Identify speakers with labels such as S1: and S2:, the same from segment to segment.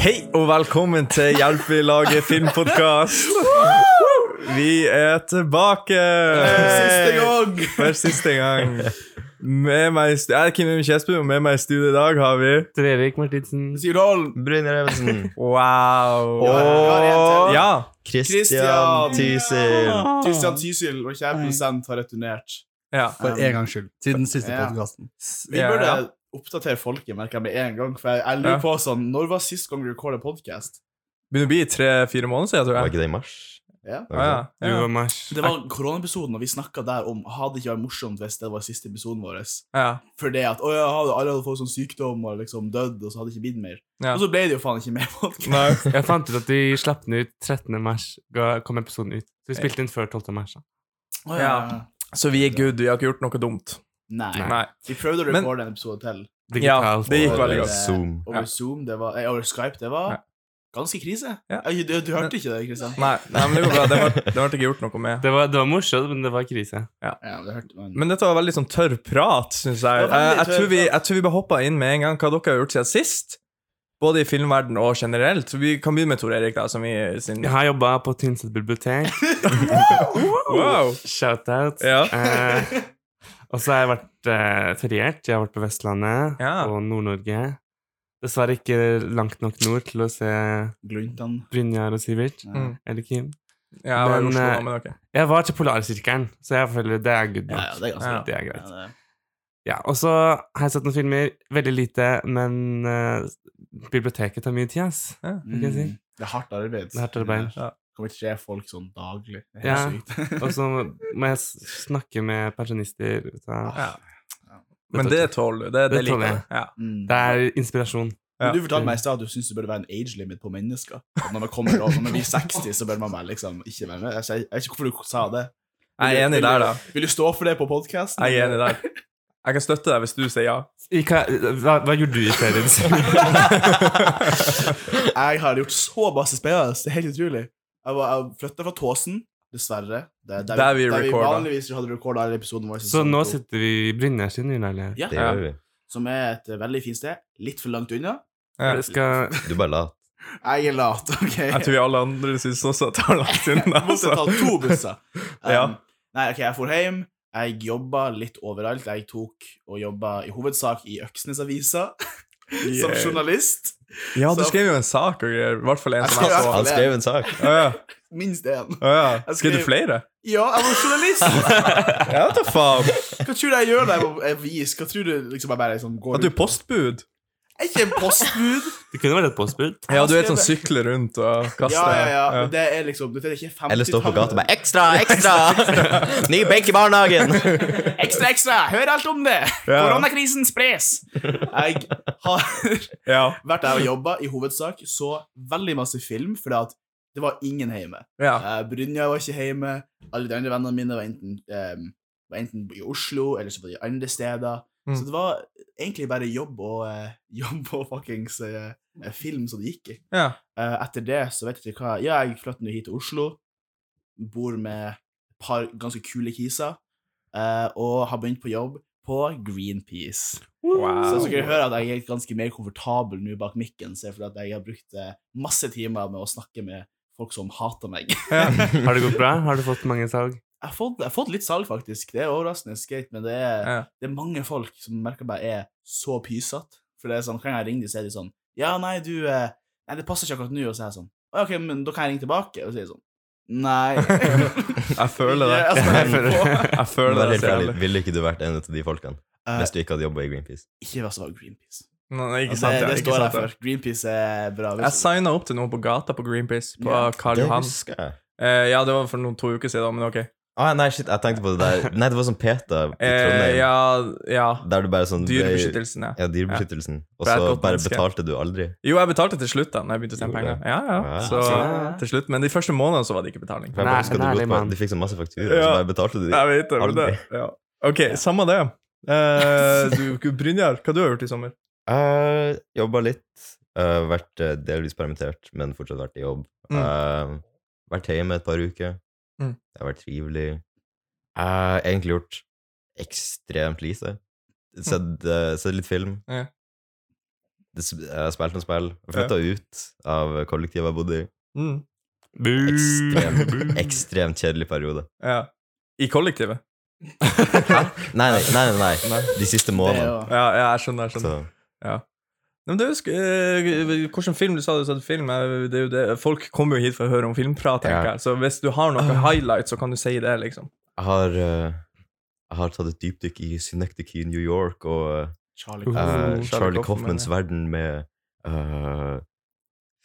S1: Hei og velkommen til Hjelp vi lager filmpodkast. Vi er tilbake
S2: Siste gang!
S1: for siste gang. Med meg i stu- Jeg er Kim Emil Kjesbu, og med meg i studio i dag har vi
S3: Erik Martinsen.
S2: Sirdal!
S4: Brynjar Evensen.
S1: Wow.
S4: Og
S1: Ja.
S2: Christian.
S4: Christian Tysil.
S2: Christian Tysil, vår kjære produsent, har returnert.
S1: ja.
S2: For
S5: en gangs skyld. Siden siste
S2: Um, Ja.
S5: podcasten.
S2: Vi
S1: Ja,
S2: burde
S1: ja.
S2: oppdatere folket, merker jeg med en gang. For jeg, jeg lurer
S1: Ja.
S2: på sånn Når var sist gang vi recordet podcast?
S1: Begynner å bli tre-fire måneder siden, tror
S4: Var
S1: jeg.
S4: ikke det i mars?
S2: Ja.
S4: Det var
S1: Ah, ja.
S4: ikke
S1: Ja.
S3: Du og Mars.
S2: Det var koronaepisoden, og vi snakka der om Hadde ikke vært morsomt hvis det var siste episoden vår.
S1: Ja.
S2: For det at å, ja, hadde- alle hadde fått sånn sykdom og liksom dødd, og så hadde det ikke blitt mer.
S1: Ja.
S2: Og så ble det jo faen ikke mer podcast.
S1: Nei.
S3: Jeg fant ut at de slapp den ut 13. mars. Ga- Kom episoden ut. Så vi spilte inn før 12. mars. Da.
S2: Å,
S1: Ja. Så vi er good. Vi har ikke gjort noe dumt.
S2: Nei.
S1: Nei.
S2: Vi prøvde å
S1: Men-
S2: recorde en episode til
S1: Ja,
S3: Digitalt.
S1: det gikk
S4: det.
S1: veldig godt.
S2: Eh,
S4: sånn, Zoom.
S2: over
S1: Ja.
S2: Zoom. Det var, eh, over Skype. Det
S1: Ja.
S2: var ganske krise.
S1: Ja.
S2: Eh, Du, du hørte ikke det, Kristian?
S1: Nei, nei, men det går bra. Det ble, det ble ikke gjort noe med.
S3: Det var, det var morsomt, men det var krise.
S2: Ja, det hørte man.
S1: Men dette var veldig sånn tørr prat, syns jeg.
S2: Det var veldig
S1: Eh, jeg,
S2: tørr
S1: tror vi,
S2: prat.
S1: jeg tror vi bare hoppa inn med en gang hva dere har gjort siden sist. Både i filmverden og generelt. Så Vi kan begynne med Tor Erik, da. Som vi, sin,
S3: Jeg har jobba på Tynset bibliotek.
S1: Wow!
S3: Shout-out.
S1: Ja.
S3: Eh, og så har jeg vært eh, feriert. Jeg har vært på Vestlandet
S1: Ja.
S3: og Nord-Norge. Dessverre ikke langt nok nord til å se
S2: Gluntan.
S3: Brynjar og Sivert.
S2: Eh,
S1: Mm.
S3: Eller Kim.
S1: Ja, jeg var i
S3: Men,
S1: Oslo, da,
S3: eh,
S1: men ok.
S3: Jeg var til Polarsirkelen, så jeg føler det er good nok.
S2: Ja, ja, det er ganske eh,
S1: Ja.
S3: Det er greit.
S2: Ja, det er-
S3: Ja, og så har jeg sett noen filmer. Veldig lite, men eh, biblioteket tar mye tid, ass. Hva kan jeg si?
S2: Mm. Det er hardt arbeid.
S3: Det er hardt arbeid.
S2: Ja. Kommer ikke tre folk sånn daglig. Det er
S3: Ja.
S2: helt sykt.
S3: Og så må jeg s- snakke med pensjonister. Så.
S1: Ja.
S2: Ja.
S1: Men det tåler du. Det, det,
S3: Det
S1: liker
S3: tåler jeg.
S1: jeg. Ja.
S2: Mm.
S3: Det er inspirasjon.
S2: Men Du
S1: Ja.
S2: fortalte meg i stad at du syns det burde være en age limit på mennesker. At når man kommer over, når man blir 60, så bør man bare liksom ikke være med. Jeg vet ikke- jeg vet ikke hvorfor du sa det.
S1: Jeg er enig der, da.
S2: Vil du stå for det på podkasten?
S1: Jeg er enig der. Jeg kan støtte deg hvis du sier ja.
S3: I hva, hva, hva gjorde du i ferien? Simen?
S2: Jeg har gjort så masse spennende. Det er helt utrolig. Jeg, var- jeg flytta fra Tåsen, dessverre. Det er
S1: Der vi recorda.
S2: vanligvis hadde recorda alle episodene våre. i
S3: så
S2: sesong
S3: nå
S2: to.
S3: sitter vi i Brynjar sin nye leilighet.
S2: ja,
S4: Det gjør vi.
S2: Som er et eh, veldig fint sted. Litt for langt unna.
S1: Ja.
S3: Jeg Skal,
S4: Du bare la
S2: Jeg er lat, OK?
S1: Jeg tror vi alle andre syns også at det har lagt inn
S2: Jeg måtte ta
S1: altså.
S2: to busser. Um,
S1: Ja.
S2: Nei, ok, jeg for hjem. Jeg jobba litt overalt. Jeg tok og jobba i hovedsak i Øksnes-avisa som
S1: Yeah.
S2: journalist.
S1: Ja, du
S2: Så-
S1: skrev jo en sak og greier. I hvert fall en som jeg så.
S4: Han skrev en sak.
S1: Ja, ja.
S2: Minst én.
S1: Ja, ja.
S2: Jeg
S1: Skrev du
S2: skrev-
S1: flere?
S2: Ja, jeg var journalist!
S1: Ja, vet da faen.
S2: Hva tror du jeg gjør når jeg er avis? Hva tror du liksom jeg bare liksom går
S1: At du
S2: ut-
S1: er postbud?
S2: Jeg er ikke en postbud.
S3: det kunne vært et påskudd.
S1: Ja, du vet sånn
S2: skrevet-
S1: sykle rundt og kaste
S2: Ja, ja, ja. Men Det er liksom Det er ikke 50
S4: Eller stå på gata og bare 'Ekstra! Ekstra! Ny benk i barnehagen!'
S2: Ekstra, ekstra! Hør alt om det!
S1: Ja.
S2: Koronakrisen spres! Jeg har
S1: Ja,
S2: vært der og jobba, i hovedsak. Så veldig masse film, fordi at det var ingen hjemme.
S1: ja.
S2: Eh, Brynja var ikke hjemme. Alle de andre vennene mine var enten, eh, var enten i Oslo eller så var de andre steder.
S1: Mm.
S2: Så det var egentlig bare jobb og, eh, jobb og fuckings eh, film som det gikk i.
S1: ja.
S2: Eh, etter det så vet jeg ikke hva Ja, jeg flytter nå hit til Oslo. Bor med et par ganske kule kiser. eh, og har begynt på jobb på Greenpeace. Så
S1: Wow.
S2: skal dere høre at jeg er ganske mer komfortabel nå bak mikken, så er det fordi at jeg har brukt eh, masse timer med å snakke med folk som hater meg.
S3: Har det gått bra? Har du fått mange salg?
S2: Jeg har fått, jeg har fått litt salg, faktisk. Det er overraskende skate, men det er,
S1: Ja.
S2: det er mange folk som merker bare er så pysete. For det er sånn, kan jeg ringe dem, så er de sånn Ja, nei, du eh, Nei, det passer ikke akkurat nå, og så er jeg sånn «Å, OK, men da kan jeg ringe tilbake, og så er de sånn Nei.
S1: Jeg føler
S2: Ja,
S1: det.
S2: altså,
S3: Jeg føler-
S1: Jeg
S4: Bare
S1: føler det
S4: helt
S1: så
S4: ærlig,
S1: jævlig.
S4: Ville ikke du vært en av de folkene
S2: Eh,
S4: hvis du ikke hadde jobba i Greenpeace?
S2: ikke vær så var Greenpeace. Altså,
S1: Nei, nei, ikke
S2: Det,
S1: sant, ja.
S2: det
S1: Ikke
S2: står jeg
S1: sant, ja.
S2: for. Greenpeace er bra.
S1: Jeg signa opp til noen på gata på Greenpeace, på
S2: Ja.
S1: Karl Johan.
S4: jeg.
S1: Eh, ja, det var for noen to uker siden, men ok.
S4: Ah, nei, shit, jeg tenkte på det der Nei, det var sånn PETA i
S1: Eh,
S4: Trondheim.
S1: ja, ja.
S4: Der du bare sånn ble-
S1: Dyrebeskyttelsen, ja.
S4: Ja, Dyrebeskyttelsen. Og
S1: For jeg er et
S4: så
S1: godt
S4: bare
S1: menneske.
S4: betalte du aldri.
S1: Jo, jeg betalte til slutt, da, når jeg begynte å tjene
S4: Gjorde
S1: penger. Ja, ja,
S4: Ja.
S1: så
S3: Ja.
S1: til slutt Men de første månedene så var det ikke betaling.
S4: For jeg
S3: Nei,
S4: bare husker at du,
S3: nei, det er
S4: lot bare-
S3: mann.
S4: du fikk sånn masse fakturer,
S1: Ja.
S4: så bare betalte du de.
S1: Jeg vet det, men det
S4: Aldri.
S1: ja. Ok, samme det. Eh, du, Brynjar, hva du har gjort i sommer?
S4: Uh, jobba litt. Eh, vært eh, delvis permittert, men fortsatt vært i jobb.
S1: Mm.
S4: Eh, vært hjemme et par uker.
S1: Mm.
S4: Det har vært trivelig. Jeg har egentlig gjort ekstremt lite. Sett, eh, sett litt film.
S1: Ja.
S4: Det sp- Jeg har spilt noen spill. Flytta ut av kollektivet jeg bodde i.
S1: Mm.
S4: Ekstremt, ekstremt kjedelig periode.
S1: Ja. I kollektivet.
S4: Nei, nei, nei. nei, nei. De siste
S2: Det er
S4: månedene.
S2: jo
S1: Ja, ja jeg skjønner. jeg skjønner.
S4: Så
S1: Nei, Men det husker, eh, Hvilken film du sa du satte film? eh, Det er jo det. Folk kommer jo hit for å høre om filmprat, tenker
S4: Ja. Ah.
S1: jeg. Så hvis du har noen highlights, så kan du si det, liksom.
S4: jeg har eh, jeg har tatt et dypdykk i Synectic i New York og
S2: Charlie
S4: eh,
S2: Kaufman.
S1: Charlie
S4: Charlie
S1: Kaufman,
S4: Coffmans
S1: ja.
S4: verden med eh,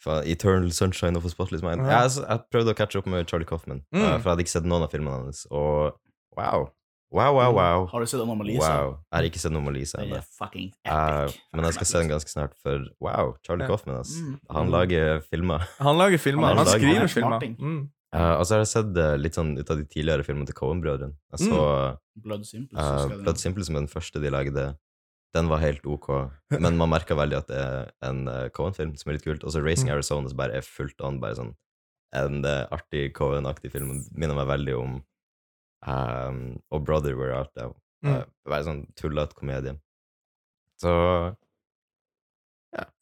S4: faen, Eternal Sunshine of a Spotless Mind.
S1: Ja.
S4: Jeg, jeg prøvde å catche opp med Charlie Coffman,
S1: Mm.
S4: for jeg hadde ikke sett noen av filmene hans. Og wow. Wow, wow, wow.
S2: Mm. Har du sett Anomalisa?
S4: wow. Jeg har ikke sett noe med Lisa
S2: Det
S4: ennå.
S2: er fucking
S4: Eh,
S2: epic.
S4: men jeg skal se den ganske snart, for wow, Charlie
S1: Ja.
S4: Coffman, ass.
S2: Mm.
S4: Han lager filmer.
S1: Han lager filmer.
S4: Han
S1: Han,
S4: lager-
S1: skriver
S2: han er
S1: filmer.
S2: smarting.
S1: Mm.
S4: Eh, og så har jeg sett eh, litt sånn ut av de tidligere filmene til Cohen-brødrene. Jeg så
S2: Mm. Blood Simple. så
S4: eh,
S2: skal den-
S4: Blood Simple som er den første de lagde. Den var helt ok, men man merka veldig at det er en eh, Cohen-film som er litt kult. Og så Racing
S1: Mm.
S4: Arizona som bare er fullt an, bare sånn en eh, artig Cohen-aktig film. Den Minner meg veldig om ehm, Og Brother Were Out There.
S1: Mm.
S4: Eh, bare sånn tullete komedie. Så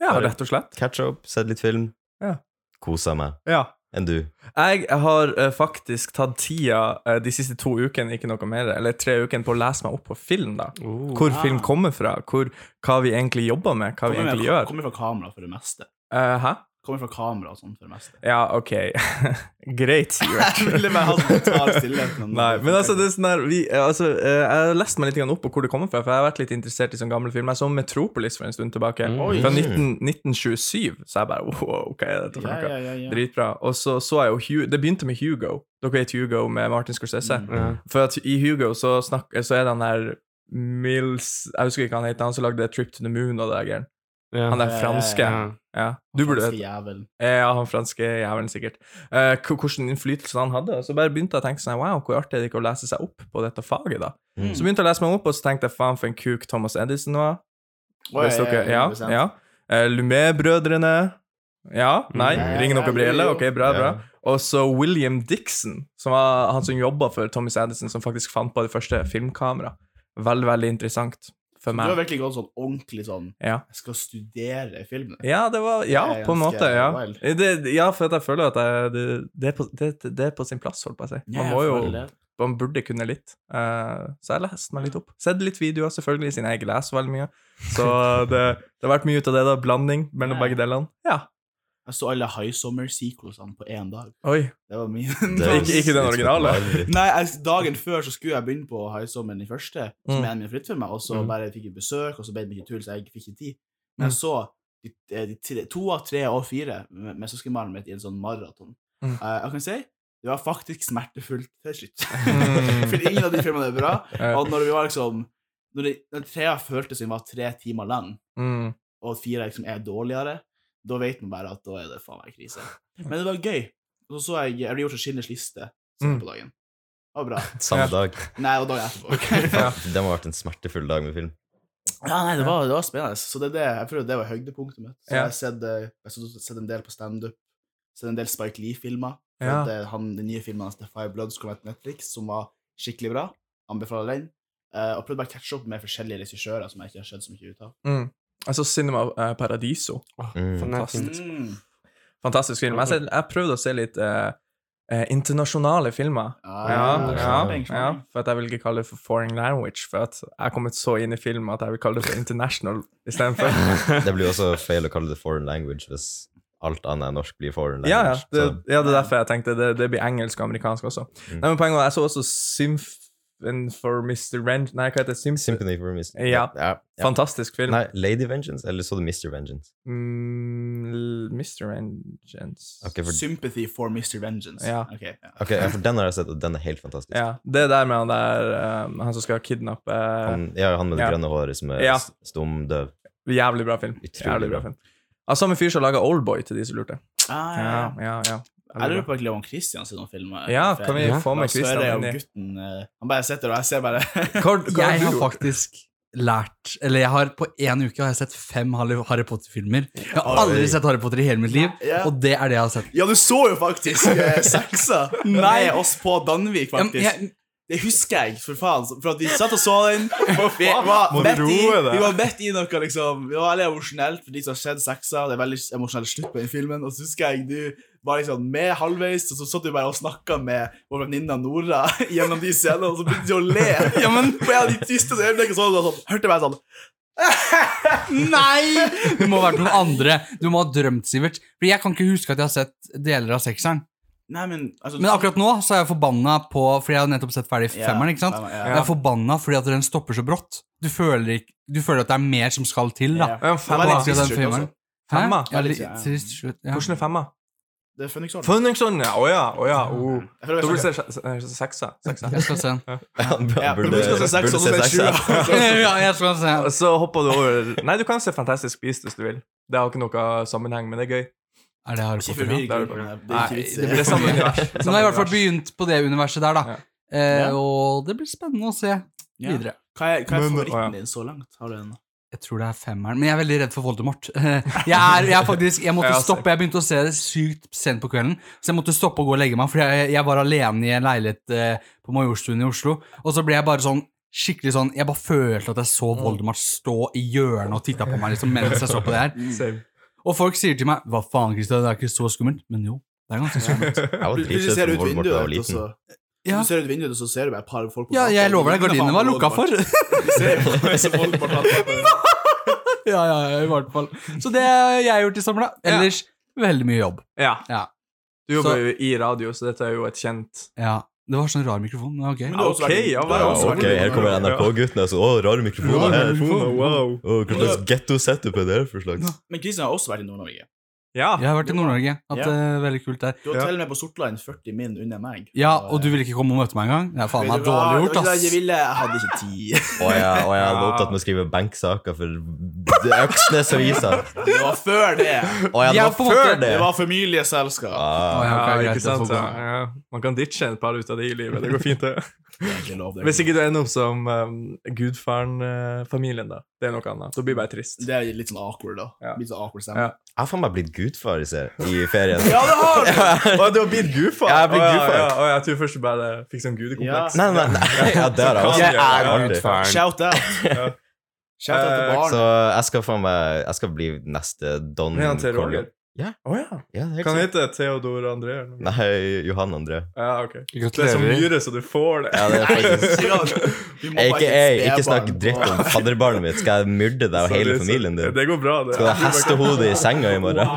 S1: Ja, rett og slett.
S4: catch up, sett litt film,
S1: Ja.
S4: kosa meg.
S1: Ja.
S4: Enn du?
S1: Jeg har eh, faktisk tatt tida eh, de siste to ukene, ikke noe mer, eller tre ukene, på å lese meg opp på film, da.
S3: Oh.
S1: Hvor
S2: Ah.
S1: film kommer fra, hvor, hva vi egentlig jobber med, hva vi
S2: Kommer
S1: egentlig
S2: fra-
S1: gjør.
S2: Kommer fra kamera for det meste.
S1: Eh, hæ?
S2: Kommer fra kamera og sånn for det meste.
S1: Ja, ok. Greit, Sivert.
S2: Jeg ville bare ha sånn total stillhet.
S1: Nei, men altså, det er sånn der, vi, altså eh, Jeg har lest meg litt grann opp på hvor det kommer fra, for jeg har vært litt interessert i sånne gamle filmer. Jeg så Metropolis for en stund tilbake,
S3: Mm.
S2: Oi.
S1: fra 19, 1927, så jeg bare wow, hva er dette for
S2: ja,
S1: noe?
S2: ja, ja, ja.
S1: Dritbra. Og så så jeg jo Hu- Det begynte med Hugo. Dere vet Hugo med Martin Scorsese?
S2: Mm.
S3: Ja.
S1: For at i Hugo så, snakk, så er det han der Mills Jeg husker ikke hva han heter, han som lagde Trip to the Moon og det der greiene.
S3: Ja.
S1: Han der
S2: Ja, ja,
S1: franske.
S3: ja.
S1: Ja. Du burde
S2: Franske jævel.
S1: Eh, ja, han franske jævelen, sikkert. Eh, k- hvordan innflytelse han hadde. Og så bare begynte jeg å tenke sånn, wow, hvor artig er det ikke å lese seg opp på dette faget, da.
S4: Mm.
S1: Så begynte jeg å lese meg opp, og så tenkte jeg, faen for en kuk Thomas Edison var.
S2: Oi,
S1: Hvis dere, ja,
S2: 100%.
S1: ja. Eh, Lumet-brødrene. Ja, nei,
S2: Mm.
S1: ring noen briller, ok, bra, bra.
S4: Ja.
S1: Og så William Dixon, som var han som jobba for Thomas Edison, som faktisk fant på det første filmkameraet. Veldig, veldig interessant for
S2: Du har
S1: meg.
S2: virkelig gått sånn ordentlig sånn
S1: Ja.
S2: Jeg skal studere filmen.
S1: Ja, det var,
S2: Det
S1: ja
S2: er
S1: på en
S2: ganske
S1: måte. Ja,
S2: wild.
S1: det, ja for at jeg føler at jeg, det, det, er på, det, det er på sin plass, holdt på å si. Man, må jo, man burde kunne litt. Eh, så jeg leste meg litt opp. Sett litt videoer, selvfølgelig, siden jeg ikke leser veldig mye. Så det, det har vært mye ut av det, da. Blanding mellom
S2: Ja.
S1: begge delene. Ja.
S2: Jeg så alle High Summer-sequelsene på én dag.
S1: Oi.
S2: Det var min
S4: Det er
S1: Ikke- ikke den
S4: litt
S1: originale.
S4: forferdelig.
S2: Nei, jeg, Dagen før så skulle jeg begynne på High Summer, den første, som
S1: Mm.
S2: er en av mine favorittfilmer, og så
S1: Mm.
S2: bare fikk jeg besøk, og så ble det mye tull, så jeg fikk ikke tid. Men jeg så de, eh, de tre, to av tre og fire med, med søskenbarnet mitt i en sånn maraton.
S1: Mm.
S2: Eh, jeg kan si det var faktisk smertefullt til slutt.
S1: Mm.
S2: For ingen av de filmene er bra.
S1: Eh,
S2: Og når vi var liksom Når de, den trea føltes som den var tre timer lang,
S1: mm.
S2: og at fire liksom er dårligere, da vet man bare at da er det faen meg krise. Men det var gøy. Og så så jeg Jeg ble gjort til Schindlers liste senere
S1: Mm.
S2: på dagen. Det var bra.
S4: Samme dag.
S2: Nei, og dagen etterpå.
S1: Ja.
S4: Det må ha vært en smertefull dag med film.
S2: ja, nei, det var, det var spennende. Så det, er det, jeg føler det var høydepunktet mitt. Så
S1: Ja.
S2: jeg har sett, eh, jeg har sett en del på standup. Sett en del Spike Lee-filmer.
S1: Ja.
S2: For det- han- Den nye filmen hans, The Five Bloods, kom til Netflix, som var skikkelig bra. Anbefaler den. Eh, og prøvde bare å catche opp med forskjellige regissører som jeg ikke har sett så mye ut av.
S1: Mm. Jeg så Cinema eh, Paradiso.
S3: Åh,
S4: Mm.
S3: sånn er fint.
S1: Fantastisk. Fantastisk film. Jeg, ser- jeg prøvde å se litt eh, eh, internasjonale filmer.
S2: Ah,
S1: Ja, ja,
S2: shopping,
S1: ja,
S2: shopping.
S1: for at jeg vil ikke kalle det for foreign language, for at jeg er kommet så inn i film at jeg vil kalle det for international istedenfor.
S4: Det blir også feil å kalle det foreign language hvis alt annet enn norsk blir foreign
S1: Ja, ja,
S4: language.
S1: det, ja, det er derfor jeg tenkte det, det blir engelsk og amerikansk også.
S4: Mm.
S1: Nei, men poenget var, jeg så også Symphon for Mr. Rent Nei, hva heter det?
S4: Så,
S1: Symphon?
S4: Symphony for Miss...
S1: Ja.
S4: ja, ja.
S1: Fantastisk film.
S4: Nei, Lady Vengeance, eller så du Mr. Vengeance?
S1: Mm, l- Mr. Vengeance
S4: Ok, for,
S2: Sympathy for Mr. Vengeance.
S1: Ja.
S2: Ok, ja.
S4: ok, ja, for den har jeg sett, og den er helt fantastisk.
S1: Ja, det der med han der eh, Han som skal kidnappe eh,
S4: Han, ja, han med det
S1: Ja. grønne
S4: grønne håret som er
S1: Ja.
S4: stum, døv.
S1: Jævlig bra film.
S4: Utrolig
S1: Jævlig bra
S4: bra.
S1: film. Av samme fyr som laga Oldboy, til de som lurte.
S2: Ah, ja,
S1: Ja,
S2: ja.
S1: ja, ja.
S2: Jeg
S1: Veldig
S2: lurer
S1: bra.
S2: på egentlig om Christian ser noen filmer.
S1: Ja,
S2: For
S1: kan vi
S2: jeg-
S1: få med
S2: Lars Søre
S1: Christian
S2: og
S1: inn i
S2: gutten eh, Han bare sitter og jeg ser bare
S1: Hva- hva
S3: Jeg
S1: du
S3: har
S1: gjort?
S3: faktisk
S5: lært Eller jeg har på én uke har jeg sett fem Harry Harry Potter-filmer. Jeg har aldri
S4: Oi.
S5: sett Harry Potter i hele mitt liv,
S2: Ja.
S5: og det er det jeg har sett.
S2: Ja, du så jo faktisk eh, seksa med oss på Danvik,
S5: Ja, men
S2: faktisk.
S5: jeg,
S2: Det husker jeg, for faen. For at vi satt og så den. Vi var
S4: Må du
S2: bedt i,
S4: roe deg?
S2: vi var bedt i noe, liksom. Vi var veldig emosjonelt for de som har sett sexa. Det er veldig emosjonell slutt på den filmen. Og så husker jeg du var liksom med halvveis, og så satt du bare og snakka med vår venninne Nora gjennom de scenene, og så begynte du å le. Ja, men på en av de tyste øyeblikkene så var det sånn, hørte jeg meg sånn
S5: nei! Det må ha vært noen andre. Du må ha drømt, Sivert. For jeg kan ikke huske at jeg har sett deler av sekseren.
S2: Nei, men altså,
S5: Men akkurat nå så er jeg forbanna på Fordi jeg har nettopp sett ferdig
S2: Ja,
S5: femmeren, ikke sant?
S2: femmeren,
S5: Jeg er forbanna fordi at den stopper så brått. Du føler, ikke, du føler at det er mer som skal til, da.
S2: Ja.
S1: Ja,
S2: Det var
S1: femma.
S2: litt trist
S5: Den
S2: slutt også.
S5: filmen.
S1: Femma?
S5: Ja, litt
S2: Ja.
S5: trist slutt. Ja.
S1: Hvordan er femma?
S2: Det er Phoenix Order.
S1: Funningson, ja. Å ja. Å ja. Oh.
S2: Jeg føler
S1: Da
S2: jeg
S1: burde du
S2: snakker-
S1: se se- se- seksa. seksa.
S5: Jeg skal se den.
S4: Han burde,
S2: Ja, for du skal se sex,
S4: burde
S2: og så se
S4: seksa.
S2: sjua.
S5: ja, jeg skal se den.
S1: Så hopper du over Nei, du kan se Fantastic Beast hvis du vil. Det har ikke noe sammenheng, men det er gøy.
S5: Er det Harry
S2: Ikke
S5: Potter?
S2: for
S1: det er det
S2: virkelig,
S5: da?
S2: men
S1: faktisk.
S2: det er ikke
S5: Nei,
S2: vits i.
S5: det
S1: Det er samme univers.
S5: Så nå har jeg i hvert fall begynt på det universet der, da.
S1: Ja.
S5: Eh,
S2: Ja.
S5: og det blir spennende å se
S2: Ja.
S5: videre.
S2: Hva er, hva er
S1: Men- å,
S2: favoritten
S1: ja.
S2: din så langt? Har du en?
S5: Jeg tror det er femmeren, men jeg er veldig redd for Voldemort. Eh, Jeg, er, jeg, er faktisk, jeg måtte
S1: Ja, altså.
S5: stoppe, jeg begynte å se det sykt sent på kvelden, så jeg måtte stoppe og gå og legge meg, for jeg, jeg var alene i en leilighet eh, på Majorstuen i Oslo, og så ble jeg bare sånn skikkelig sånn, jeg bare følte at jeg så Voldemort stå i hjørnet og titta på meg liksom, mens jeg så på det her.
S1: Same.
S5: Og folk sier til meg, hva faen Kristian, det er ikke så skummelt, men jo, det er ganske skummelt.
S4: Jeg var
S2: Plutselig
S4: dritredd
S2: ser du
S4: som
S2: ut
S4: Voldemort da jeg var
S2: vinduet, og
S4: liten.
S2: så,
S5: Ja.
S2: du ser ut vinduet, og så ser du bare et par folk på
S5: Ja,
S2: gata,
S5: jeg
S2: og
S5: lover
S2: du
S5: deg,
S2: ligner
S5: gardinene
S2: faen
S5: var
S2: på
S5: lukka
S2: Voldemort.
S5: for.
S2: Du ser jo på meg som Voldemort har tatt på deg.
S5: Ja, ja, ja, i hvert fall. Så det har jeg gjort i sommer, da. Ellers veldig mye jobb.
S1: Ja.
S5: Ja.
S1: Du jobber jo i radio, så dette er jo et kjent
S5: Ja. Det var sånn rar mikrofon, men ok.
S2: Men du har
S1: Ja,
S2: også
S1: ok,
S2: vært-
S1: ja,
S2: du har
S1: wow,
S2: også vært-
S4: Ok, her kommer NRK-guttene. Så, å, rare mikrofoner her.
S1: Wow.
S4: Å, hva slags getto-setup er det her for slags?
S2: Men Kristian har også vært i Nord-Norge.
S1: Ja.
S5: Jeg har vært i Nord-Norge. Hatt
S2: Ja.
S5: det veldig kult der.
S2: Du var
S1: Ja.
S2: til og med på Sortland 40 min under meg. eh,
S5: Ja, og du ville ikke komme og møte meg engang? Det er faen
S2: Vet
S5: meg
S2: du hva?
S5: dårlig
S2: Det
S5: gjort,
S2: var ikke det Jeg
S5: ass.
S2: ville, jeg hadde ikke tid.
S4: Å ja, å, jeg var opptatt med å skrive benksaker for Øksnes-avisa.
S2: Det var før det.
S4: Å ja, det
S5: Ja,
S4: var
S5: på en
S4: før
S5: måte.
S4: det!
S2: Det var familieselskap.
S4: Ah,
S5: Ja, ok,
S1: Ja,
S5: greit,
S1: ikke
S5: jeg
S1: sant?
S5: får
S1: Ja,
S5: gå.
S1: ja. Man kan ditche et par ut av det i livet. Det går fint, det.
S2: Det er ikke lov, det er
S1: Hvis ikke
S2: ikke
S1: du ender opp som um, gudfaren-familien, da. Det er noe annet. Da blir det bare trist.
S2: lov. Det er litt sånn awkward, da.
S1: Ja.
S2: Litt sånn awkward
S1: Ja.
S2: stemme.
S4: Jeg har faen meg blitt gudfar i se- i ferien.
S2: Ja, det har du!
S1: Å, du har blitt gudfar?
S4: Ja, jeg har blitt
S1: Å, ja,
S4: gudfar.
S1: ja, å, jeg tror først du bare fikk sånn gudekompleks.
S4: Nei, nei, nei. Ja, det har jeg også.
S1: Jeg er
S4: Artig.
S3: Gudfaren.
S2: Shout out. Shout out til
S1: Eh,
S2: barn.
S4: Så jeg skal faen meg Jeg skal bli neste Don
S1: Men han heter
S4: Corleone.
S1: Roger.
S4: Ja.
S1: Å ja.
S4: Ja, helt
S1: Kan han
S4: sikkert.
S1: hete Theodor André? eller noe?
S4: Nei, Johan André.
S1: Ja, ok. Det er så
S3: Gratulerer.
S1: myre, så du får det.
S4: Ja, det er faktisk
S2: Vi må
S4: Ikke,
S2: bare
S4: jeg,
S2: spe
S4: ikke snakk
S2: barn.
S4: dritt om fadderbarnet mitt. Skal jeg myrde deg og
S1: Så
S4: hele
S1: det- så-
S4: familien din?
S1: Det går bra, det.
S4: Skal du ha hestehode i senga i morgen?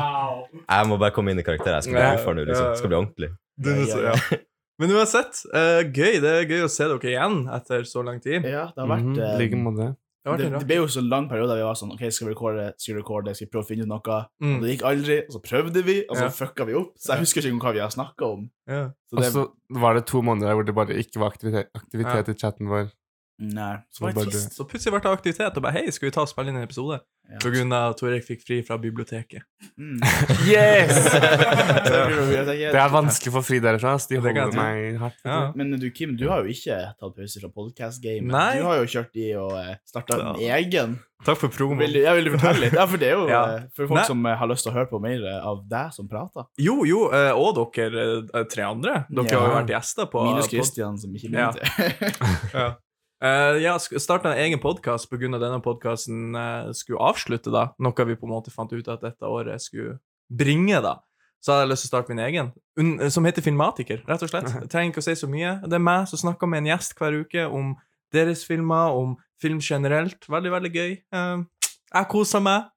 S4: Jeg må bare komme inn i karakter. Jeg skal bli
S1: Ja,
S4: gudfar nå,
S1: ja, ja.
S4: liksom. Skal bli ordentlig.
S1: Du,
S2: Ja, ja,
S1: ja. Men uansett, eh, gøy. Det er gøy å se dere igjen etter så lang tid. Det
S2: Ja, det har vært
S3: Mhm, I
S2: eh,
S3: like måte.
S1: har vært
S2: det,
S1: en
S2: det
S1: rar-
S2: ble jo så lang periode der vi var sånn OK, skal vi recorde, skal vi recorde, skal vi prøve å finne ut noe? Og
S1: Mm,
S2: det gikk aldri, og så prøvde vi, og så
S1: Ja.
S2: fucka vi opp. Så jeg husker ikke engang hva vi har snakka om.
S1: ja.
S2: Så
S3: Og
S2: det,
S3: så var det to måneder hvor det bare ikke var aktivitet, aktivitet i chatten vår.
S2: nei, så var det
S3: Bare-
S2: trist.
S1: Så plutselig ble det aktivitet, og bare hei, skal vi ta og spille inn en episode?
S2: Ja.
S1: På grunn av at Tor Erik fikk fri fra biblioteket.
S2: Mm.
S3: Yes!
S2: Så jeg tror jeg tenker-
S3: Det er vanskelig å få fri derfra. ass. De
S1: Det kan jeg
S3: holder meg hardt. vet
S1: Ja.
S3: du.
S2: Men du, Kim, du har jo ikke tatt pause fra podcast-gamet.
S1: Nei.
S2: Du har jo kjørt i og eh, starta en
S1: Ja.
S2: egen.
S1: Takk for promo.
S2: Vil, du- ja, vil du fortelle litt? Ja, for det er jo
S1: Ja.
S2: eh, for folk
S1: Nei.
S2: som eh, har lyst til å høre på mer eh, av deg som prater.
S1: Jo, jo, eh, og dere eh, tre andre. Dere
S2: Ja.
S1: har jo vært gjester på
S2: Minus
S1: pod-
S2: Christian, som ikke
S1: Ja.
S2: mente.
S1: Ja. Uh, ja, sk- starta en egen podkast pga. denne podkasten skulle avslutte, da. Noe vi på en måte fant ut at dette året skulle bringe, da. Så hadde jeg lyst til å starte min egen, un som heter Filmatiker, rett og slett. Jeg trenger ikke å si så mye. Det er meg som snakker med en gjest hver uke om deres filmer, om film generelt. Veldig, veldig gøy. Eh, jeg koser meg.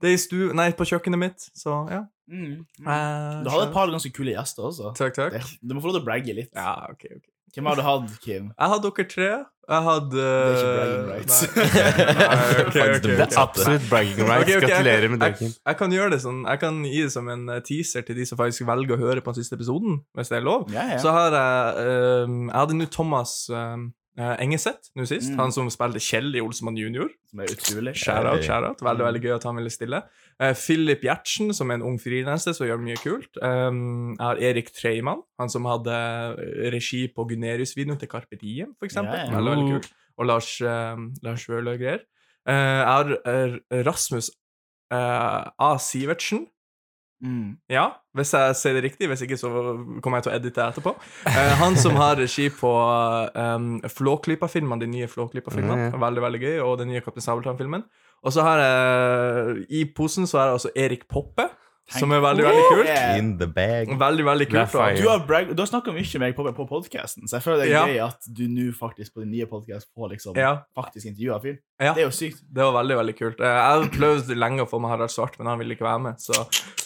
S1: Det er i stu... Nei, på kjøkkenet mitt, så ja.
S2: Mm.
S1: Eh,
S2: Du hadde et par ganske kule gjester også.
S1: Takk, takk.
S2: Det, du må få lov til å bragge litt.
S1: Ja, ok, ok.
S2: Hvem har du hatt, Kim?
S1: Jeg hadde dere tre. Jeg hadde
S2: Det er ikke bragging rights.
S1: Nei. Nei, ok,
S4: Faktisk
S1: ok,
S4: det
S1: ok.
S3: Det er absolutt bragging rights.
S1: Ok, ok, jeg-
S3: Gratulerer med det, Kim.
S1: Jeg, jeg kan gjøre det sånn Jeg kan gi det som en eh, teaser til de som faktisk velger å høre på den siste episoden, hvis det er lov.
S2: Ja, ja.
S1: Så har jeg ehm, Jeg hadde nå Thomas um, Engeseth nå sist,
S2: Mm.
S1: han som spilte Kjell i Olsemann jr.
S2: Som er utrolig.
S1: Shout-out,
S4: Hei.
S1: shout-out. Veldig veldig gøy at han ville stille. Eh, Philip Gjertsen, som er en ung frilanser som gjør mye kult. Ehm, jeg har Erik Treimann, han som hadde regi på eh, Gunerius-videoen til Carpe Diem, for eksempel.
S2: Ja, ja.
S1: Veldig, veldig kult. og Lars, eh, Lars Vøhle og greier. Eh, jeg har eh, Rasmus eh, A. Sivertsen.
S2: Mm.
S1: Ja, hvis jeg sier det riktig. Hvis ikke, så kommer jeg til å edite det etterpå. Eh, han som har regi på um, Flåklypa-filmene, de nye Flåklypa-filmene.
S3: Mm, ja.
S1: Veldig, veldig gøy. Og den nye Kaptein Sabeltann-filmen. Og så har jeg I posen så har jeg altså Erik Poppe, som er veldig, veldig kult.
S2: Yeah.
S4: In the bag.
S1: Veldig, veldig
S3: Det er
S1: kult. og-
S3: fire.
S2: Du har, brag- du har snakka mye med meg på, på podkasten, så jeg føler det er
S1: Ja.
S2: gøy at du nå faktisk på din nye podkast får liksom
S1: Ja,
S2: faktisk intervjua fyren.
S1: Ja.
S2: Det er jo sykt.
S1: det var veldig, veldig kult. Eh, Jeg hadde prøvd lenge å få med Harald Svart, men han ville ikke være med. Så,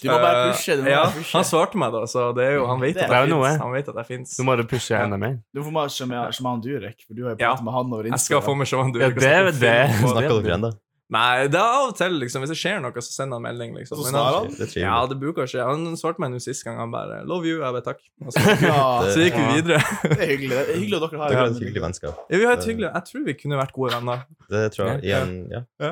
S2: Du må bare
S1: eh,
S2: pushe. Du må
S1: ja,
S2: bare pushe.
S1: Han svarte meg, da, så det er jo, han vet
S2: Det
S1: at
S2: er
S1: jeg
S3: jo noe.
S1: fins. Han vet at jeg finnes.
S3: Nå må du pushe enda mer.
S2: Du får med Shaman Shaman Durek, for du har jo
S1: Ja.
S2: pratet med han over
S1: Jeg skal få med Sean Durek.
S3: Ja,
S1: og
S3: det er
S1: snakke
S3: det.
S1: film og-
S4: Snakker dere ennå?
S1: Nei, det er av og til, liksom. Hvis det skjer noe, så sender han melding, liksom.
S2: Så
S1: Men
S2: svarer
S1: han,
S2: han?
S4: Det er trivelig.
S1: ja, det bruker skje. Han svarte meg nå sist gang, han bare 'Love you', jeg bare 'takk'. Og så,
S2: Ja,
S1: så gikk vi videre.
S2: det er hyggelig. Det er hyggelig at dere har
S4: Dere har
S2: det.
S4: et hyggelig vennskap.
S1: Ja, vi har et hyggelig Jeg tror vi kunne vært gode venner.
S4: Det tror jeg.
S1: Ja.
S4: Igjen, ja.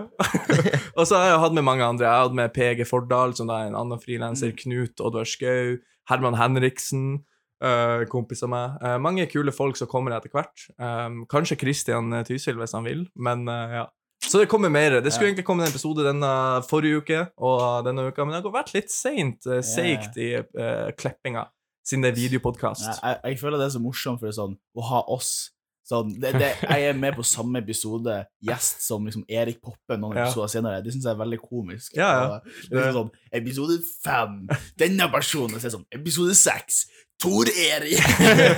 S1: Og så har jeg hatt med mange andre. Jeg har hatt med PG Fordal, som da er en annen frilanser,
S3: Mm.
S1: Knut Oddvar Skau, Herman Henriksen, øh, kompis av meg. Eh, mange kule folk som kommer etter hvert. Um, kanskje Christian eh, Tysil, hvis han vil, men eh, ja. Så det kommer mer. Det skulle egentlig komme en episode denne forrige uke og denne uka, men det har vært litt seint, eh, seigt i eh, kleppinga, siden det er
S2: Nei,
S1: videopodkast.
S2: jeg, jeg føler det er så morsomt, for det er sånn å ha oss sånn, det, det, Jeg er med på samme episode gjest som liksom Erik Poppe noen
S1: Ja.
S2: episoder senere. Det syns jeg er veldig komisk.
S1: Ja, ja.
S2: Og Det er liksom sånn, episode fem, denne personen. Så er det sånn, episode seks, Tor Erik.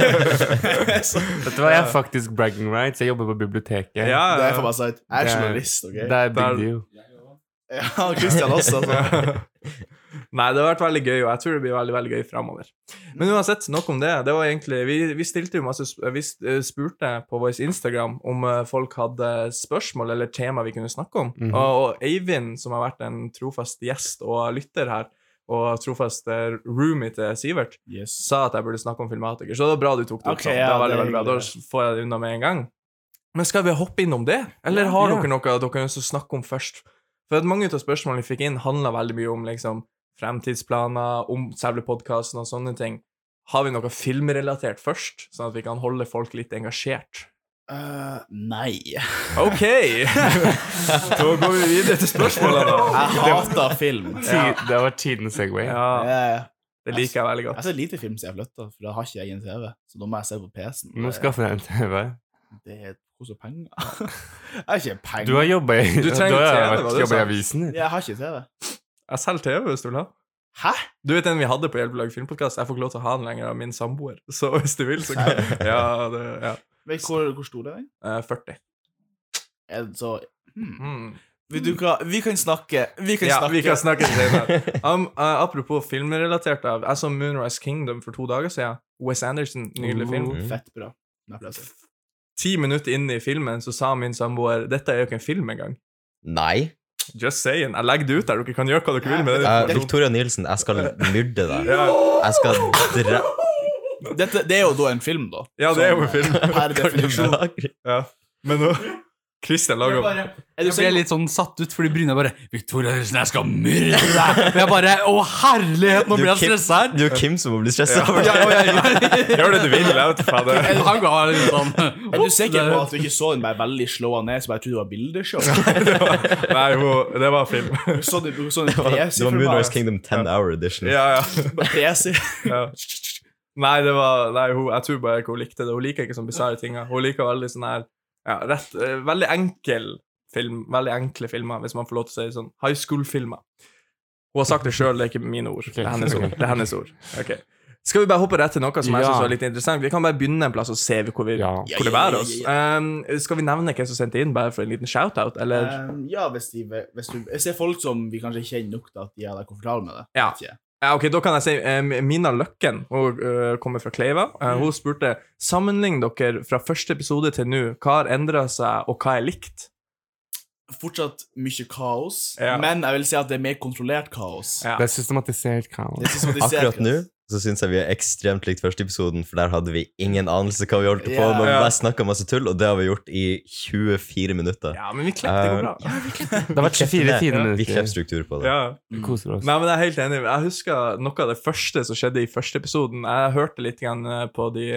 S2: så,
S3: Vet du hva, jeg har faktisk bragging rights. Jeg jobber på biblioteket.
S1: Ja,
S2: det er
S1: ja.
S2: for meg sagt. Jeg er journalist, OK?
S3: Det er
S1: Der-
S3: big deal.
S2: Ja, Christian også. Altså.
S1: Nei, det har vært veldig gøy, og jeg tror det blir veldig veldig gøy framover. Men uansett, nok om det. det var egentlig, vi, vi stilte jo masse, sp- vi s- eh, spurte på vår Instagram om eh, folk hadde spørsmål eller tema vi kunne snakke om.
S3: Mhm.
S1: og, og Eivind, som har vært en trofast gjest og lytter her, og trofast eh, roomie til Sivert,
S2: Yes.
S1: sa at jeg burde snakke om filmatiker, så det var bra du tok det opp.
S2: Ok,
S1: sånn.
S2: ja,
S1: det var veldig,
S2: det er
S1: veldig bra. Da
S2: hyggelig.
S1: får jeg det unna med en gang. Men skal vi hoppe innom det, eller har
S3: Ja.
S1: dere noe dere ønsker å snakke om først? For at mange av spørsmålene vi fikk inn, handla veldig mye om liksom, fremtidsplaner, om selve podkasten og sånne ting. Har vi noe filmrelatert først, sånn at vi kan holde folk litt engasjert?
S2: Øh, nei.
S1: OK! da går vi videre til spørsmålene, da.
S2: Jeg hater film.
S3: Ti- Det var tidens Segway.
S1: Ja,
S2: Jeg,
S1: det liker jeg veldig
S2: Eh, jeg
S1: godt.
S2: ser lite film siden jeg flytta, for da har ikke jeg egen TV. Så da må jeg se på PC-en.
S3: Nå skaffer jeg en TV.
S2: Det er koser penger. Jeg har ikke penger.
S3: Du har jobba i
S1: Du trenger TV,
S3: har
S1: var det
S3: jobbet i
S1: sant?
S3: avisen din.
S2: Jeg har ikke TV.
S1: Jeg selger TV hvis du vil ha.
S2: Hæ?
S1: Du vet den vi hadde på Hjelpelag filmpodkast? Jeg får ikke lov til å ha den lenger av min samboer. Så hvis du vil, så kan Ja, det, ja.
S2: Vet hvor, hvor stor er den?
S1: Eh, 40.
S2: Er den så hmm.
S1: Mm.
S2: Vet du hva, vi kan snakke. Vi kan
S1: Ja,
S2: snakke.
S1: vi kan snakke senere. Um, eh, apropos filmrelatert, da. jeg så Moonrise Kingdom for to dager siden. Wes Anderson, nydelig film.
S4: Mm.
S2: Fett bra. Nei, for det er så-
S1: Ti minutter inn i filmen så sa min samboer 'Dette er jo ikke en film engang'.
S4: Nei.
S1: Just saying. Jeg legger det ut der. Dere kan gjøre hva dere vil med det.
S4: Eh, Victoria Nielsen, jeg skal myrde deg.
S1: Ja,
S4: Jeg skal dre...
S2: Dette, det er jo da en film, da.
S1: ja, det er jo en
S2: Sånn,
S1: film.
S2: Per definisjon.
S1: Ja. Men nå Christian lager
S2: Bare, er du
S5: Jeg ble
S2: single?
S5: litt sånn satt ut, fordi Bryne bare 'Victoria, jeg skal myrde deg!' Og jeg bare 'Å, herlighet, nå
S4: Du,
S5: blir jeg
S4: Kim,
S5: stressa her'.
S4: du og Kim som må bli stressa.
S1: Ja, ja, ja, ja. Gjør det du vil. Jeg vet faen det.
S5: Han ga litt sånn
S2: Er du sikker på at du ikke så den bare veldig slåa ned, så bare jeg trodde det var bildeshow?
S1: Nei, hun- det var film.
S2: Du så den du så den
S4: Det var
S2: presifilmen,
S4: Moonrise
S2: bare-
S4: Kingdom 10 Hour Edition.
S1: Ja, ja.
S2: bare presi.
S1: ja. Nei, det var, nei hun, jeg tror bare ikke hun likte det. Hun liker ikke sånne bisarre ting. Hun liker veldig sånn her ja, rett, eh, Veldig enkel film, veldig enkle filmer, hvis man får lov til å si sånn high school-filmer. Hun har sagt det sjøl, det er ikke mine ord. Det er hennes ord. Det er hennes ord. Ok. Skal vi bare hoppe rett til noe som jeg
S3: Ja.
S1: synes var litt interessant? Vi kan bare begynne en plass og se hvor, vi,
S3: Ja.
S1: hvor det bærer oss. Um, skal vi nevne hvem som sendte inn, bare for en liten shout-out,
S3: Eh,
S1: eller?
S2: Um, ja, hvis, de, hvis, du, hvis det er folk som vi kanskje kjenner nok til at de er komfortable med det.
S1: Ja.
S2: Vet ikke.
S1: Ja, ok, da kan jeg si eh, Mina Løkken, hun eh, kommer fra Kleiva. Eh, hun spurte sammenlign dere fra første episode til nå. Hva har endra seg, og hva er likt?
S2: Fortsatt mye kaos,
S1: Ja.
S2: men jeg vil si at det er mer kontrollert kaos.
S1: Ja.
S3: Det er systematisert kaos.
S2: Det er systematisert
S4: Akkurat
S2: kaos.
S4: nå så syns jeg vi er ekstremt likt første episoden, for der hadde vi ingen anelse hva vi holdt på
S2: Ja.
S4: med. Vi
S1: Ja.
S4: bare snakket masse tull, og det har vi gjort i 24 minutter.
S1: Eh, Ja, men vi klipper, det går bra.
S3: Det har vært 24
S4: Vi
S3: fine
S4: Vi klipper
S3: minutter.
S4: struktur på det.
S1: Ja.
S3: Vi koser oss.
S1: Nei, men jeg er helt enig. Jeg husker noe av det første som skjedde i første episoden. Jeg hørte litt grann eh, på de,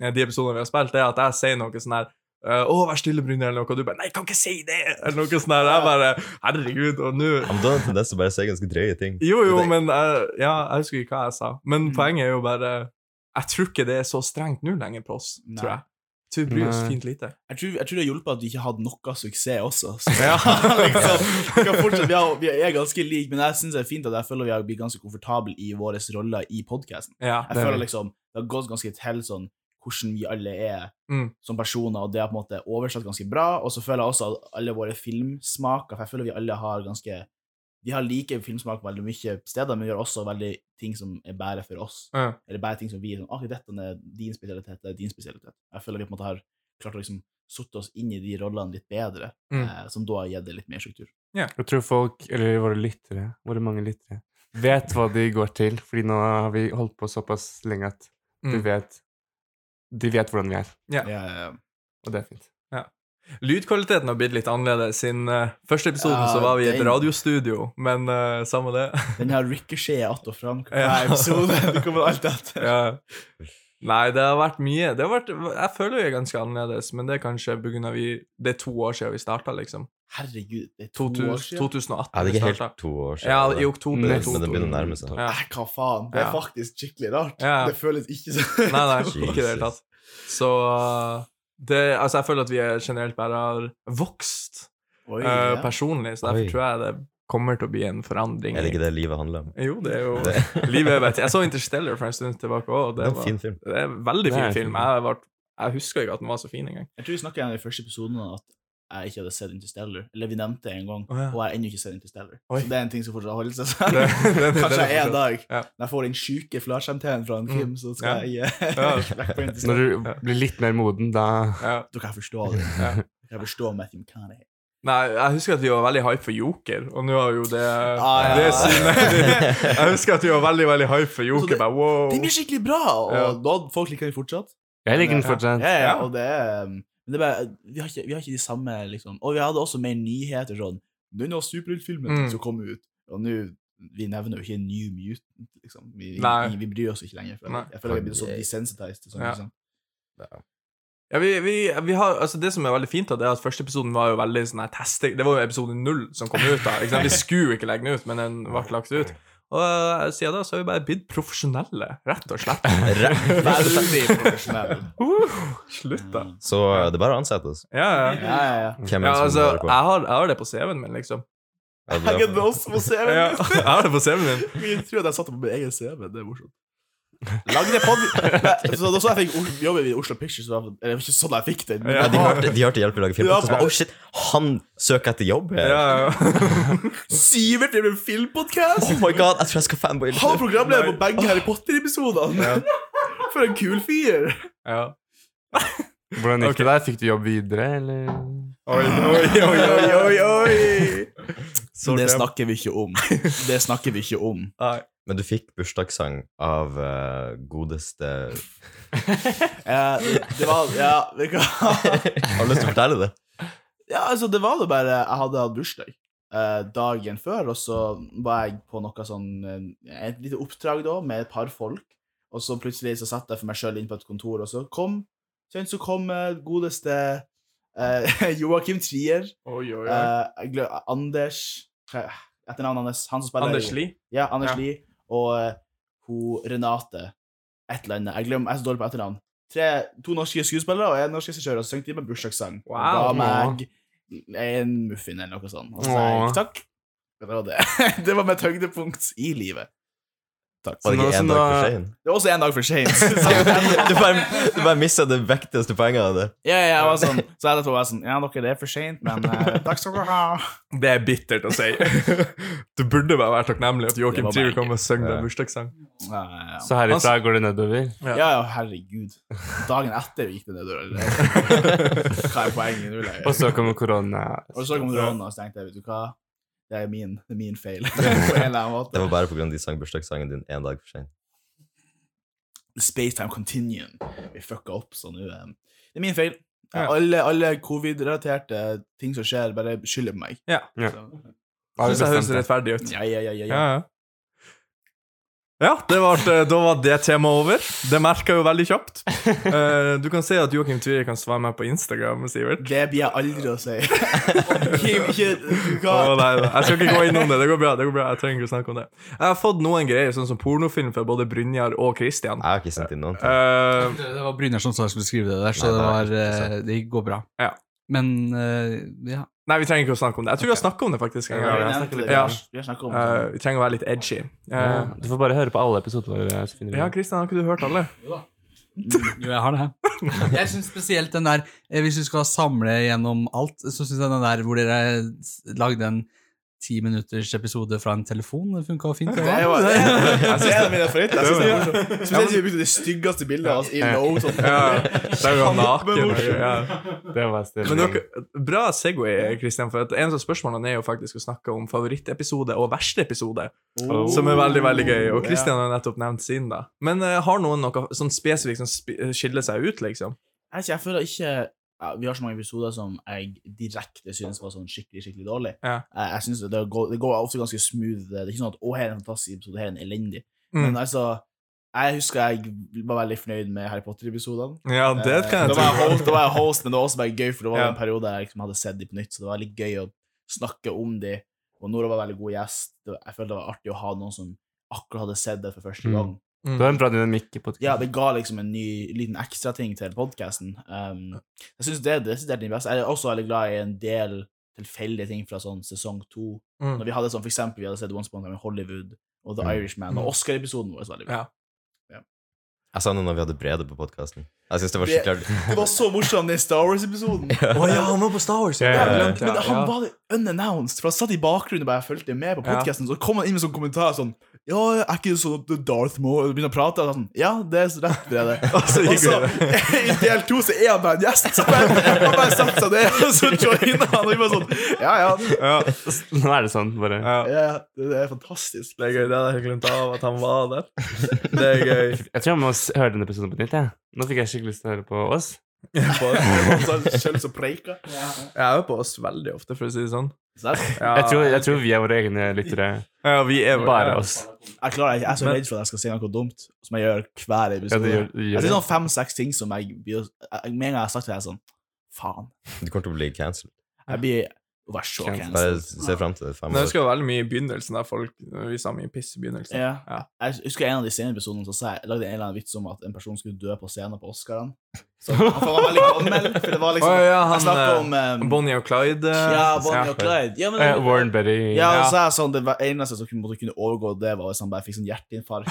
S1: eh, de episodene vi har spilt, det er at jeg sier noe sånn her eh, 'Å, vær stille, Brynjar', eller noe, og du bare 'Nei, jeg kan ikke si det', eller noe sånt. der. Jeg bare Herregud, og nå
S4: Men da er det en tendens til å bare si ganske drøye ting.
S1: Jo, jo,
S4: Det-
S1: men jeg, ja, jeg husker ikke hva jeg sa. Men
S2: Mm.
S1: poenget er jo bare Jeg tror ikke det er så strengt nå lenger på oss,
S2: Nei.
S1: tror jeg. Jeg tror vi bryr oss
S3: Nei.
S1: fint lite.
S2: Jeg tror, jeg tror det hjelper at vi ikke hadde noe suksess også. Så.
S1: Ja.
S2: liksom, vi, kan fortsette, vi, har, vi er ganske like, men jeg syns det er fint at jeg føler vi har blitt ganske komfortable i våre roller i podkasten.
S1: Ja.
S2: Jeg føler liksom det har gått ganske til sånn hvordan vi alle er
S1: Mm.
S2: som personer, og det har på en måte oversatt ganske bra. Og så føler jeg også at alle våre filmsmaker For jeg føler vi alle har ganske Vi har like filmsmak på veldig mye steder, men vi gjør også veldig ting som er bare for oss.
S1: Ja.
S2: Eller bare ting som vi er sånn, ok, dette er din spesialitet, det er din spesialitet. Jeg føler vi på en måte har klart å liksom sutte oss inn i de rollene litt bedre,
S1: Mm.
S2: eh, som da har gitt det litt mer struktur.
S3: Jeg tror folk, eller våre lyttere, våre mange lyttere, vet hva de går til. Fordi nå har vi holdt på såpass lenge at de
S1: Mm.
S3: vet, de vet hvordan vi er.
S1: Ja.
S2: Ja, ja, ja.
S3: Og det er fint.
S1: Lydkvaliteten har blitt litt annerledes. Siden eh, første episoden
S2: Ja,
S1: så var vi i et
S2: den-
S1: radiostudio, men eh, samme det.
S2: Den her ricochet att og fram
S1: Ja.
S2: hver episode. Det kommer alt etter.
S1: ja. Nei, det har vært mye. Det har vært, jeg føler vi er ganske annerledes, men det er kanskje pga. vi Det er to år siden vi starta, liksom.
S2: Herregud, det er to år
S1: 2000,
S2: siden.
S1: 2018
S4: Ja, det er
S1: vi
S4: ikke
S1: starta.
S4: helt to år siden.
S1: Ja,
S4: det.
S1: i oktober.
S4: Men det
S3: Nesten.
S4: men det begynner å nærme seg.
S1: sånn Ja.
S2: Nei, hva faen? Det er
S1: Ja.
S2: faktisk skikkelig rart.
S1: Ja.
S2: Det føles ikke sånn.
S1: Nei, nei, ikke i det hele tatt.
S4: Jesus.
S1: Så uh, det, altså jeg føler at vi er generelt bare har vokst
S2: Oi,
S1: uh,
S2: ja.
S1: personlig, så derfor
S4: Oi.
S1: tror jeg det kommer til å bli en forandring.
S4: Er det ikke det livet handler om?
S1: Jo, det er jo
S4: Det,
S1: Livet er bedre. Jeg så Interstellar for en stund tilbake òg, og
S4: det
S1: det,
S4: er en
S1: var-
S4: fin film.
S1: det er en veldig
S3: Det er
S1: fin
S3: en fin
S1: film. Jeg, var, jeg husker ikke at den var så fin engang.
S2: Jeg tror vi snakket igjen i første episoden om at jeg ikke hadde sett Interstellar. Eller vi nevnte det en gang,
S1: Å, ja.
S2: og jeg har ennå ikke sett Interstellar.
S1: Oi.
S2: Så det er en ting som fortsatt holder seg sånn.
S1: Det- det- det-
S2: Kanskje
S1: det-
S2: jeg en dag,
S1: Ja.
S2: når jeg får den sjuke flatskjermteen fra en
S1: Mm.
S2: Kim, så skal jeg
S1: Ja.
S2: eh, slekke på
S3: Når
S2: Interstellar.
S3: du blir litt mer moden, da
S1: Ja.
S2: Da kan jeg forstå det.
S1: Ja.
S2: Da kan jeg forstå Matthew McConaughey.
S1: Nei, jeg husker at vi var veldig hype for Joker, og nå har jo det,
S2: Ah,
S1: det
S2: ja.
S1: synet Jeg husker at vi var veldig veldig hype for
S2: Så
S1: Joker.
S2: det-
S1: Bare wow.
S2: Den blir skikkelig bra, og
S1: Ja.
S2: da folk liker den fortsatt.
S3: Jeg liker den
S2: Ja.
S3: fortsatt.
S2: Ja, ja,
S1: Ja.
S2: og det er um, men det er bare, vi, har ikke, vi har ikke de samme liksom. Og vi hadde også mer nyheter sånn Denne superheltfilmen
S1: Mm.
S2: som kom ut, og nå Vi nevner jo ikke New Mutant, liksom. Vi,
S1: Nei.
S2: vi, vi bryr oss ikke lenger. For
S1: Nei.
S2: jeg føler vi er blitt så
S4: Fordi-
S2: desensitized. til Sånn,
S1: Ja.
S2: liksom.
S1: Ja, vi, vi, vi har, altså det som er veldig fint, da, det er at første episoden var jo veldig sånn her testing. Det var jo episode null som kom ut. da, ikke sant? Vi skulle jo ikke legge den ut, men den ble lagt ut. Og eh, siden da så har vi bare blitt profesjonelle, rett og slett.
S2: Veldig profesjonell.
S1: Uh, slutt, da.
S4: Så eh, det er bare å ansette oss.
S1: Ja,
S2: Ja,
S1: ja.
S2: ja, ja.
S4: Hvem
S1: ja
S4: er det som
S1: altså,
S4: hører på?
S1: jeg har, jeg har det på CV-en min, liksom.
S4: Ja, det er
S2: Jeg er
S4: derfor.
S2: også på CV.
S1: Ja, jeg har det på CV-en min.
S2: Jeg tror at jeg satte på min egen CV. Det er morsomt. Lagde pod... Nei, så da så jeg fikk os- jobben min i Oslo Pictures, var- eller det var ikke sånn jeg fikk den. men
S1: Ja.
S4: Ja,
S2: jeg
S4: de
S2: har-
S4: hørte, de hørte hjelp i å lage film.
S2: Ja.
S4: og så bare, Å, shit! Han søker etter jobb her!
S1: Ja, ja.
S2: Sivert driver en filmpodkast!
S4: Oh my god, jeg tror jeg skal fanboy litt.
S2: Han var programleder på begge Harry Potter-episodene!
S1: Ja.
S2: For en kul fyr!
S1: ja.
S3: Hvordan gikk det der? Fikk du jobb videre, eller?
S1: Oi, oi, oi, oi, oi, oi.
S2: det snakker vi ikke om. Det snakker vi ikke om.
S1: Nei.
S4: Men du fikk bursdagssang av eh, godeste
S2: Eh, det var Ja, vet du hva?
S4: Har du lyst til å fortelle det?
S2: Ja, altså, det var det bare Jeg hadde hatt bursdag eh, dagen før, og så var jeg på noe sånn eh, Et lite oppdrag da, med et par folk, og så plutselig så satt jeg for meg sjøl inn på et kontor, og så kom Sen så kom eh, godeste eh, Joakim Trier,
S1: Oi, oi, oi.
S2: eh, jeg glem- Anders hva- Etternavnet hans, han som spiller
S1: Anders Lie.
S2: Ja, Anders
S1: Ja.
S2: Lie og eh, hun Renate et eller annet. Jeg glemmer, jeg er så dårlig på etternavn. Tre, to norske skuespillere og en norsk regissør, og så sang de med bursdagssang. Og
S1: Wow.
S2: Ga meg en muffin eller noe sånt. Og så sa
S3: Åh.
S2: jeg takk. Det var det. Det var mitt høydepunkt i livet. Takk.
S1: Sånn
S4: Var det
S3: nå-
S4: ikke
S3: så
S4: en dag
S3: nå-
S4: for sein?
S2: Det var også en dag for
S4: Du
S2: seint.
S4: bare, du bare mista det vektigste poenget av det.
S2: sånn- ja, ja, jeg var sånn. Så jeg var sånn Ja, dere, det er for seint, men eh, takk skal dere ha.
S1: Det er bittert å si. du burde bare være takknemlig at
S2: Det
S1: Joakim
S2: var
S1: Trier
S2: meg.
S1: kom og sang
S4: Ja.
S1: deg bursdagssang.
S2: Ja, ja, ja.
S3: Så herifra går det nedover?
S2: Ja, ja, herregud. Dagen etter gikk det nedover. eller? Hva er poenget nå lenger?
S3: Og så kommer korona.
S2: Og så kom korona, og så tenkte jeg, vet du hva, det er min, det er min feil. på en eller annen
S4: Det
S2: måte.
S4: var bare pga. de sang bursdagssangen din en dag for sein.
S2: Spacetime Continuum. Vi fucka opp, så nå eh, Det er min feil. Alle, alle covid-relaterte ting som skjer, bare skylder på meg.
S1: Ja.
S3: Ja.
S2: Så,
S1: Synes jeg høres rettferdig ut.
S2: ja, ja, ja, ja, ja.
S1: Ja, ja. Ja, det var, eh, da var det temaet over. Det merka jo veldig kjapt. Eh, du kan se at Joakim Tvyre kan svare meg på Instagram, Sivert.
S2: Det blir jeg aldri å si. Kim, ikke, du
S1: Å,
S2: kan-
S1: nei, nei, jeg skal ikke gå innom det. Det går bra. det går bra Jeg trenger ikke å snakke om det. Jeg har fått noen greier, sånn som pornofilm fra både Brynjar og Christian.
S4: Jeg har ikke sendt inn noen ting.
S1: Eh,
S5: Det det var Brynjar som sa jeg skulle skrive det der,
S4: Nei,
S5: så det,
S4: nei,
S5: var,
S4: ikke
S5: eh, det går bra.
S1: Ja.
S5: Men eh, ja.
S1: nei, vi trenger ikke å snakke om det. Jeg tror vi har snakka om det, faktisk. en gang.
S3: Ja,
S2: Vi
S3: jeg
S2: nevnte
S3: snakker
S2: det,
S3: litt
S2: vi har-
S1: om
S2: Vi har snakket om
S1: Eh,
S2: det.
S1: vi trenger å være litt edgy.
S3: Ja,
S1: Eh,
S3: du får bare høre på alle episodene våre. så finner du
S1: ja,
S3: ut.
S1: Christian, har ikke du hørt alle?
S5: Jo, jeg har det. Jeg syns spesielt den der eh, Hvis du skal samle gjennom alt, så syns jeg den der hvor dere s- lagde en ti minutters episode fra en telefon, den funka fint. det
S2: Det
S5: var.
S2: var- det
S1: Jeg
S2: er
S1: synes
S2: en av mine favoritter. Jeg synes det er
S1: Ja.
S2: morsomt. Spesielt siden vi brukte det styggeste bildet av oss i low. Sånn.
S1: Ja, der var han naken. og- Ja.
S3: Det var stemning.
S1: Men dere, bra Segway, Kristian. For at en av spørsmålene er jo faktisk å snakke om favorittepisode og verste episode,
S3: Oh.
S1: som er veldig veldig gøy. Og Kristian har nettopp nevnt sin, da. Men eh, har noen noe sånn spesifikt som sp skiller seg ut, liksom?
S2: Jeg, vet ikke, jeg føler ikke ja, Vi har så mange episoder som jeg direkte syns var sånn skikkelig skikkelig dårlig. Eh,
S1: Ja.
S2: Jeg, jeg synes det, det, går, det går ofte ganske smooth. Det er ikke sånn at 'Å, her er en fantastisk episode, her er en elendig'.
S1: Mm.
S2: Men altså jeg husker jeg var veldig fornøyd med Harry Potter-episodene.
S1: Ja, det
S2: Eh,
S1: kan jeg
S2: da, var jeg
S1: tro.
S2: host- da var jeg host, men det var også bare gøy, for det var
S1: Ja.
S2: en periode jeg liksom hadde sett de på nytt, så det var litt gøy å snakke om de. Og Nora var en veldig god gjest. Det var- Jeg følte det var artig å ha noen som akkurat hadde sett det for første
S3: Mm.
S2: gang.
S3: Du har en bra dynamikk i podcasten.
S2: Ja, det ga liksom en ny liten ekstra ting til podkasten. Um, jeg syns det, det er desidert den beste. Jeg er også veldig glad i en del tilfeldige ting fra sånn sesong to.
S1: Mm.
S2: Når vi hadde sånn, for eksempel, vi hadde sett Once Upon a Time in Hollywood og The
S4: Mm.
S2: Irishman, og Oscar-episoden vår. var veldig bra.
S1: Ja.
S4: Jeg sa noe når vi hadde Brede på podkasten. Jeg synes det var
S2: Det-
S4: skikkelig
S2: Det var så morsomt, den Star Wars-episoden!
S1: Å ja, han var på Star Wars!
S3: Ja,
S1: Ja,
S3: ja, ja.
S1: glemt det.
S2: Men han
S1: Ja.
S2: var det unannounced, for han satt i bakgrunnen og bare fulgte med på
S1: Ja.
S2: podkasten. Så kom han inn med sånn kommentar sånn Ja, er ikke det sånn at Darth Maul begynner å prate? Og sånn, ja, det er så rett, Brede.
S1: Og så
S4: Altså,
S2: Og
S1: gikk
S2: så,
S1: vi det.
S2: i del to, så er han bare en gjest. Så bare, han bare setter seg ned, og så joiner han. Og vi bare sånn Ja, ja.
S1: Ja,
S3: Nå er det sånn, bare.
S1: ja.
S2: ja, ja, Det det er fantastisk.
S1: Det er gøy. Det hadde jeg glemt av at han var der. Det er gøy.
S3: Jeg tror jeg må s- høre den episoden på nytt. jeg. Nå fikk jeg skikkelig lyst til å høre på oss.
S2: Selv som preiker.
S1: Jeg er jo på oss veldig ofte, for å si det sånn.
S2: Så Jeg
S1: Ja,
S3: Jeg tror, jeg tror vi er våre egne lyttere.
S1: ja, vi er
S3: Bare oss.
S2: jeg klarer ikke, jeg er så redd for at jeg skal si noe dumt, som jeg gjør hver
S3: Ja, det
S2: episode.
S3: gjør, det
S2: Jeg
S3: gjør
S2: sier
S3: det.
S2: sånn fem-seks ting som jeg blir jeg- Med en gang jeg har sagt det, jeg er sånn Faen.
S4: Du kommer til å bli cancelled.
S2: Jeg blir å være så
S3: Cancel.
S4: Bare
S2: cancelled.
S4: se fram til det.
S1: Men
S4: Fem
S1: jeg
S4: år.
S1: husker jo veldig mye i begynnelsen, der folk vi sa mye piss i begynnelsen.
S2: Ja.
S1: Ja.
S2: Jeg husker en av de senere episodene så sa jeg, jeg lagde en eller annen vits om at en person skulle dø på scenen på Oscarene. Så han var veldig gammel, for det var liksom
S1: Å, ja,
S2: Jeg
S1: han,
S2: snakket
S1: eh,
S2: om eh,
S1: Bonnie og Clyde. eh,
S2: Ja, Bonnie
S1: ja.
S2: og Clyde. Ja, men,
S3: Eh, Warren Betty
S2: ja,
S1: ja.
S2: og så er det sånn, det var- eneste som kunne- måtte kunne overgå det, var hvis han bare fikk sånn hjerteinfarkt.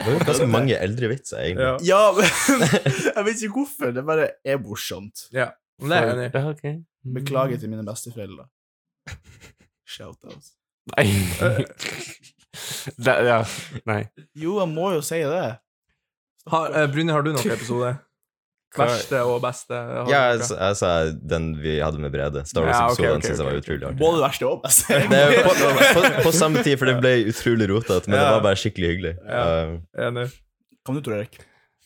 S4: Det var ganske mange eldre vitser, egentlig.
S1: Ja.
S2: Ja, men jeg vet ikke hvorfor. Det bare er morsomt.
S1: Men Det er jeg enig i.
S3: Ja, ok. Mm.
S2: Beklager til mine besteforeldre. Shoutouts.
S3: Nei. Det, ja. Nei.
S2: Jo, jeg må jo si det.
S1: Har- eh, Brynjar, har du noen episode? Verste og beste? har du
S4: Ja,
S1: noe?
S4: altså- jeg, s- jeg sa den vi hadde med Brede. Star
S1: Ja, ok,
S4: Wars-episoden
S1: ok,
S4: synes jeg var
S1: ok.
S4: utrolig artig.
S2: Både verste og beste.
S4: Det er på, på, på samme tid, for det ble utrolig rotete, men det
S1: Ja.
S4: var bare skikkelig hyggelig.
S1: Ja.
S4: Uh,
S1: Enig.
S2: Kom du, Tor Erik?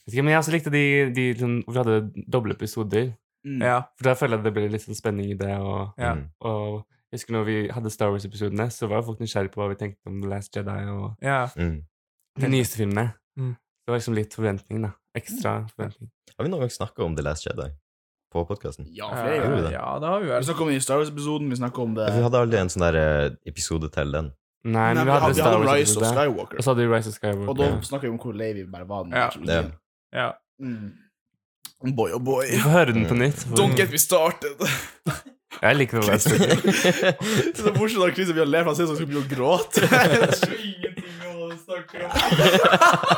S3: Vet ikke, men jeg også likte de, de som hvor vi hadde doble episoder.
S2: Mm.
S1: Ja.
S3: For da føler jeg det ble litt sånn spenning i det. Og,
S1: Ja.
S4: mm.
S3: og jeg husker når vi hadde Star Wars-episodene, så var jo folk nysgjerrige på hva vi tenkte om The Last Jedi og
S1: ja.
S4: Mm.
S3: de nyeste filmene.
S1: Mm.
S3: Det var liksom litt forventning, da. Ekstra forventning.
S4: Har vi noen gang snakka om The Last Jedi på podkasten?
S2: Ja, flere
S1: Eh,
S4: gjorde
S2: ganger.
S4: det.
S1: ja, det har vi
S2: Vi
S1: vel.
S2: snakker om i Star Wars-episoden, vi snakker om det
S4: Vi hadde aldri en sånn der eh, episode til den.
S3: Nei, men
S2: Nei,
S3: vi
S2: vi
S3: hadde, Star
S2: hadde Rise of
S3: Wars-episode.
S2: Skywalker.
S3: Og så hadde vi Rise of Skywalker.
S2: Og da snakker vi om hvor lei vi bare var. den
S1: Ja.
S2: trilogien.
S4: Det-
S1: Ja.
S2: Mm. Boy, oh boy.
S3: Vi får høre den på nytt. for-
S2: Don't get me started.
S3: Jeg liker det. Last Jedi.
S2: det er så morsomt at Christian begynner å le, for han sier sånn at han begynner å gråte. Jeg skjønner ingenting av hva han snakker om.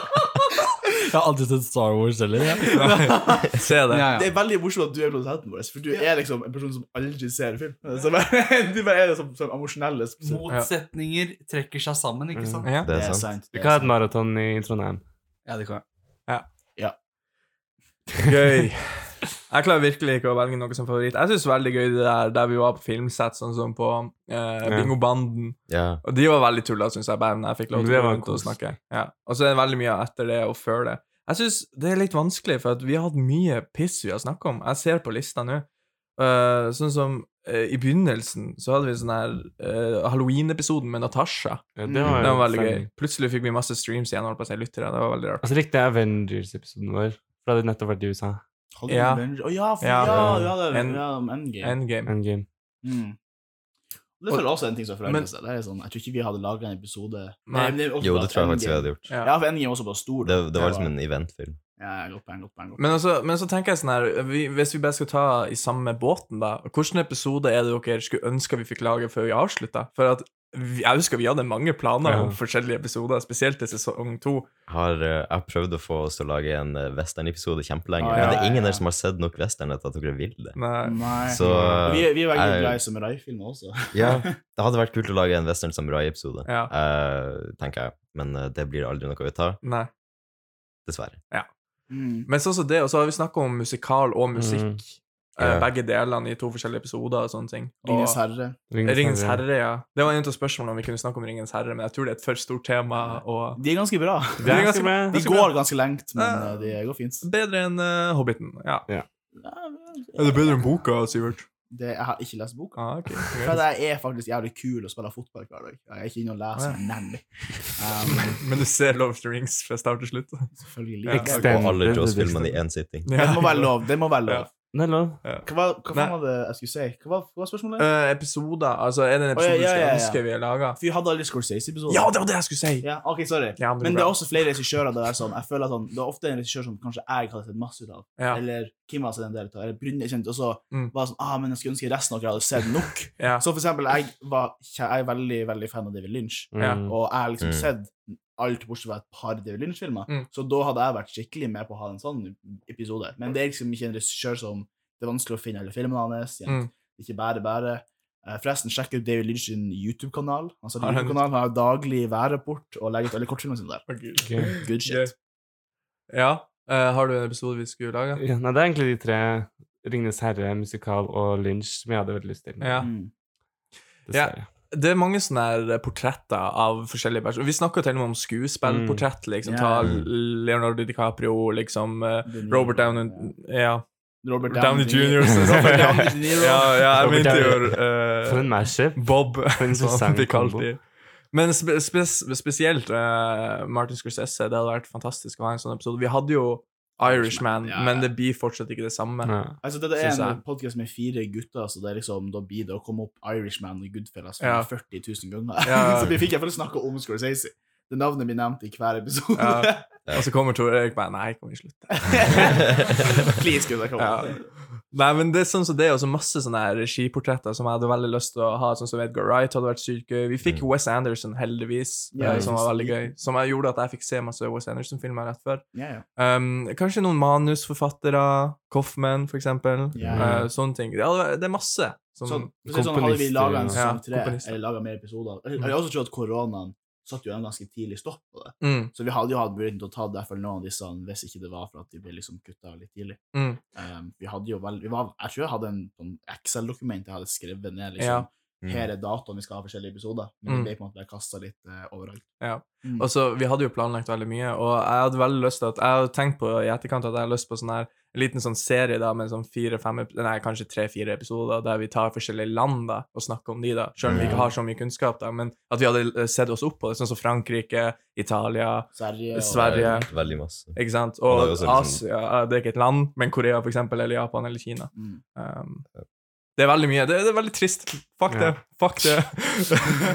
S5: Jeg har aldri sett Star Wars heller. jeg.
S1: Se det.
S5: Ja,
S2: Det
S5: ja.
S2: er veldig morsomt at du er produsenten vår, for du er liksom en person som aldri ser film. Så bare, du bare er liksom sånn emosjonelle. Det
S5: Motsetninger trekker seg sammen, ikke sant?
S1: Ja.
S4: Det er sant.
S2: sant.
S3: Vi kan ha et maraton i Trondheim.
S5: Ja, det kan jeg.
S1: Gøy. Jeg klarer virkelig ikke å velge noe som favoritt. Jeg syns veldig gøy det der der vi var på filmsett, sånn som på eh, Bingobanden.
S4: Ja.
S1: Og de var veldig tullete, syns jeg, bandene jeg fikk lov
S3: Men
S1: til
S3: det
S1: å gå
S3: var
S1: rundt og
S3: kos.
S1: snakke. Ja. Og så er det veldig mye etter det og før det. Jeg syns det er litt vanskelig, for at vi har hatt mye piss vi har snakka om. Jeg ser på lista nå, Eh, sånn som eh, i begynnelsen så hadde vi sånn her eh, Halloween-episoden med Natasha.
S3: Ja,
S2: Mm.
S1: Den var veldig
S3: funny.
S1: gøy. Plutselig fikk vi masse streams igjen, holdt på å si, lyttere. Det var veldig rart.
S3: Altså likte jeg Avengers-episoden vår. For det hadde nettopp vært i USA.
S2: Hollywood
S1: Ja.
S2: Avengers. Å ja, for, ja,
S1: Ja.
S2: du hadde
S1: En-
S2: ja, Endgame.
S1: Endgame.
S3: Endgame.
S2: Mm. Det føler jeg også er en ting som forandrer
S1: Men-
S2: seg. Det er sånn, jeg tror ikke vi hadde laga en episode
S1: Nei.
S2: men det er også
S4: Jo,
S2: bare
S4: det tror jeg faktisk vi
S2: Endgame-
S4: hadde gjort.
S1: Ja.
S2: Ja, for Endgame var også bare stor.
S4: Det, det var liksom en eventfilm.
S2: Ja, ja, godt poeng, godt poeng. godt poeng.
S1: Men, altså, men så tenker jeg sånn her vi, Hvis vi bare skal ta i samme båten, da Hvilken episode er det dere skulle ønske vi fikk lage før vi avslutta? For at vi, jeg husker vi hadde mange planer om
S3: Ja.
S1: forskjellige episoder, spesielt til sesong to.
S4: Har, eh, jeg har prøvd å få oss til å lage en eh, western-episode kjempelenge,
S2: Ah,
S4: men det
S2: ja, ja,
S4: er ingen
S2: ja.
S4: her som har sett nok western etter at dere vil det.
S3: Mm.
S1: Men,
S2: Nei.
S4: Så eh,
S2: vi, er- vi er veldig
S4: jeg-
S2: glad i samuraifilmer også.
S4: ja, det hadde vært kult å lage en western samurai-episode,
S1: ja.
S4: eh, tenker jeg. Men eh, det blir aldri noe ut av,
S1: Nei.
S4: dessverre.
S2: Mm.
S1: Men sånn som det, og så har vi snakka om musikal og musikk.
S3: Mm.
S1: eh,
S4: Ja.
S1: Begge delene i to forskjellige episoder og sånne ting. Og
S2: Ringenes herre.
S1: Ringens herre, ja. Det var en av spørsmålene om vi kunne snakke om Ringens herre, men jeg tror det er et for stort tema. Og
S2: De er ganske bra.
S3: Det er ganske bra.
S2: De går ganske lengt, men
S1: Ja.
S2: eh, de går fint.
S1: bedre enn eh, Hobbiten. Ja.
S2: Ja, men-
S1: bedre enn boka, Sivert?
S2: Det, jeg har ikke lest boka.
S1: Ah, ok.
S2: For jeg er faktisk jævlig kul og spiller fotball hver dag. Jeg er ikke inne og leser,
S1: Ah,
S2: nemlig. Um,
S1: Men du ser Love of the Rings fra start til slutt?
S2: selvfølgelig.
S1: Ja,
S4: Og
S3: Extend-
S2: Det
S4: alle
S3: Extended
S4: Jaws-filmene i
S3: edition.
S4: én sitting.
S2: må være lov. Det må være
S1: Ja.
S2: lov.
S3: Nei, lov.
S2: Hva, var- hva faen
S1: Nei.
S2: var det jeg skulle si? Hva var, hva var spørsmålet?
S1: Eh, episoder Altså, er det en episode
S2: Å, ja, ja, ja, ja.
S1: du skulle ønske vi hadde laga?
S2: For vi hadde aldri Scorsese-episoder.
S1: Ja, det var det jeg skulle si!
S2: Ja, ok, sorry.
S1: Ja, men det
S2: Men
S1: går
S2: det er
S1: bra.
S2: også flere regissører der det er sånn. Jeg føler at han, Det er ofte en regissør som kanskje jeg hadde sett masse ut av.
S1: Ja.
S2: Eller Kim hadde sett en del ut av. Eller Brynje kjent. Og så
S1: Mm.
S2: var det sånn ah, men jeg skulle ønske resten av dere hadde sett nok.
S1: Ja.
S2: Så for eksempel, jeg, var, kjæ- jeg er veldig veldig fan av David Lynch.
S3: Mm.
S1: Ja.
S2: Og jeg har liksom
S4: Mm.
S2: sett alt bortsett fra et par David Lynch-filmer.
S1: Mm.
S2: Så da hadde jeg vært skikkelig med på å ha en sånn episode. Men det er liksom ikke en regissør som det er vanskelig å finne alle filmene hans. jent.
S1: Mm.
S2: Det er Ikke bare, bare. Eh, Forresten, sjekk ut David Lynch sin YouTube-kanal. Han
S1: Har
S2: har
S1: han-
S2: YouTube-kanal, han har daglig værrapport og legger ut alle kortfilmene sine der.
S1: Å, Gud.
S3: Ok.
S2: Good
S1: Gøy.
S2: shit.
S1: Ja. eh, har du en episode vi skulle lage?
S3: Ja, nei, det er egentlig de tre. Ringenes herre, musikal og Lynch som jeg hadde veldig lyst til.
S1: Ja.
S2: Mm.
S3: Dessverre.
S1: Det er mange sånne her eh, portretter av forskjellige personer. Vi snakker til og med om skuespillportrett. Liksom.
S2: Ja.
S1: Ta
S4: Mm.
S1: Leonardo DiCaprio, liksom eh,
S2: Det nye-
S1: Robert Downey Ja.
S2: Robert
S1: Downey Jr.
S2: Mm. Robert Downey Jr.
S1: ja, ja, jeg
S3: Robert
S1: mente jo
S3: Downey.
S1: eh,
S3: For en mashup.
S1: Bob,
S3: For en
S1: som han
S3: interessant
S1: blir kalt i.
S3: kombo.
S1: Men spe spes spesielt eh, Martin Scorsese. Det hadde vært fantastisk å ha en sånn episode. Vi hadde jo Irishman,
S2: Irishman, ja, ja.
S1: men det blir fortsatt ikke det samme.
S3: Ja.
S2: Altså, dette
S1: Synes
S2: er en
S1: jeg.
S2: podkast med fire gutter, så det er liksom, da blir det å komme opp Irishman og Goodfellas
S1: Ja.
S2: 40 000 ganger.
S1: Ja.
S2: så vi fikk iallfall snakke om Scorsese. Det navnet blir nevnt i hver episode.
S1: Ja. Og så kommer Tor Erik bare Nei, kan vi slutte?
S2: Please, gutter, kom.
S1: Ja. Nei, men det er sånn som det er også masse sånne her regiportretter som jeg hadde veldig lyst til å ha, sånn som Edgar Wright hadde vært sykt gøy. Vi fikk
S4: Mm.
S1: Wes Anderson, heldigvis,
S2: Ja,
S1: eh, som var
S2: jeg
S1: veldig gøy.
S2: synes-
S1: Som jeg gjorde at jeg fikk se masse Wes Anderson-filmer rett før.
S2: Ja, ja.
S1: Um, kanskje noen manusforfattere, Coffman, for eksempel.
S2: Ja.
S1: Eh, sånne ting. Det er, det er masse. Som,
S2: Så, for å si sånn, hadde vi laga en
S3: komponister,
S1: ja.
S2: sesong tre,
S1: Ja, komponister.
S2: eller laga mer episoder Jeg
S1: Mm.
S2: jeg også tror at koronaen satte jo en ganske tidlig stopp på det.
S1: mm,
S2: Så vi hadde jo hatt muligheten til å ta derfor noen av disse hvis ikke det var for at de ble liksom kutta litt tidlig.
S1: Mm.
S2: Um, vi hadde jo vel, vi var, Jeg tror jeg hadde en sånn Excel-dokument jeg hadde skrevet ned.
S1: Ja.
S2: liksom,
S4: Mm.
S2: Her er datoen vi skal ha forskjellige episoder. Men
S1: Mm.
S2: det ble på en måte bare kastet litt eh, overalt.
S1: Ja.
S2: Mm.
S1: og så, vi hadde jo planlagt veldig mye, og jeg hadde veldig lyst til at Jeg hadde tenkt på i etterkant at jeg hadde lyst på sånn her en liten sånn serie da, med sånn fire-fem Nei, kanskje tre-fire episoder der vi tar forskjellige land da, og snakker om de, da. Selv om vi
S2: Ja.
S1: ikke har så mye kunnskap, da, men at vi hadde eh, sett oss opp på det, sånn som Frankrike, Italia,
S2: Sverige
S1: Sverige.
S2: og
S1: Sverige.
S4: Eh, Veldig masse.
S1: ikke sant?
S4: Og det er
S1: Og
S4: jo også liksom-
S1: Asia. eh, Det er ikke et land, men Korea, for eksempel, eller Japan eller Kina.
S2: Mm.
S1: Um, det er veldig mye. Det, det er veldig trist. Fuck det.
S3: Ja.
S1: Fuck det.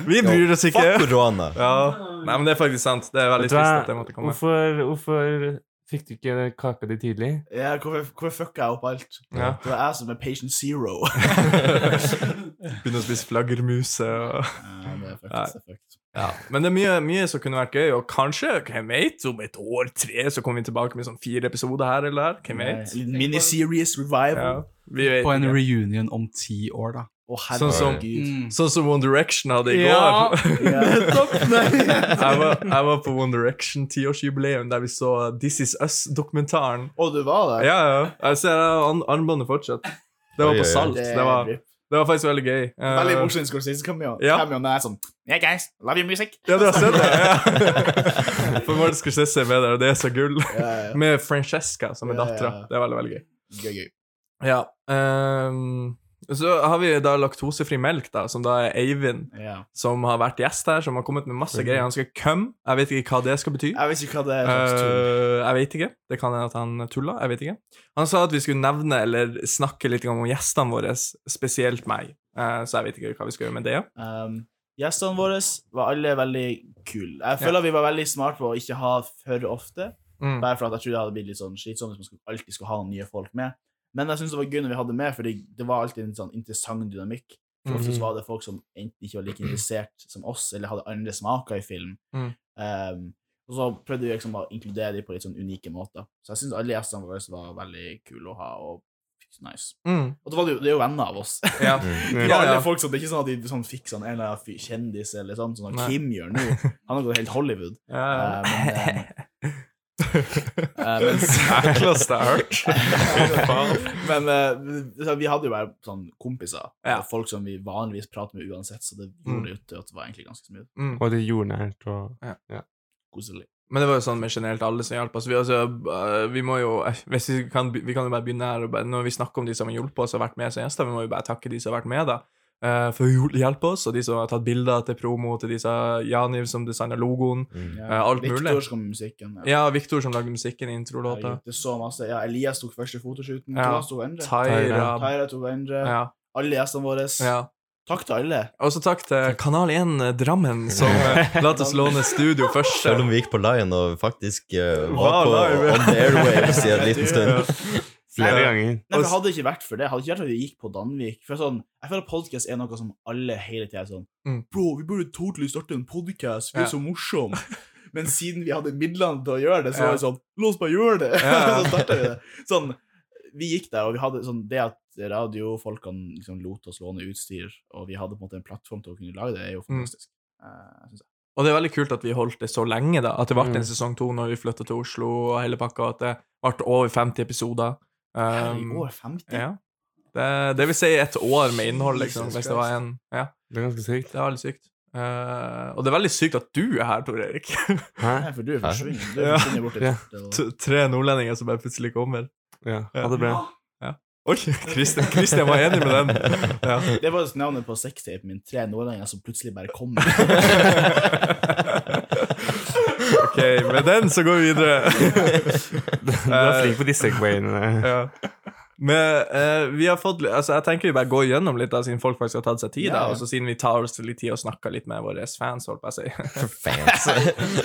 S1: Vi bryr oss ikke.
S4: Fuck korona!
S1: Ja. Nei, men det er faktisk sant. Det er veldig
S3: Vet du hva?
S1: trist at det måtte komme.
S3: Hvorfor, hvorfor fikk du ikke kaka di tidlig?
S2: Ja, hvorfor, hvorfor fucka jeg opp alt?
S1: Ja.
S2: Det var jeg som er patient zero.
S1: Begynne å spise flaggermuse og
S2: Ja, det er fucked,
S1: Nei.
S2: det er fucked.
S1: Men det er mye, mye som kunne vært gøy, og kanskje, hvem vet, om et år, tre, så kommer vi tilbake med sånn fire episoder her eller der. Hvem
S2: Nei,
S1: vet?
S2: Litt miniseries
S1: Ja,
S2: revival.
S1: vi vet
S5: På en
S1: ikke.
S5: reunion om ti år, da. Mm.
S2: Å,
S1: Sånn som-
S2: herregud. Mm,
S1: Sånn som One Direction hadde i
S5: Ja.
S1: går.
S2: Nettopp!
S1: jeg, var, jeg var på One Direction tiårsjubileum der vi så This Is Us-dokumentaren.
S2: Å, du var der?
S1: Ja, ja. Jeg ser jeg har an armbåndet fortsatt. Det var
S4: Oi, oi,
S1: på
S4: oi.
S1: salt.
S2: Det er
S1: Det var,
S2: rip.
S1: det var faktisk veldig gøy. Eh,
S2: Veldig morsom Scorsese-cameo.
S1: Ja.
S2: Ja. Cameo er sånn Yeah, guys, love your music.
S1: Ja, du har sett det? Ja. For Martin Scorsese er med der, og det er så gull.
S2: Ja, ja.
S1: Med Francesca, som er
S2: Ja, ja.
S1: dattera. Det er veldig, veldig gøy.
S2: Gøy, gøy.
S1: Ja. ehm, så har vi da laktosefri melk, da, som da er Eivind,
S2: Ja.
S1: som har vært gjest her, som har kommet med masse greier. Han skal come. Jeg vet ikke hva det skal bety.
S2: Mhm. Jeg vet ikke hva det er. slags tull.
S1: Eh, jeg vet ikke. Det kan hende at han tulla. Jeg vet ikke. Han sa at vi skulle nevne eller snakke litt om gjestene våre, spesielt meg. Eh, så jeg vet ikke hva vi skal gjøre med det.
S2: Um, gjestene våre var alle veldig kule. Jeg føler vi var veldig smarte på å ikke ha for ofte.
S1: Mm.
S2: Bare for at jeg tror det hadde blitt litt sånn slitsomt hvis man skulle, alltid skulle ha nye folk med. Men jeg synes det var gøy når vi hadde med, fordi det var alltid en sånn interessant dynamikk. For ofte så var det folk som enten ikke var like interessert som oss, eller hadde andre smaker i film.
S1: Mm.
S2: Um, og så prøvde vi liksom å inkludere dem på litt sånn unike måter. Så jeg synes alle gjestene våre var veldig kule å ha, og nice.
S1: Mm.
S2: Og det, var, det jo- det er jo venner av oss.
S1: Ja.
S4: Mm.
S2: Det er
S1: Ja, ja.
S2: alle folk som, det er ikke sånn at de sånn, fikk sånn en eller annen fyr- kjendis eller sånn, sånn som
S1: Nei.
S2: Kim gjør nå. Han har gått helt Hollywood.
S1: Ja,
S2: Eh, men, eh,
S1: Det
S2: mens,
S1: Ekleste jeg har hørt.
S2: men eh, så vi hadde jo bare sånn kompiser,
S1: Ja.
S2: og folk som vi vanligvis prater med uansett, så det
S1: Mm.
S2: gjorde jo til at det var egentlig ganske smooth.
S1: Mm.
S3: Og det er jordnært og
S2: Koselig.
S1: Men det var jo sånn med generelt alle som hjalp oss. Vi, altså, eh, vi må jo eh, hvis vi, kan, vi kan jo bare begynne her. Og bare, når vi snakker om de som har hjulpet oss og vært med som gjester, vi må jo bare takke de som har vært med, da. eh, For å hjul- hjelpe oss, og de som har tatt bilder til promo, til de som har- Janiv som designa logoen.
S4: Mm.
S1: Eh, alt mulig.
S2: Victor som kom med musikken. ja.
S1: Ja, Viktor som lagde musikken i
S2: Herregud,
S1: introlåta.
S2: Det er så masse. Ja, Elias tok første fotoshooten.
S1: Ja.
S2: Thomas tok andre.
S1: Tyra.
S2: Tyra tok andre.
S1: Ja,
S2: Alle gjestene våre.
S1: ja.
S2: Takk til alle.
S1: Og så takk til Kanal 1 Drammen, som eh, lot oss låne studio først.
S4: Selv om vi gikk på Lion og faktisk eh,
S1: Wow,
S4: var på
S1: live.
S4: on the airwaves i en liten
S1: Ja.
S4: stund.
S3: flere ganger.
S2: Nei, for Hadde det ikke vært for det, hadde det ikke vært at vi gikk på Danvik For sånn, Jeg føler podcast er noe som alle hele tida er sånn
S1: Mm.
S2: Bro, vi burde totally starte en podcast, vi er
S1: Ja.
S2: så morsomme. Men siden vi hadde midlene til å gjøre det, så
S1: Ja.
S2: var det sånn La oss bare gjøre det!
S1: Ja.
S2: så startet vi det. Sånn, vi gikk der, og vi hadde sånn Det at radiofolkene liksom lot oss låne utstyr, og vi hadde på en måte en plattform til å kunne lage det, er jo
S1: Mm.
S2: fantastisk. Eh, synes jeg.
S1: Og det er veldig kult at vi holdt det så lenge, da. At det ble
S3: Mm.
S1: en sesong to når vi flytta til Oslo og hele pakka, og at det ble over 50 episoder.
S2: Herregud,
S1: Um,
S2: år 50?
S1: ja. det, det vil si et år med innhold, liksom,
S2: Jesus
S1: hvis det var en Ja,
S3: Det er ganske sykt.
S1: det er veldig sykt. Eh, og det er veldig sykt at du er her, Tor Erik.
S3: Hæ?
S2: Nei, for du er
S4: Hæ?
S2: forsvunnet. Du
S1: Ja.
S2: er forsvunnet bort til
S3: Ja.
S1: T tre nordlendinger som bare plutselig kommer.
S3: Ja, ha det bra.
S1: Oi, Christian, Christian var enig med den. Ja.
S2: Det var navnet på sextapen min. Tre nordlendinger som plutselig bare kom.
S1: OK, med den så går vi videre.
S3: Du er flink på de
S1: Eh.
S3: segwayene.
S1: Ja. Men eh, vi har fått li- Altså, jeg tenker vi bare går gjennom litt, da, siden folk faktisk har tatt seg tid.
S2: Ja, ja.
S1: Da, og så siden vi tar oss litt tid og snakker litt med våre fans, holdt jeg på å si.
S4: Fans.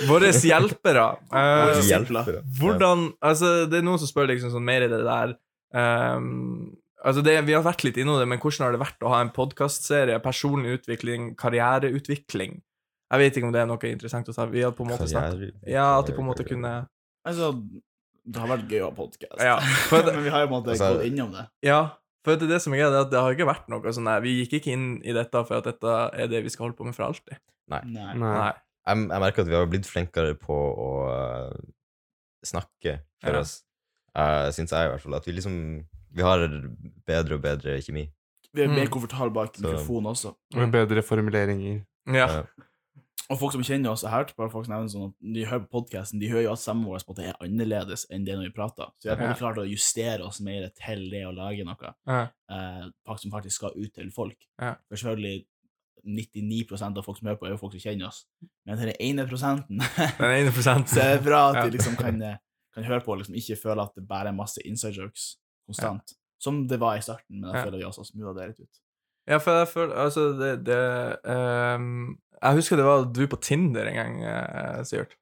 S1: Våre hjelpere.
S2: Våre
S1: Eh,
S4: Hjelper.
S1: hvordan Altså, det er noen som spør liksom sånn mer i det der ehm, Altså, det, vi har vært litt innom det, men hvordan har det vært å ha en podkastserie, personlig utvikling, karriereutvikling? Jeg vet ikke om det er noe interessant å ta. Vi har på en måte snakket
S4: Karriere-
S1: Ja, at det på en måte kunne
S2: altså, det har vært gøy å ha podkast.
S1: Ja. For det,
S2: Men vi har jo på en måte
S4: Altså-
S2: gått innom det.
S1: Ja, for det er det som er greia, det er at det har ikke vært noe sånn der Vi gikk ikke inn i dette for at dette er det vi skal holde på med for alltid.
S2: Nei.
S3: Nei.
S4: jeg, jeg merker at vi har blitt flinkere på å eh, snakke for
S1: Ja.
S4: oss. Uh, Syns jeg, i hvert fall. At vi liksom Vi har bedre og bedre kjemi.
S2: Vi er mer
S1: Mm.
S2: komfortable bak mikrofonen også.
S3: Med bedre formuleringer.
S1: Ja.
S4: Ja.
S2: Og folk som kjenner oss, jeg har hørt bare folk nevne sånn at de hører på podkasten, de hører jo at stemmen vår på en måte er annerledes enn det når vi prater. Så vi har på en måte klart å justere oss mer til det å lage noe
S1: Ja.
S2: eh, folk som faktisk skal ut til folk.
S1: Ja.
S2: For selvfølgelig 99 av folk som hører på, er jo folk som kjenner oss. Men den ene prosenten
S1: Den ene
S2: Så det er
S1: prosenten.
S2: bra at
S1: Ja.
S2: de liksom kan, eh, kan høre på og liksom ikke føle at det bare er masse inside jokes konstant. Som det var i starten, men jeg
S1: Ja.
S2: føler vi også har smooth det litt ut.
S1: Ja, for jeg føler Altså, det, det ehm, Jeg husker det var du på Tinder en gang, eh, Sivert.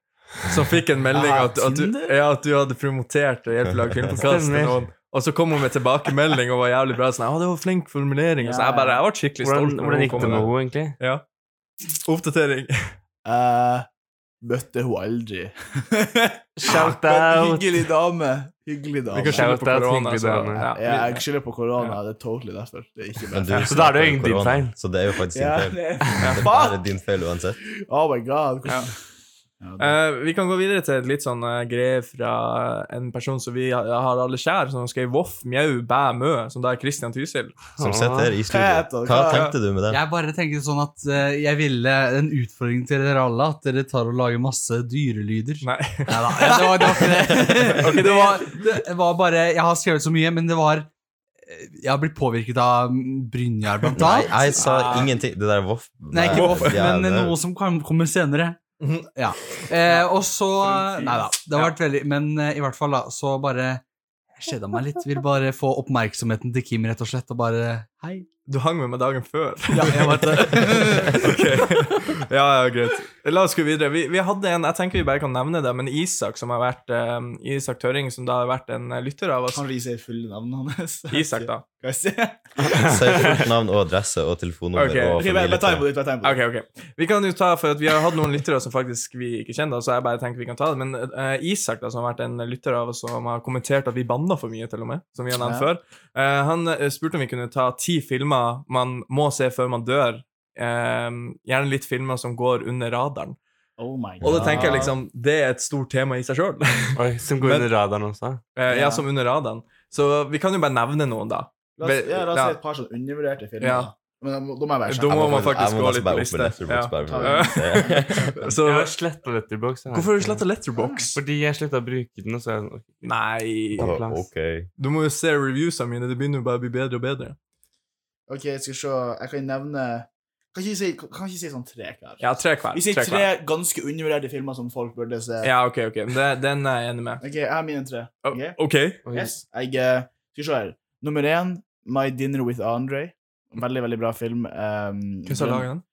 S1: Som fikk en melding
S2: Ah,
S1: at, at, du,
S2: Tinder?
S1: ja, at du hadde promotert Hjelpelag filmpodkast til
S3: Stemmer.
S1: noen. Og så kom hun med tilbakemelding og var jævlig bra. Sånn, å, det var flink formulering. Og så jeg bare, jeg ble skikkelig stolt.
S3: Hvordan,
S1: når
S3: hvordan
S1: hun
S3: gikk
S1: kom
S3: det med
S1: det.
S3: henne,
S1: Ja.
S3: egentlig?
S1: Oppdatering.
S2: Eh, møtte hun aldri.
S3: Shout
S2: Men
S3: out!
S2: hyggelig dame.
S1: Vi
S2: Hyggelig dame.
S1: kan skylde
S3: Shout
S1: på
S3: out,
S1: korona.
S3: hyggelig
S1: Så,
S3: dame.
S1: ja,
S2: Ja,
S1: vi-
S2: jeg skylder på korona. Det er totally derfor. Det er ikke meg.
S4: Men du
S3: Så da er det jo
S4: snakker
S3: egentlig din
S4: korona,
S3: feil.
S4: Så det er jo faktisk din
S2: Ja,
S4: feil.
S2: det er-
S4: Det er bare
S2: Fuck!
S4: din feil uansett.
S2: Oh my god. hvordan-
S1: Ja.
S2: Ja, det-
S1: Eh, vi kan gå videre til et litt sånn eh, greie fra en person som vi har, har alle kjær, som skrev voff, mjau, bæ, mø, som da er Christian Tysil.
S4: Som sitter her i studio.
S2: Peter,
S4: Hva
S2: hva-
S4: tenkte du med det?
S5: Jeg bare tenker sånn at eh, jeg ville en utfordring til dere alle, at dere tar og lager masse dyrelyder.
S1: Nei.
S5: Neida, det var, det var ikke det.
S1: Ok,
S5: det, var, det var bare Jeg har skrevet så mye, men det var jeg har blitt påvirket av Brynjar, blant
S4: Nei,
S5: annet.
S4: jeg sa
S5: Ah.
S4: ingenting. Det der voff...
S5: Nei, ikke Voff,
S4: jævlig.
S5: men noe som kan- kommer senere.
S1: Mhm.
S5: Ja. Eh, og så
S3: Fy.
S5: Nei da, det har vært veldig Men eh, i hvert fall, da, så bare Jeg kjeda meg litt. Vil bare få oppmerksomheten til Kim, rett og slett, og bare Hei.
S1: Du hang med meg dagen før.
S5: Ja, jeg vet det.
S1: Ok. Ja, ja, greit. La oss gå videre. Vi, vi hadde en, jeg tenker vi bare kan nevne det, men Isak som har vært, eh, Isak Tøring, som da har vært en eh, lytter av oss.
S2: Kan vi si fulle navnet hans?
S1: Isak, da.
S2: Skal jeg se?
S4: Si fullt navn og adresse og telefonnummer
S1: Ok,
S4: og
S2: Ok, bare bare ta en på
S4: familie.
S2: ditt, bare ta en på ditt.
S1: Ok, ok. Vi kan jo ta, for at vi har hatt noen lyttere som faktisk vi ikke kjenner, så jeg bare tenker vi kan ta det. Men eh, Isak, da, som har vært en lytter av oss som har kommentert at vi banna for mye, til og med, som vi har nevnt
S2: Ja.
S1: før, eh, han eh, spurte om vi kunne ta ti filmer man må se før man dør. Eh, gjerne litt filmer som går under radaren.
S2: Oh my god.
S1: Og da tenker jeg liksom, det er et stort tema i seg sjøl.
S3: Oi, som går
S1: Men-
S3: under radaren også.
S1: Eh,
S2: Ja.
S1: ja, som under radaren. Så vi kan jo bare nevne noen, da.
S2: La oss, ja, la oss
S1: Ja.
S2: si et par sånn undervurderte filmer.
S1: Ja.
S2: da. Men da må- da må jeg være
S1: Da
S2: kjapp.
S1: må
S4: Jeg
S1: man faktisk
S4: jeg må
S1: gå
S4: nesten
S1: litt
S4: bare
S1: på
S4: opp på
S1: liste.
S4: Letterboxd bare for
S1: Ja.
S4: å se.
S1: Så
S3: jeg har sletta Letterbox.
S1: hvorfor har du sletta Letterbox?
S3: Fordi jeg slutta å bruke den. og så er jeg sånn, ok.
S1: Nei
S3: Ja.
S4: Å, Ok.
S1: Du må jo se reviewsa mine, det begynner jo bare å bli bedre og bedre.
S2: Ok, jeg skal se. Jeg kan nevne Kan ikke si, kan ikke si sånn tre hver.
S1: Ja, tre hver.
S2: Vi sier
S1: tre hver.
S2: tre ganske undervurderte filmer som folk burde se.
S1: Ja, Oh. ok, ok. Men Det, den er jeg enig med.
S2: Ok, jeg har mine tre.
S1: Å,
S2: Ok?
S1: Ok.
S3: Oi.
S2: Yes. Jeg eh, skal se her. Nummer én, My Dinner With Andre. Veldig, veldig bra film. Um,
S1: Hvem som har laget den?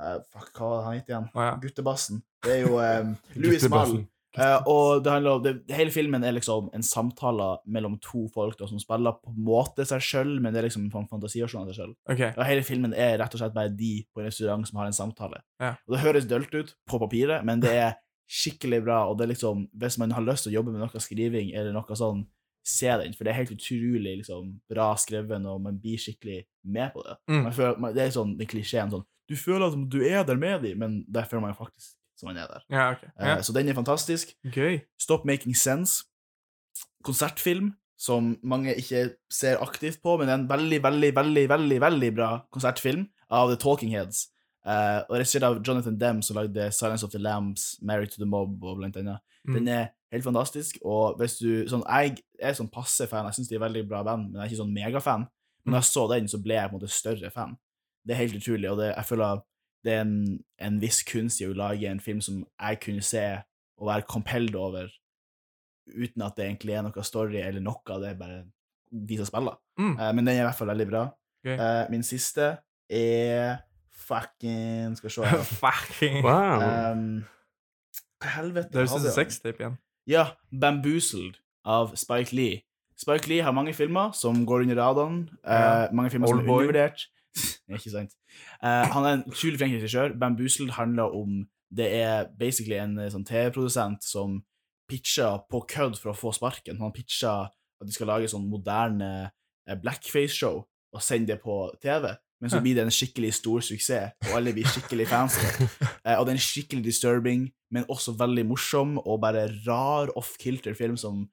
S2: Eh, fuck, hva var det han het igjen?
S1: Å ja.
S2: Guttebassen. Det er jo um, Louis Mall.
S3: Guttebassen.
S2: Eh, og det handler om, det, hele filmen er liksom en samtale mellom to folk da, som spiller på en måte seg sjøl, men det er liksom en fan- fantasiversjon av seg sjøl.
S1: Ok.
S2: Og hele filmen er rett og slett bare de på en restaurant som har en samtale.
S1: Ja.
S2: Og det høres dølt ut på papiret, men det er skikkelig bra, og det er liksom, hvis man har lyst til å jobbe med noe skriving eller noe sånn, se den, for det er helt utrolig liksom, bra skrevet, og man blir skikkelig med på det.
S1: Mm.
S2: Man føler, man, det er sånn, den klisjeen sånn, du føler at du er der med dem, men der føler man faktisk som man er der.
S1: Ja, ok.
S2: Eh,
S1: Ja.
S2: Så den er fantastisk.
S1: Gøy.
S2: Stop Making Sense. Konsertfilm som mange ikke ser aktivt på, men det er en veldig, veldig, veldig veldig, veldig bra konsertfilm av The Talking Heads. Eh, og Regissert av Jonathan Demme, som lagde Silence of the Lambs, Married to the Mob og blant annet.
S1: Mm.
S2: Den er helt fantastisk, og hvis du sånn, Jeg er sånn passe fan, jeg syns de er veldig bra band, men jeg er ikke sånn megafan. Men
S1: Mm.
S2: da jeg så den, så ble jeg på en måte større fan. Det er helt utrolig, og det, jeg føler det er en, en viss kunst i å lage en film som jeg kunne se og være compelled over, uten at det egentlig er noe story eller noe, det er bare de som spiller.
S1: Mm.
S2: Eh, men den er i hvert fall veldig bra.
S1: Gøy.
S2: Eh, min siste er fucking Skal vi se her.
S1: Fucking.
S3: Wow.
S4: Eh,
S2: Em, Hva helvete
S1: Det høres ut
S2: hadde
S1: som
S2: jeg?
S1: sextape igjen.
S2: Ja, Bamboozled av Spike Lee. Spike Lee har mange filmer som går under radaren. eh,
S1: Ja.
S2: mange filmer som er
S1: Oldboy.
S2: undervurdert. Ikke sant. Eh, han er en utrolig flink regissør. Bamboozled handler om Det er basically en eh, sånn TV-produsent som pitcher på kødd for å få sparken. Han pitcher at de skal lage sånn moderne eh, blackface-show og sende det på TV. Men så
S1: Ja.
S2: blir det en skikkelig stor suksess, og alle blir skikkelig fans. av det. Eh, og det er en skikkelig disturbing, men også veldig morsom og bare rar off-kilter-film som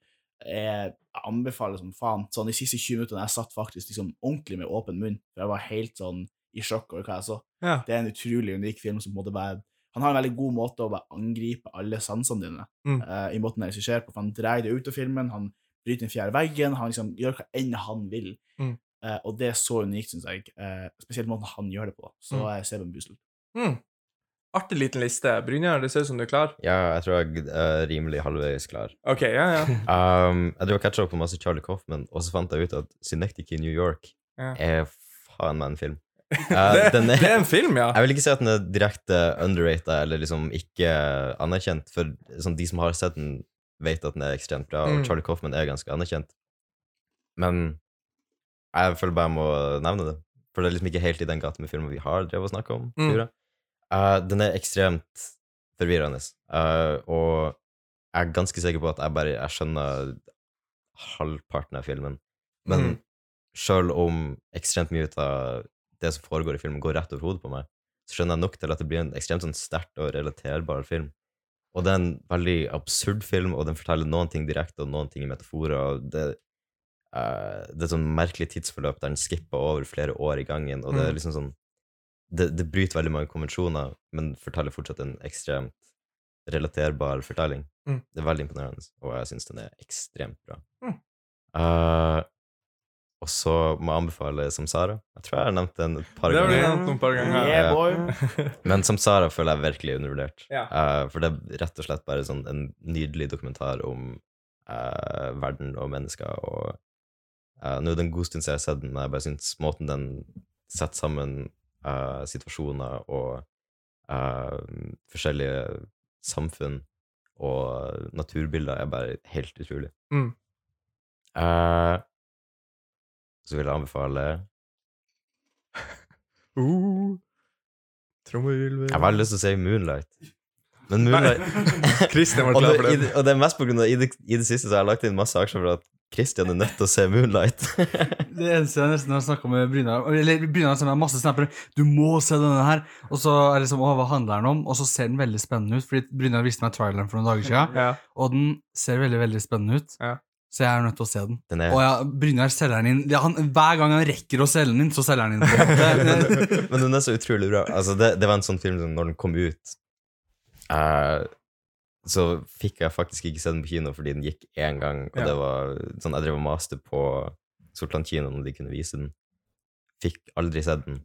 S2: jeg anbefaler som faen. Sånn De siste 20 minuttene jeg satt faktisk liksom ordentlig med åpen munn, for jeg var helt sånn i sjokk over hva jeg så.
S1: Ja.
S2: Det er en utrolig unik film som på en måte bare Han har en veldig god måte å bare angripe alle sansene dine
S1: Mm.
S2: eh, i måten han regisserer på, for han drar det ut av filmen, han bryter den fjerde veggen, han liksom gjør hva enn han vil.
S1: Mm.
S2: Eh, og det er så unikt, syns jeg. Eh, spesielt måten han gjør det på. Så
S1: Mm.
S2: jeg ser på en busel.
S1: Mm. Artig liten liste. Brynjar, det ser ut som du er klar.
S4: Ja, jeg tror jeg er rimelig halvveis klar.
S1: Ok, ja, ja.
S4: Um, jeg drev og catcha opp på masse Charlie Coffman, og så fant jeg ut at Synectic i New York
S1: Ja.
S4: er faen meg en film.
S1: Det,
S4: Uh, den
S1: det er
S4: er,
S1: en film, ja.
S4: jeg vil ikke si at den er direkte underrated eller liksom ikke anerkjent, for sånn, de som har sett den, vet at den er ekstremt bra, og
S1: Mm.
S4: Charlie Coffman er ganske anerkjent. Men jeg føler bare jeg må nevne det, for det er liksom ikke helt i den gaten med filmer vi har drevet å snakke om.
S1: Mm.
S4: tror jeg. Uh, den er ekstremt forvirrende, uh, og jeg er ganske sikker på at jeg bare jeg skjønner halvparten av filmen. Men
S1: Mm.
S4: sjøl om ekstremt mye ut av det som foregår i filmen, går rett over hodet på meg, så skjønner jeg nok til at det blir en ekstremt sånn sterkt og relaterbar film. Og det er en veldig absurd film, og den forteller noen ting direkte og noen ting i metaforer. og det, eh, det er et sånn merkelig tidsforløp der den skipper over flere år i gangen, og det er
S1: Mm.
S4: liksom sånn det, det bryter veldig mange konvensjoner, men forteller fortsatt en ekstremt relaterbar fortelling.
S1: Mm.
S4: Det er veldig imponerende, og jeg syns den er ekstremt bra.
S1: Mm.
S4: Eh, Og så må jeg anbefale Samsara. Jeg tror jeg har nevnt den et par
S1: Det har du
S4: ganger.
S1: nevnt noen par ganger.
S2: Yeah,
S4: Ja.
S2: boy.
S4: Men Samsara føler jeg virkelig er undervurdert.
S1: Ja.
S4: Eh, for det er rett og slett bare sånn en nydelig dokumentar om eh, verden og mennesker. Og eh, nå er det en god stund siden jeg har sett den, men jeg bare syns måten den setter sammen eh, situasjoner og eh, forskjellige samfunn og naturbilder, er bare helt utrolig.
S1: Mm.
S4: Eh, så vil jeg anbefale
S1: Uh, Trommehvirvel
S4: Jeg har veldig lyst til å si Moonlight. Men Moonlight
S1: Christian var
S4: og,
S1: klar for
S4: det, i,
S1: den.
S4: det- og det er mest på grunn av i det, i det siste så har jeg lagt inn masse aksjer for at Christian er nødt til å se Moonlight.
S5: Det eneste jeg nesten har snakka med Brynar Eller Brynar sender meg masse snapper 'Du må se denne her!' Og så er det liksom, «Åh, hva handler den om? Og så ser den veldig spennende ut, fordi Brynar viste meg traileren for noen dager siden,
S1: Ja.
S5: og den ser veldig veldig spennende ut.
S1: Ja.
S5: Så jeg er nødt til å se den.
S4: Den er,
S5: Og ja, Brynar selger den inn ja, han, Hver gang han rekker å selge den inn, så selger han inn. på en måte.
S4: men den er så utrolig bra. Altså, det, det var en sånn film som når den kom ut eh, Så fikk jeg faktisk ikke se den på kino fordi den gikk én gang, og
S1: Ja.
S4: det var sånn Jeg drev og maste på Sortland kino om de kunne vise den. Fikk aldri sett den.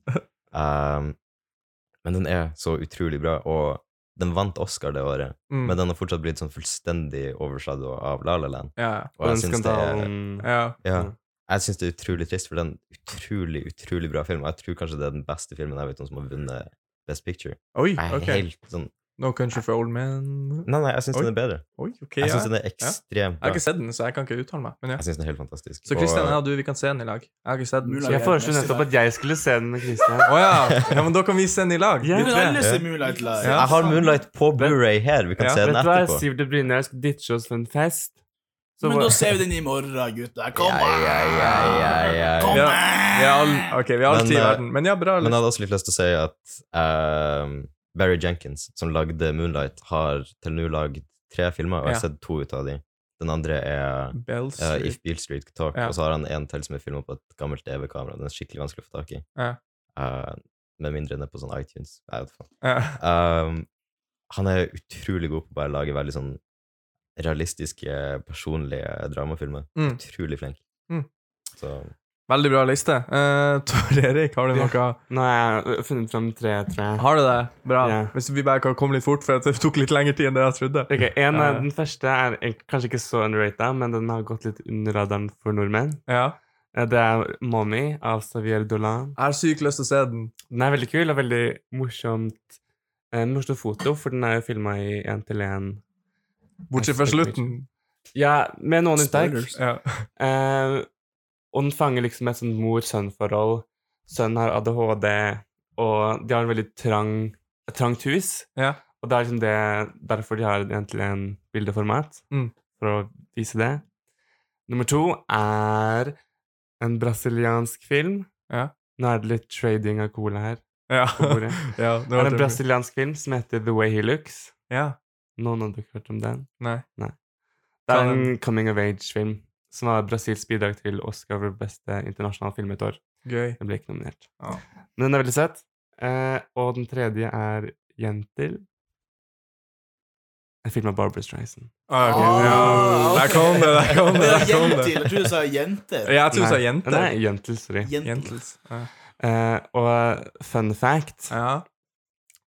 S4: Eh, men den er så utrolig bra, og den vant Oscar det året.
S1: Mm.
S4: Men den har fortsatt blitt sånn fullstendig overshadow av La La Land.
S1: ja.
S4: Og
S3: Og
S4: jeg
S3: den
S4: syns det er,
S3: skandalen
S1: ja.
S4: ja, jeg synes det er utrolig trist, for det er en utrolig, utrolig bra film. Og jeg tror kanskje det er den beste filmen jeg vet om som har vunnet Best Picture.
S1: Oi,
S4: Jeg er
S1: ok.
S4: helt sånn
S1: No country for old men
S4: Nei, nei, jeg syns
S1: Oi.
S4: den er bedre.
S1: Oi, ok.
S4: Jeg
S1: ja.
S4: syns den er ekstremt
S1: Jeg har
S4: bra.
S1: ikke sett den, så jeg kan ikke uttale meg. Men ja.
S4: Jeg syns den er helt fantastisk.
S1: Så Christian og jeg og du, vi kan se den i lag. Jeg har ikke sett den.
S2: Mulig
S1: så-
S3: Så jeg foreslo nettopp at jeg skulle se den med Christian.
S1: Å ja. ja, men da kan vi se den i lag.
S3: Ja.
S2: Vi
S1: vi
S2: kan
S1: tre.
S2: alle se Moonlight live.
S1: Ja.
S4: Jeg har Moonlight på Blu-ray her, vi kan
S1: Ja,
S4: se
S3: Vet
S4: den
S3: du hva,
S4: etterpå.
S3: Siv det Brynjar skal ditche oss for en fest. Så
S2: Men
S3: bare-
S2: da ser vi den i morgen, gutter. Kom
S4: Ja, ja, ja, ja, ja, ja.
S2: Kom
S1: Ja.
S2: an!
S1: Vi har all, ok, vi har all
S4: Men,
S1: tid i
S4: eh,
S1: verden. Men ja, bra.
S4: Men jeg
S1: Liksom.
S4: hadde også litt lyst til å si at ehm, Barry Jenkins, som lagde Moonlight, har til nå lagd tre filmer, og jeg har sett to ut av dem. Den andre er
S1: Bell
S4: Ja,
S1: Street.
S4: If Beale Street Could Talk,
S1: Ja.
S4: og så har han en til som er filma på et gammelt DV-kamera. Den er skikkelig vanskelig å få tak i.
S1: Ja.
S4: Eh, med mindre den er på sånn iTunes. Jeg vet faen.
S1: Ja.
S4: Um, han er utrolig god på bare å lage veldig sånn realistiske, personlige dramafilmer.
S1: Mm.
S4: Utrolig flink.
S1: Mm.
S4: Så
S1: Veldig bra liste. Eh, Tor Erik, har du
S3: Ja.
S1: noe?
S3: Nå har jeg funnet fram tre, tror jeg.
S1: Har du det? Bra.
S3: Ja.
S1: Hvis vi bare kan komme litt fort, for at det tok litt lengre tid enn det jeg trodde.
S3: Ok, en, av-
S1: Eh.
S3: Den første er egentlig kanskje ikke så underrated, men den har gått litt under radaren for nordmenn.
S1: Ja.
S3: Eh, Det er 'Mommy' av Xavier Dolan.
S1: Jeg har sykt lyst til å se den.
S3: Den er veldig kul og veldig morsomt eh, morsomt foto, for den er jo filma i én-til-én.
S1: Bortsett fra slutten.
S3: Ja, med noen unntak.
S2: Spoilers.
S1: Ja.
S3: Eh, og den fanger liksom et sånt mor-sønn-forhold. Sønnen har ADHD, og de har en veldig trang, et trangt hus.
S1: Ja.
S3: Og det er liksom det, derfor de har egentlig en bildeformat,
S1: Mm.
S3: for å vise det. Nummer to er en brasiliansk film.
S1: Ja.
S3: Nå er det litt trading av cola her.
S1: Ja.
S3: På bordet.
S1: ja, nå
S3: Det er
S1: hørte
S3: en
S1: du.
S3: brasiliansk film som heter The Way He Looks.
S1: Ja.
S3: Noen hadde ikke hørt om den.
S1: Nei.
S3: Det
S1: Hva
S3: er
S1: er
S3: en coming of age-film som var Brasils bidrag til Oscar for beste internasjonale film et år.
S1: Gøy.
S3: Den ble ikke nominert.
S1: Ja.
S3: Men den er veldig søt. Eh, og den tredje er Jentil. En film av Barbara Streisand.
S1: Ah, ok.
S2: Ah,
S1: ja. Der kom det, der kom det.
S2: Det
S1: Der
S2: er
S1: kom
S2: jenter.
S1: det.
S2: Jeg tror du sa jenter.
S1: Ja, jeg tror du sa
S3: Nei.
S1: jenter.
S3: Nei, Jentil, sorry.
S2: Jenter.
S1: Jentels. Ja.
S3: Eh, og fun fact
S1: Ja.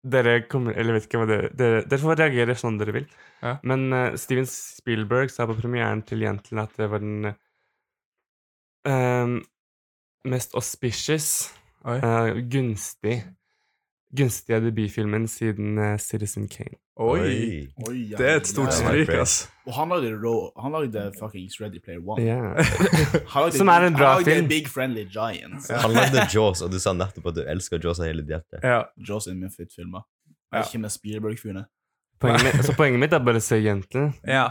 S3: Dere kommer, eller vet ikke hva dere Dere, dere får reagere sånn dere vil.
S1: Ja.
S3: Men eh, Steven Spielberg sa på premieren til Jentil at det var den eh, mest auspicious
S1: Oi.
S3: Eh, gunstig Gunstige debutfilmen siden eh, Citizen Kane.
S1: Oi.
S2: Oi, ja,
S1: Det er et stort
S2: ja.
S4: Ja.
S1: skrik, ass.
S2: Og han lagde Raw. Han lagde fuckings Ready Player One.
S3: Yeah.
S2: Han lagde-
S3: Som er en bra
S2: han lagde
S3: film.
S2: Big Friendly Giant.
S4: han lagde Jaws, og du sa nettopp at du elsker Jaws av hele ditt hjerte.
S1: Ja.
S2: Jaws in Memphis-filmer. Jeg vet ikke med Spielberg-fyrene.
S3: Poenget mitt, så poenget mitt er bare å se jentene.
S1: ja.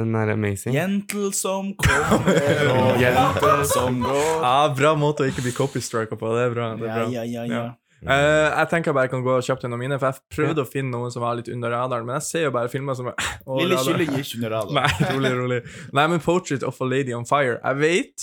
S3: Den er amazing.
S2: Jentel som kommer, og jenter som går.
S1: Ja, Bra måte å ikke bli copystrika på. Det er bra. Det er bra.
S2: Ja, ja, ja, ja.
S1: Ja.
S4: Mm.
S1: Eh, jeg tenker jeg bare kan gå kjapt gjennom mine, for jeg prøvde å finne noen som var litt under radaren, men jeg ser jo bare filmer som er over
S2: Lille
S1: radaren.
S2: kylling er ikke under radaren.
S1: Nei, rolig, rolig. Nei, men Portrait of a Lady on Fire Jeg vet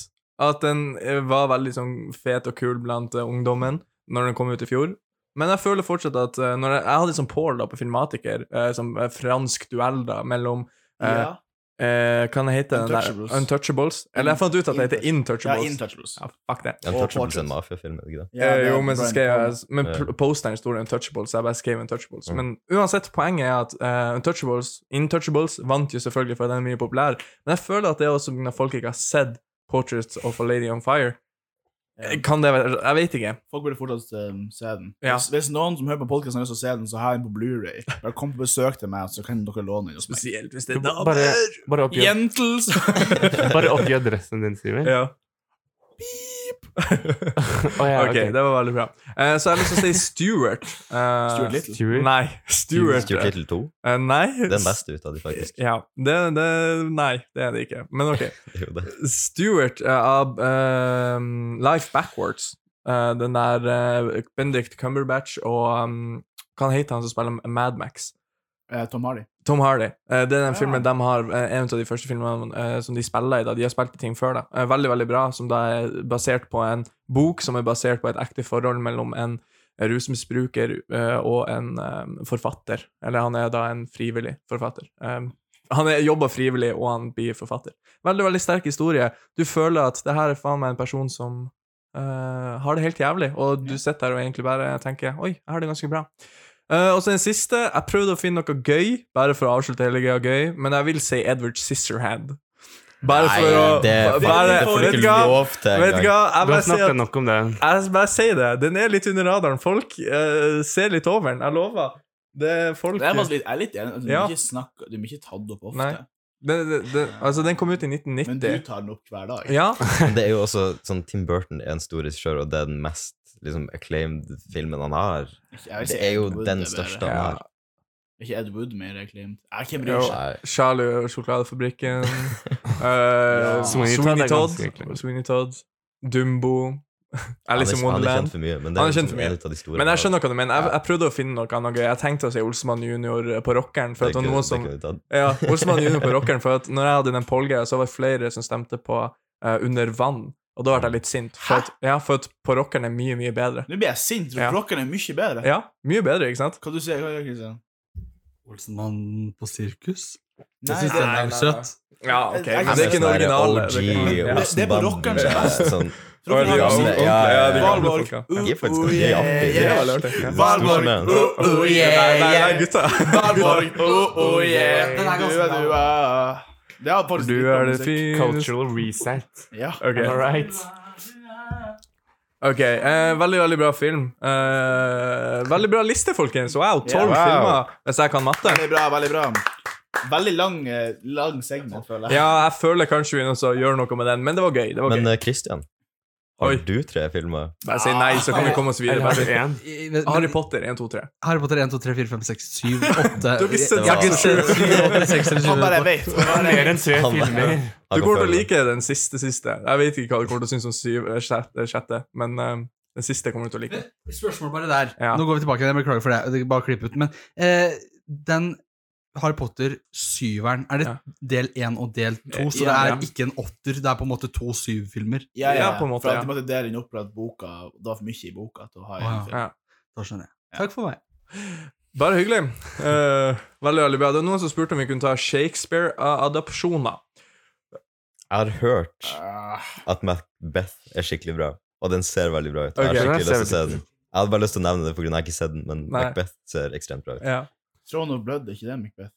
S1: at den eh, var veldig sånn fet og kul blant eh, ungdommen når den kom ut i fjor. Men jeg føler fortsatt at eh, når jeg, jeg hadde sånn Paul da på Filmatiker, eh, som eh, fransk duell da mellom eh,
S2: Ja.
S1: eh, Hva den heter den
S2: Untouchables.
S1: der? Untouchables? Eller jeg fant ut at det heter
S2: Ja,
S1: Intouchables.
S2: Intouchables.
S1: Ja, fuck det.
S4: Den
S2: Og
S4: touchables er en
S2: Portraits.
S4: mafiafilm, er det ikke det?
S2: Ja, det
S1: Eh,
S2: er
S1: jo, men så
S2: Brian
S1: skrev jeg
S2: Palmer.
S1: Men
S4: Ja.
S1: pl- posteren sto det Untouchables, så jeg bare skrev Untouchables.
S4: Mm.
S1: Men uansett, poenget er at eh, Untouchables Intouchables vant jo selvfølgelig fordi den er mye populær, men jeg føler at det er også når folk ikke har sett Portraits of a Lady on Fire. Eh, Kan det være Jeg vet ikke.
S2: Folk burde fortsatt um, se den.
S1: Ja.
S2: Hvis, hvis noen som hører på podkasten har lyst til å se den, så har jeg den på Blu-ray Bare kom på besøk til meg, så kan dere låne den hos meg.
S1: Spesielt hvis det er
S3: Bare,
S1: damer.
S3: bare, oppgi,
S2: Jentels!
S3: bare oppgi adressen din, Simen.
S1: Ja.
S3: Å, ja,
S1: ok,
S3: ok.
S1: det var veldig bra. Eh, så jeg har lyst til å si Stuart. Eh,
S2: Stuart Little.
S3: Stuart.
S1: Nei. Stuart.
S4: Stuart Little 2.
S1: Eh, nei.
S4: Den beste ut av de, faktisk.
S1: Ja. Det, det, nei, det er det ikke. Men ok.
S4: Det er jo det.
S1: Stuart eh, av eh, Life Backwards. Eh, den der eh, Benedict Cumberbatch og um, Hva heter han som spiller Madmax?
S2: Eh, Tom Hardy.
S1: Tom Hardy. Eh, det er den
S2: Ja.
S1: filmen de har, eh, en av de første filmene eh, som de spiller i. da. De har spilt i ting før. da. Eh, veldig veldig bra, som da er basert på en bok som er basert på et ekte forhold mellom en rusmisbruker eh, og en eh, forfatter. Eller han er da en frivillig forfatter. Eh, han er- jobber frivillig, og han blir forfatter. Veldig veldig sterk historie. Du føler at det her er faen meg en person som eh, har det helt jævlig, og du sitter der og egentlig bare tenker Oi, jeg har det ganske bra. Eh, og så den siste. Jeg prøvde å finne noe gøy, bare for å avslutte hele greia gøy, men jeg vil si Edward Scissorhand. Bare for å
S4: det, det,
S1: bare,
S4: får du
S1: Vet du
S4: ikke
S1: hva?
S4: lov til
S1: Vet du
S4: engang.
S1: hva? Jeg
S3: Du
S1: bare
S3: har
S1: sier at
S3: snakket nok om det.
S1: jeg bare sier det. Den er litt under radaren. Folk eh, ser litt over den. Jeg lover. Det er folk eh,
S2: Det er faktisk litt, jeg er litt enig. Altså, Du
S1: Ja.
S2: blir ikke, snakk- du blir ikke tatt opp ofte.
S1: Nei. Den- den- den- Altså, den kom ut i
S2: Men du
S1: 1990.
S2: tar den opp hver dag.
S1: Ja.
S4: Men Det er jo også sånn Tim Burton er en stor regissør, og det er den mest liksom, acclaimed filmen han har.
S2: Ikke- jeg vil si
S4: Det er jo
S2: Ed Wood
S4: den
S2: er
S4: største
S2: bedre.
S4: han
S1: Ja.
S4: har.
S2: Ikke Ed Wood mer reclaimed. Jeg kan bry
S1: Jo.
S2: seg.
S4: Nei.
S1: Charlie og sjokoladefabrikken. eh,
S3: Sweeney Todd
S1: Sweeney
S3: er
S1: Todd.
S3: ganske ekkel.
S1: Sweeney Todd. Dumbo. Alice in
S4: han, er, han er kjent
S1: Wonderland.
S4: for mye, men det
S1: Han
S4: er,
S1: er kjent
S4: liksom
S1: for mye.
S4: en ut av de store.
S1: Men jeg
S4: han har.
S1: skjønner hva du mener. Jeg, jeg prøvde å finne noe annet gøy. Jeg tenkte å si Olsmann junior eh, på rockeren. For at det
S4: Det
S1: var
S4: kunne-
S1: noen
S4: det
S1: som
S4: kunne vi tatt.
S1: Ja, Olsmann junior på rockeren. For at når jeg hadde den polgreia, så var det flere som stemte på eh, Under vann. Og da ble jeg litt sint. For at, ja, for at på rockeren er mye, mye bedre.
S2: Nå blir jeg sint, for
S1: Ja.
S2: klokken er mye bedre.
S1: Ja, mye bedre, ikke sant?
S2: Hva du sier du, Kristian?
S5: Olsenmann på sirkus?
S2: Nei,
S5: Jeg syns
S2: det-
S5: den er jo søt.
S1: Ja,
S2: Jeg-
S1: ok,
S2: jeg
S1: men det er ikke den
S4: Sånn der
S1: originale. det kan-
S4: OG,
S1: ja.
S2: Det- det er på
S4: Olsenbanden,
S2: rockeren som er best.
S4: sånn-
S1: Og de
S2: Klokken er
S4: Ja,
S1: gamle-
S4: men-
S2: alltid-
S1: ja, ja, de gamle
S2: Valborg.
S1: folka.
S4: De er faktisk
S2: Oh,
S4: ganske
S2: yeah,
S4: jappige.
S1: Det
S2: yeah.
S1: var litt artig, ja.
S2: Valborg,
S4: Storsjarmerende.
S2: oh, oh, yeah,
S1: Nei, nei,
S2: yeah.
S1: gutta.
S2: Valborg, oh, oh, yeah.
S5: Den er ganske
S2: Du er- du er- Det er faktisk
S1: Du
S2: litt
S1: er
S2: om
S1: det fineste
S2: musikk.
S3: Cultural reset.
S2: Ja.
S1: Ok,
S3: All right.
S1: ok, eh, veldig, veldig bra film. Eh, veldig bra liste, folkens. Wow, tolv
S2: Ja, wow.
S1: filmer, hvis jeg kan matte.
S2: Veldig bra, veldig bra. Veldig lang, eh, lang segment, føler jeg.
S1: Ja, jeg føler kanskje vi er nødt til å gjøre noe med den, men det var gøy. det var gøy.
S4: Men eh, Christian,
S1: Oi.
S4: har du tre filmer?
S1: Bare si nei, så kan vi komme oss videre.
S3: Eller har
S1: Bare-
S3: du én?
S5: I- men-
S1: Harry Potter 1, 2, 3.
S5: Harry Potter 1, 2, 3, 4, 5, 6, 7, 8
S1: Du har ikke sett
S5: Jeg har ikke
S1: seks eller
S5: sett 7, 8, 6 eller 7.
S2: Han bare vet. Han bare
S3: Mer
S2: vet.
S3: enn tre
S4: Han-
S3: filmer.
S1: Du
S4: Han kan
S1: kommer til å
S4: følge
S1: like den siste siste. Jeg vet ikke hva du kommer til å synes om syv, eh, sjette, eh, sjette men eh, den siste kommer du til å like.
S5: Spørsmål bare der.
S1: Ja.
S5: Nå går vi tilbake igjen. Jeg beklager for det. det. er Bare klipp ut. Men eh, den Harry Potter-syveren, er det
S1: Ja. Eh,
S5: del én og del to? Så
S1: Ja,
S5: det
S1: ja.
S5: er ikke en åtter, det er på en måte to syv-filmer?
S2: Ja, ja,
S1: Ja, på en måte,
S2: For at
S1: ja.
S2: de måtte dele inn opprett boka, og det var for mye i boka til å ha i
S5: Wow.
S2: en film.
S1: Ja.
S5: Da skjønner jeg. Takk for meg.
S1: Bare hyggelig. Eh, veldig, veldig bra. Det er noen som spurte om vi kunne ta Shakespeare-adopsjoner.
S4: Jeg har hørt
S2: Ah,
S4: at Macbeth er skikkelig bra, og den ser veldig bra ut. Jeg
S1: Ok.
S4: har
S3: Den
S4: skikkelig
S3: ser
S4: lyst til å se den. Jeg hadde bare lyst til å nevne det, for jeg har ikke sett den, men
S1: Nei.
S4: Macbeth ser ekstremt bra ut.
S1: Ja.
S2: Throne of Blood, er ikke det, Macbeth?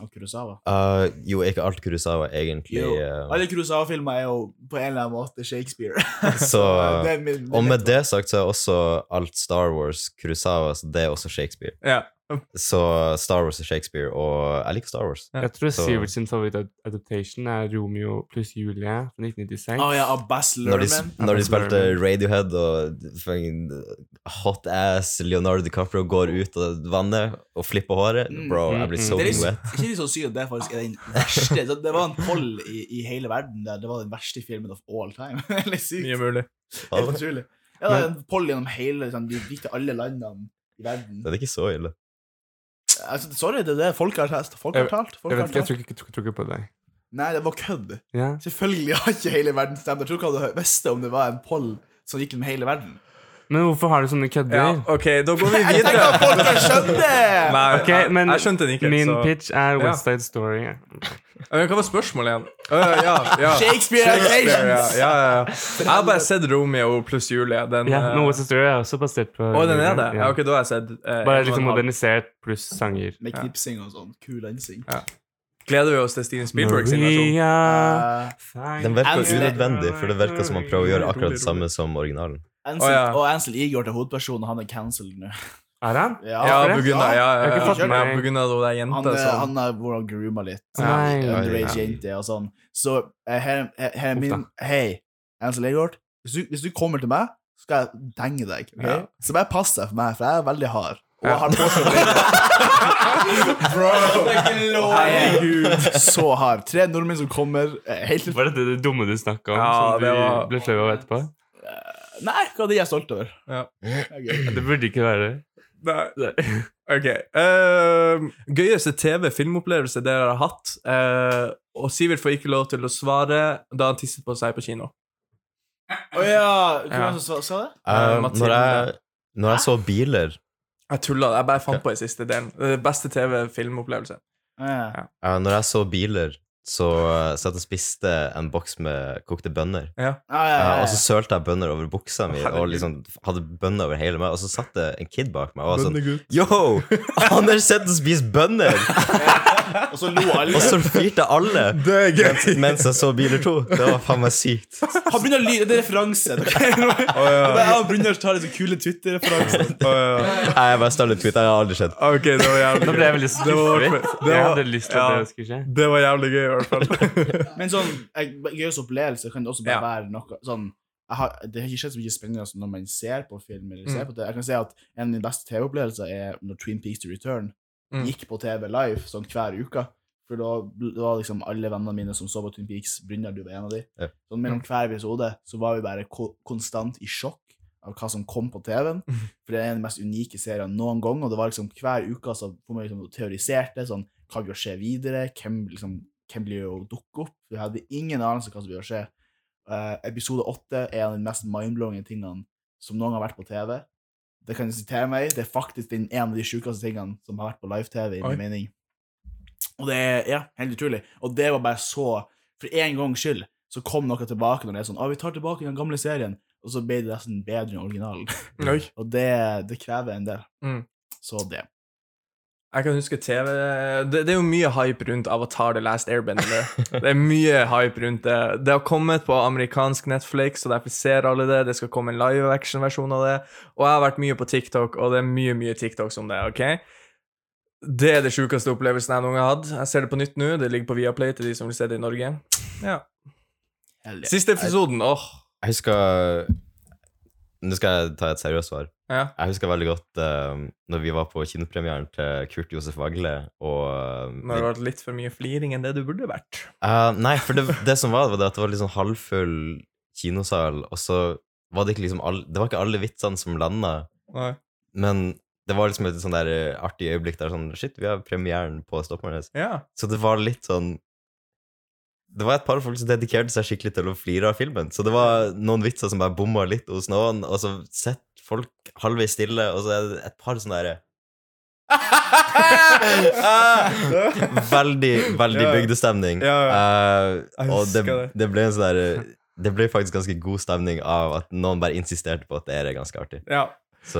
S2: Av Kurosawa.
S4: Uh, jo, er ikke alt Kurosawa egentlig
S2: Jo.
S4: uh,
S2: Alle Kurosawa-filmer er jo på en eller annen måte Shakespeare. eh,
S4: Så eh,
S2: Det er min- det er
S4: Og
S2: mitt
S4: med det sagt så er også alt Star Wars Kurosawa, så det er også Shakespeare.
S1: Ja.
S4: Så Star Wars er Shakespeare, og jeg liker Star Wars.
S1: Ja.
S3: Jeg tror
S4: Så-
S3: Sivert sin favorittadaptation er Romeo pluss Julie fra 1996.
S2: Å ja, av Baz
S4: Når de,
S2: Luhrmann.
S4: når de spilte Radiohead og fucking hot ass Leonardo DiCaprio går ut av vannet og flipper håret Bro,
S2: Mm,
S4: jeg blir
S2: Det er
S4: soaking
S2: ikke
S4: wet.
S2: ikke litt sånn sykt at det faktisk er den verste så Det var en poll i, i hele verden der det var den verste filmen of all time. Litt
S1: Mye
S2: sykt.
S1: mulig.
S2: Helt utrolig. Ja, det er en poll gjennom hele liksom, De gikk til alle landene i verden.
S4: Det er ikke så ille.
S2: Altså, sorry, det er det folk har talt. Folk har
S3: Jeg-
S2: talt. Folk
S3: Jeg vet
S2: har
S3: ikke,
S2: talt.
S3: jeg tror ikke, tror, tror ikke på deg.
S2: Nei, det var kødd.
S3: Ja.
S2: Selvfølgelig har ikke hele verden stemt. Jeg tror ikke han hadde visst det om det var en poll som gikk gjennom hele verden.
S3: Men hvorfor har du sånne kødder?
S1: Ja, OK, da går vi
S2: Jeg tenker at
S1: videre.
S2: folk har skjønt det!
S1: Nei,
S3: Ok,
S1: jeg,
S3: men
S1: jeg skjønte den ikke.
S3: Min
S1: så.
S3: pitch er
S1: Ja.
S3: West Side Story.
S1: Men Hva var spørsmålet igjen? Øh, ja, ja.
S2: Shakespeare
S1: Shakespeare, ja,
S2: Occasions!
S1: ja, ja. Jeg har bare sett Romeo pluss Julie. Den,
S3: Ja,
S1: eh,
S3: men West Side Story er også basert på
S1: Å, den er det? Ja,
S3: Ja.
S1: ok, da har jeg sett eh,
S3: Bare
S1: en
S3: liksom
S1: og en halv.
S3: modernisert pluss sanger.
S2: Med knipsing og sånn. Kul dansing.
S1: Gleder vi oss til Steven Spielberg sin versjon?
S3: Maria,
S2: Eh,
S3: thank
S4: Den virker
S2: Ansel-
S4: unødvendig, for det virker som han prøver å gjøre akkurat det samme som originalen.
S2: Ansel,
S1: Å, ja.
S2: Og Ansel Igor til hovedpersonen, han er cancelled nå.
S3: Er han?
S1: Ja,
S3: det?
S1: på grunn av ja, ja,
S3: Jeg har ikke
S1: ja,
S3: fått
S1: ja,
S3: med-
S1: på grunn av hun der
S2: Han,
S1: jenta
S2: eh,
S1: som
S2: han er hvor han groomer litt. sånn,
S3: Nei.
S2: Ja, Underage
S4: ja.
S2: jente og sånn. Så eh, her, her, her er min
S3: Uff
S2: Hei, Ansel Igor. Hvis du, hvis du kommer til meg, skal jeg denge deg. ok?
S1: Ja.
S2: Så bare pass deg for meg, for jeg sånn- er veldig hard. Og
S1: Ja.
S2: han fortsatt er- Bro! Herregud, så hard. Tre nordmenn som kommer eh, helt til
S3: Var det det dumme du snakka om,
S1: Ja,
S3: som du
S1: det var-
S3: ble flau av etterpå?
S2: Nei, hva er det jeg er stolt over?
S1: Ja.
S2: Okay.
S3: Det burde ikke være det.
S1: Nei,
S3: det.
S1: OK. Ehm, gøyeste TV-filmopplevelse dere har hatt, eh, og Sivert får ikke lov til å svare da han tisset på seg på kino.
S2: Å ja, hvem
S1: Ja.
S2: var det som sa- sa det?
S1: Eh,
S4: Eh,
S1: Mathilde.
S4: når, jeg, når jeg så biler
S1: Jeg tulla. Jeg bare fant på i siste delen. Det beste TV-filmopplevelse.
S2: Ja.
S4: eh, Når jeg så biler, så eh, satt jeg og spiste en boks med kokte bønner.
S2: Ah, ja, ja,
S4: Eh,
S2: ja.
S4: og så sølte jeg bønner over buksa mi, og
S1: Herregud.
S4: liksom hadde bønner over hele meg. Og så satt det en kid bak meg og var sånn Yo! Anders sitter og spiser bønner!
S2: Og så lo alle.
S4: Og så flirte alle
S1: Det er
S4: mens, mens jeg så Biler 2. Det var faen meg sykt.
S2: Han begynner å lyde. Det er referanse. Okay? Han begynner å ta litt så kule Twitter-referanser.
S4: Nei, Jeg bare startet tweet. Jeg har aldri sett
S1: OK, det var
S3: Nå
S1: jævlig
S3: ble
S1: gøy.
S3: jeg veldig
S1: Det var-
S3: skuffet.
S1: det
S3: Jeg
S1: var-
S3: hadde lyst til at
S1: ja.
S3: det skulle skje.
S1: Det var jævlig gøy, i hvert fall.
S2: Men sånn jeg- gøyeste opplevelse kan også
S1: Ja.
S2: bare være noe sånn jeg har, Det har ikke skjedd så mye spennende som når man ser på film. eller ser
S1: Mm.
S2: på det. Jeg kan si at En av mine beste TV-opplevelser er når Twin Peaks to Return
S1: Mm.
S2: gikk på TV live sånn hver uke. For da bl- da var liksom alle vennene mine som så på Twin Peaks, Brynjar, du var en av de.
S4: Ja.
S2: Sånn Mellom hver episode så var vi bare ko konstant i sjokk av hva som kom på TV-en. For det er en av de mest unike seriene noen gang, og det var liksom hver uke så hvor man liksom teoriserte sånn Hva vil skje videre? Hvem, liksom, hvem blir å dukke opp? Vi hadde ingen anelse om hva som ville skje. Eh, episode åtte er en av de mest mindblowing tingene som noen gang har vært på TV. Det kan jeg sitere meg i. Det er faktisk den en av de sjukeste tingene som har vært på live-TV, i
S1: Oi.
S2: min mening. Og det er ja, helt utrolig. Og det var bare så For en gangs skyld så kom noe tilbake når det er sånn Å, vi tar tilbake den gamle serien. Og så ble det nesten bedre enn originalen.
S1: Oi.
S2: Og det, det krever en del.
S1: Mm.
S2: Så det.
S1: Jeg kan huske TV det, det er jo mye hype rundt Avatar The Last Airbender. nå. Det er mye hype rundt det. Det har kommet på amerikansk Netflix, og derfor ser alle det. Det skal komme en live action-versjon av det. Og jeg har vært mye på TikTok, og det er mye, mye TikToks om det. ok? Det er det sjukeste opplevelsen jeg noen gang har hatt. Jeg ser det på nytt nå. Det ligger på Viaplay til de som vil se det i Norge. Ja.
S2: Heldig.
S1: Siste episoden, åh.
S4: Jeg husker Nå skal jeg ta et seriøst svar.
S1: Ja.
S4: Jeg husker veldig godt eh, når vi var på kinopremieren til Kurt Josef Vagle og eh,
S1: Nå har det vært litt for mye fliring enn det du burde vært.
S4: Eh, nei, for det, det som var, det var det at det var litt sånn halvfull kinosal, og så var det ikke liksom all, Det var ikke alle vitsene som landa,
S1: Nei.
S4: men det var liksom et sånn der eh, artig øyeblikk der sånn Shit, vi har premieren på Stopmarnes.
S1: Ja.
S4: Så det var litt sånn Det var et par folk som dedikerte seg skikkelig til å flire av filmen. Så det var noen vitser som bare bomma litt hos noen, og så sitter folk halvveis stille, og så er det et par sånne derre
S1: Ah!
S4: Veldig, veldig
S1: Ja.
S4: bygdestemning.
S1: Ja,
S4: Eh,
S1: Jeg
S4: og det,
S1: husker det.
S4: det ble en sånn derre Det ble faktisk ganske god stemning av at noen bare insisterte på at det er ganske artig.
S1: ja.
S4: Så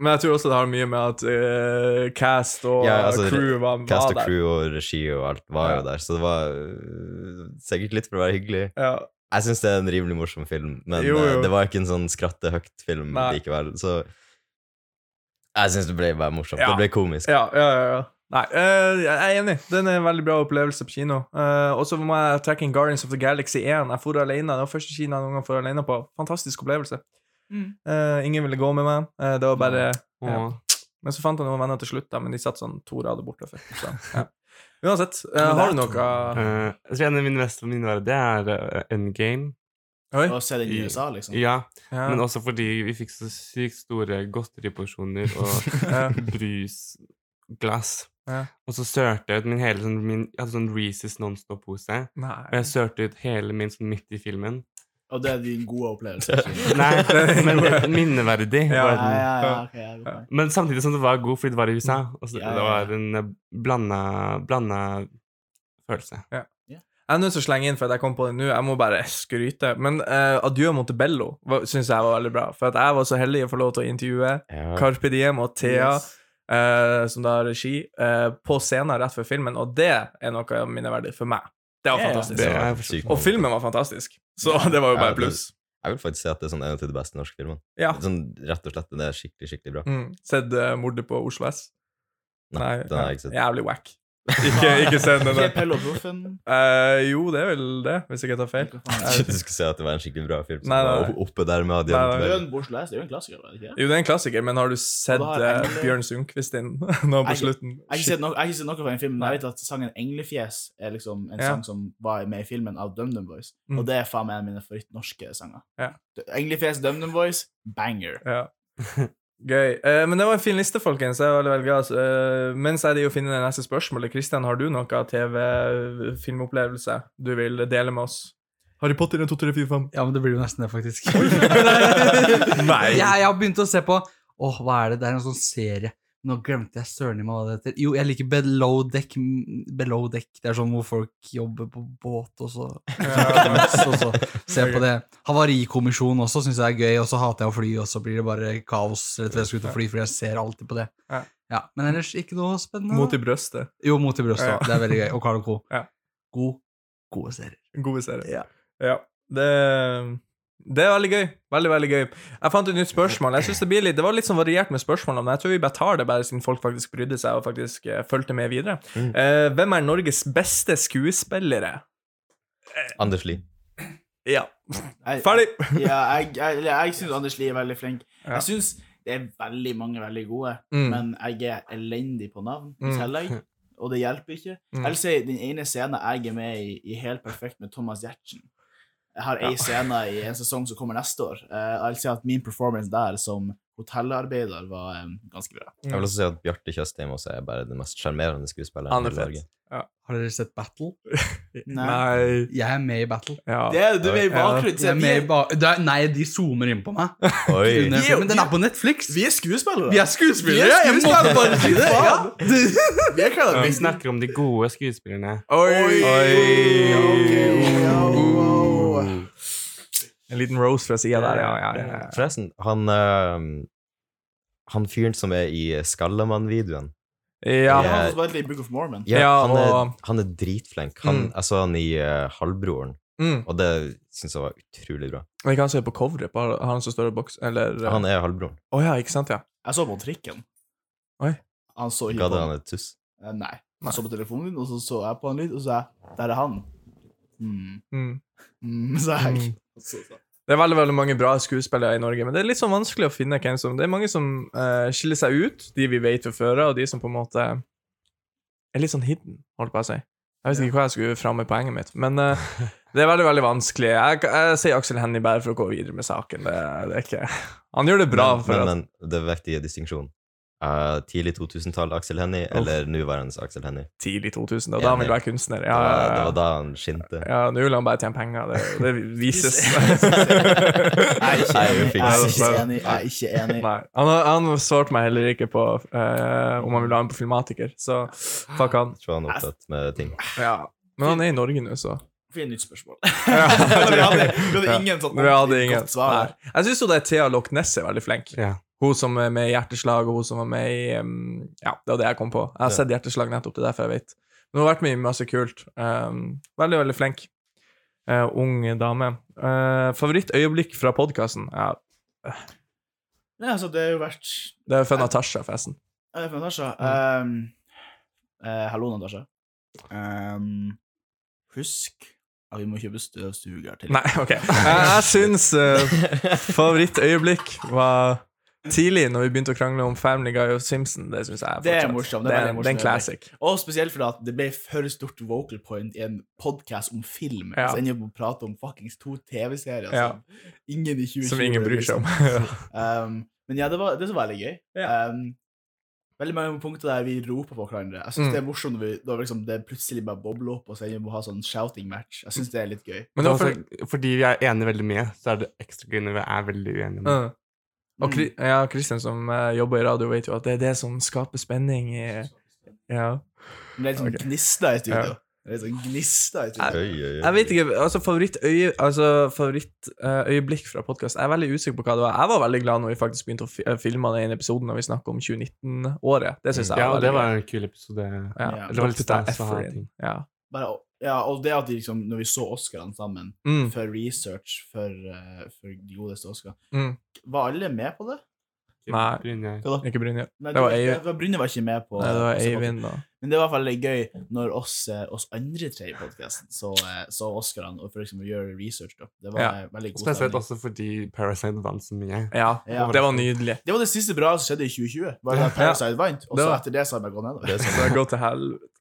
S1: Men jeg tror også det har mye med at eh, cast og
S4: Ja, altså,
S1: crew var, var
S4: cast og
S1: der.
S4: crew og regi og alt var
S1: Ja.
S4: jo der, så det var øh, sikkert litt for å være hyggelig.
S1: Ja.
S4: Jeg syns det er en rimelig morsom film, men
S1: Jo, jo.
S4: eh, det var ikke en sånn skratte høyt-film
S1: Nei.
S4: likevel. Så jeg syns det ble bare morsomt.
S1: Ja.
S4: Det ble komisk.
S1: Ja, ja, ja, ja. Nei, eh, jeg er enig. Den er en veldig bra opplevelse på kino. Eh, og så må jeg trekke inn Guardians of the Galaxy 1. Jeg for alene. Det var første kino jeg noen gang for alene på. Fantastisk opplevelse. Eh, ingen ville gå med meg. Eh, det var bare ja.
S3: Åh.
S1: Men så fant jeg noen venner til slutt, da, men de satt sånn to rader borte. før, Så, ja. Uansett, eh,
S2: Men det
S1: har
S2: er
S1: du noe
S3: Eh, jeg tror en av mine beste mine var det er eh, Endgame.
S1: Oi?
S2: Å se den i USA, liksom.
S3: Ja,
S1: Ja.
S3: men også fordi vi fikk så sykt store godteriporsjoner og
S1: Ja.
S3: brusglass.
S1: Ja.
S3: Og så sørte jeg ut min hele sånn, min, Jeg hadde sånn Reeses Nonstop-pose,
S1: Nei.
S3: og jeg sørte ut hele min sånn midt i filmen.
S2: Og det er din gode opplevelse.
S3: Nei, men minneverdig.
S1: Ja.
S3: var
S2: Ja,
S3: den.
S2: ja, ja, ok, jeg går på.
S3: Men samtidig som det var god, fordi det var i USA. Og så,
S2: Mm. Ja, ja,
S3: Det
S2: ja.
S3: var en eh, blanda, blanda følelse.
S1: Jeg er nødt til å slenge inn, for at jeg kom på det nå. Jeg må bare skryte. Men eh, Adjø Montebello syns jeg var veldig bra. For at jeg var så heldig å få lov til å intervjue
S4: Ja.
S1: Carpe Diem og Thea,
S2: Yes.
S1: eh, som da har regi, eh, på scenen rett før filmen, og det er noe minneverdig for meg. Det var
S2: Ja, ja.
S1: fantastisk.
S3: Det er
S4: sykt.
S1: Og filmen var fantastisk, så det var jo
S4: Ja,
S1: bare
S4: det-
S1: pluss.
S4: Jeg vil faktisk si at det er sånn en av de beste norske filmene.
S1: Ja.
S4: Sånn, rett og slett, det er skikkelig, skikkelig bra.
S1: Mm. Sett eh, 'Mordet på Oslo S'?
S4: Nei, den har jeg ikke sett.
S1: Jævlig wack. Ikke, ikke se den.
S2: Ikke Pelle og Proffen.
S1: Eh, jo, det er vel det, hvis ikke jeg tar feil.
S2: Hva faen?
S4: Jeg trodde du skulle si at det var en skikkelig bra film.
S1: Nei,
S4: Nei,
S1: nei,
S4: nei,
S1: nei.
S4: Oppe der med
S1: Nei, nei.
S2: Det er jo
S4: Adjø
S2: en Bård Læs, det er jo en klassiker, er det ikke? det?
S1: Jo, det er en klassiker, men har du sett
S2: Og da er
S1: eh,
S2: Engle-
S1: Bjørn Sundquist inn nå på
S2: Jeg-
S1: slutten?
S2: Jeg har ikke
S1: Shit.
S2: sett noe, jeg har ikke sett noe fra den filmen, men
S1: Nei.
S2: jeg vet at sangen 'Englefjes' er liksom en
S1: Ja.
S2: sang som var med i filmen av DumDum Boys,
S1: Mm.
S2: og det er faen meg en av mine favorittnorske sanger.
S1: Ja.
S2: 'Englefjes', DumDum Boys, banger.
S1: Ja. Gøy. Eh, men det var en fin liste, folkens. Jeg er veldig, veldig glad. Så, eh, mens jeg er i å finne det neste spørsmålet, Kristian, har du noe TV-filmopplevelse eh, du vil dele med oss? Harry Potter 1, 2, 3, 4, 5.
S5: Ja, men det blir jo nesten det, faktisk.
S1: Nei.
S5: Jeg, jeg har begynt å se på Åh, hva er det? Det er en sånn serie. Nå glemte jeg søren i meg hva det heter. Jo, jeg liker Below Deck. Below Deck. Det er sånn hvor folk jobber på båt, og så,
S1: Ja.
S5: og så se på det. Havarikommisjon også syns jeg er gøy, og så hater jeg å fly, og så blir det bare kaos rett ved jeg skal ut og fly, fordi jeg ser alltid på det.
S1: Ja.
S5: Ja, Men ellers ikke noe spennende.
S1: Mot i brøstet.
S5: Jo, Mot i brøstet.
S1: Ja.
S5: Det er veldig gøy. Og Carl Co.
S1: Ja.
S5: God, gode serier.
S1: Gode serier.
S5: Ja.
S1: Ja. Det, det er veldig gøy. Veldig, veldig gøy. Jeg fant et nytt spørsmål. Jeg synes Det blir litt, det var litt sånn variert med spørsmålene, men jeg tror vi bare tar det, bare siden folk faktisk brydde seg og faktisk eh, fulgte med videre.
S4: Mm.
S1: Eh, hvem er Norges beste skuespillere?
S4: Anders Lie.
S1: Ja.
S2: Jeg-
S1: Ferdig!
S2: ja, jeg, jeg, jeg syns Anders Lie er veldig flink.
S1: Ja.
S2: Jeg syns det er veldig mange veldig gode,
S1: Mm.
S2: men jeg er elendig på navn i
S1: Mm.
S2: tillegg, og det hjelper ikke.
S1: Mm.
S2: Jeg vil si den ene scenen jeg er med i, i Helt perfekt med Thomas Giertsen. Jeg har ei scene i en sesong som kommer neste år. Eh, Jeg vil si at min performance der som hotellarbeider var eh, ganske bra.
S4: Jeg vil også si at Bjarte Tjøstheim også er bare den mest sjarmerende skuespilleren
S1: Mm. Han
S4: i
S1: er fett.
S4: Norge.
S5: Har dere sett Battle?
S2: Nei.
S1: Nei.
S5: Jeg er med i Battle.
S1: Ja.
S2: Det er du er i bakgrunnen.
S5: Jeg
S2: se,
S5: er
S2: Vi
S5: med i
S2: er,
S5: ba det er, nei, de zoomer inn på meg.
S4: Oi!
S5: Under filmen. Den er på Netflix!
S2: vi er skuespillere!
S5: Vi er skuespillere!
S2: Vi er
S5: Jeg måtte
S2: skuespillere.
S5: bare si det! Ja.
S2: Vi er klar,
S3: Vi snakker om de gode skuespillerne.
S1: Oi!
S2: Oi. Ok, ja, wow.
S1: En liten rose fra sida der, ja. ja, ja, ja.
S4: Forresten, han eh, Han fyren som er i
S1: Ja.
S4: Skallamann-videoen
S2: Ja, han som spilte i Book of Mormon.
S4: ja,
S1: Ja,
S4: han, er,
S1: og-
S4: han er dritflink. Han,
S1: Mm.
S4: Jeg så han i eh, Halvbroren,
S1: Mm.
S4: og det syns jeg var utrolig bra.
S1: Vi kan se på coveret på han som står i boks, eller Å
S4: Han er halvbroren.
S1: ja, ikke sant, ja.
S2: Jeg så på trikken.
S1: Oi.
S2: Han så ikke
S4: Gadde
S2: på
S4: han et tuss.
S2: Eh, Nei.
S1: Nei.
S2: Jeg så på telefonen din, og så så jeg på han litt, og så sa jeg Der er han. Mm.
S1: Mm.
S2: Mm, sa jeg.
S1: Mm.
S2: Og så sa jeg,
S1: Det er veldig veldig mange bra skuespillere i Norge, men det er litt sånn vanskelig å finne hvem som Det er mange som eh, skiller seg ut, de vi vet fra før av, og de som på en måte er litt sånn hidden, holdt på å si. Jeg vet ikke hva jeg skulle fram med poenget mitt, men eh, det er veldig veldig vanskelig. Jeg, jeg sier Aksel Hennie bare for å gå videre med saken. Det, det er ikke Han gjør det bra.
S4: men,
S1: for
S4: men, men det er viktig distinksjon. Eh, tidlig 2000-tall Aksel Hennie
S1: Uff.
S4: eller nåværende Aksel Hennie.
S1: at tidlig 2000, og da han vil være kunstner. Ja,
S4: Det var-
S1: ja,
S4: Det var
S1: ja.
S4: da han skinte.
S1: ja nå vil han bare tjene penger. Det, det vises.
S2: Jeg er ikke
S4: Nei,
S2: enig.
S4: vi fikk
S2: Jeg er
S1: det.
S2: ikke enig. Jeg er ikke enig.
S1: Nei. Han, han svarte meg heller ikke på eh, om han ville ha en på Filmatiker, så fuck han.
S4: Jeg tror han er opptatt med ting.
S1: Ja. Men han er i Norge nå, så.
S2: Finn nytt spørsmål.
S1: Ja.
S2: Vi hadde, vi hadde ingen sånn
S1: Vi hadde
S2: ordentlig
S1: ingen.
S2: godt svar. der.
S1: Nei. Jeg syns jo det er Thea Loch Ness er veldig flink.
S3: Ja.
S1: Hun som er med i Hjerteslag, og hun som var med i um, Ja, det var det jeg kom på. Jeg har
S4: Ja.
S1: sett Hjerteslag nettopp, det er derfor jeg vet. Men hun har vært med i masse kult. Um, veldig, veldig flink. Eh, ung dame. Uh, Favorittøyeblikk fra podkasten? Ja,
S2: Nei, altså, det har jo vært
S1: det er jo fra Natasha, forresten.
S2: Ja, Det er fra Natasha.
S1: Mm.
S2: Um, eh, hallo, Natasha. Um, husk at vi må kjøpe støvsuger til
S1: Nei, OK. Jeg, jeg syns eh, favorittøyeblikk var tidlig, når vi begynte å krangle om Family Guy og Simpson. Det syns jeg fortsatt.
S2: Det er morsomt, det er
S1: Det
S2: veldig
S1: er, det er en
S2: morsomt.
S1: classic.
S2: Og spesielt fordi at det ble for stort vocal point i en podcast om film.
S1: Ja.
S2: Så ender vi på å prate om fuckings to TV-serier
S1: Ja.
S2: som ingen i liksom- 2020
S1: Som ingen bryr seg om.
S2: Ehm, Um, men ja, det var, det var veldig gøy.
S1: Ja.
S2: Um, veldig mange punkter der vi roper på hverandre. Jeg syns
S1: Mm.
S2: det er morsomt når vi, når liksom, det plutselig bare bobler opp, og så vi må ha sånn shouting match. Jeg syns det er litt gøy.
S1: Men
S3: Men
S1: det var
S3: også, fordi vi er enige veldig mye, så er det ekstra gøy når vi er veldig uenige.
S1: Ja. Og Kri
S2: Mm.
S1: ja, Christian som eh, jobber i radio, vet jo at det er det som skaper spenning i ja.
S2: Men det er litt sånn
S1: Ok.
S2: gnister i
S1: Ja.
S2: studio. Det er litt sånn gnister i studio.
S4: Oi, oi, oi.
S1: Jeg vet ikke, altså favorittøyeblikk altså, favoritt, eh, øyeblikk fra podkast Jeg er veldig usikker på hva det var. Jeg var veldig glad når vi faktisk begynte å fi- eh, filme den ene episoden når vi snakker om 2019-året. Det syns jeg
S3: Ja,
S1: var
S3: og det
S1: veldig
S3: var en kul episode.
S1: gøy.
S2: Ja,
S3: Det var litt
S1: Rockstar
S3: stas å ha
S1: Efrain.
S3: ting.
S1: Ja.
S2: Bare, ja, og det at de liksom, når vi så Oscarene sammen,
S1: Mm.
S2: for research for, eh, for de godeste Oscar
S1: Mm.
S2: Var alle med på det?
S1: Nei.
S2: Hva
S3: Brynjar.
S2: da?
S1: Ikke Brynjar.
S2: Nei,
S1: Det var
S2: ikke-
S1: Eivind.
S2: det var- Brynjar var ikke med på
S1: Nei, det var
S2: på samme-
S1: Eivind, da.
S2: Men det var i hvert fall litt gøy når oss, eh, oss andre tre i podkasten så, eh, så Oscarene og for eksempel gjøre research. da. Det var
S1: Ja.
S2: eh, veldig god
S3: Spesielt
S2: stemning.
S3: også fordi Parasite vant så mye.
S1: Ja.
S2: Ja.
S1: Det var nydelig.
S2: Det var det siste bra som skjedde i 2020. Var det at Parasite vant, og
S1: Det
S2: så
S1: var-
S2: etter det så har jeg bare gått
S4: Det
S2: nedover.
S4: er
S1: Så
S4: sant.
S1: det går til helvete.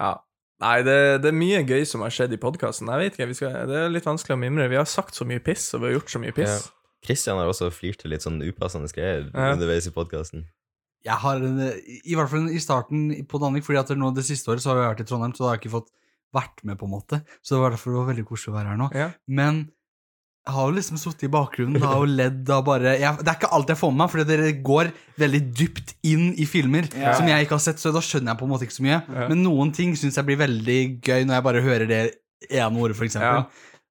S1: Ja. Nei, det, det er mye gøy som har skjedd i podkasten. Jeg vet ikke, vi skal, Det er litt vanskelig å mimre. Vi har sagt så mye piss, og vi har gjort så mye piss.
S4: Christian har også flirt til litt sånn upassende greier
S1: Ja.
S4: underveis i podkasten.
S5: Jeg har en, eh, I hvert fall i starten på Danvik, fordi at nå det siste året så har vi vært i Trondheim, så da har jeg ikke fått vært med, på en måte. Så det var derfor det var veldig koselig å være her nå.
S1: Ja.
S5: Men jeg har jo liksom sittet i bakgrunnen da, og ledd av bare jeg, Det er ikke alt jeg får med meg, fordi dere går veldig dypt inn i filmer
S2: Ja.
S5: som jeg ikke har sett, så da skjønner jeg på en måte ikke så mye.
S1: Ja.
S5: Men noen ting syns jeg blir veldig gøy når jeg bare hører det ene ordet, for
S1: Ja.
S5: eksempel.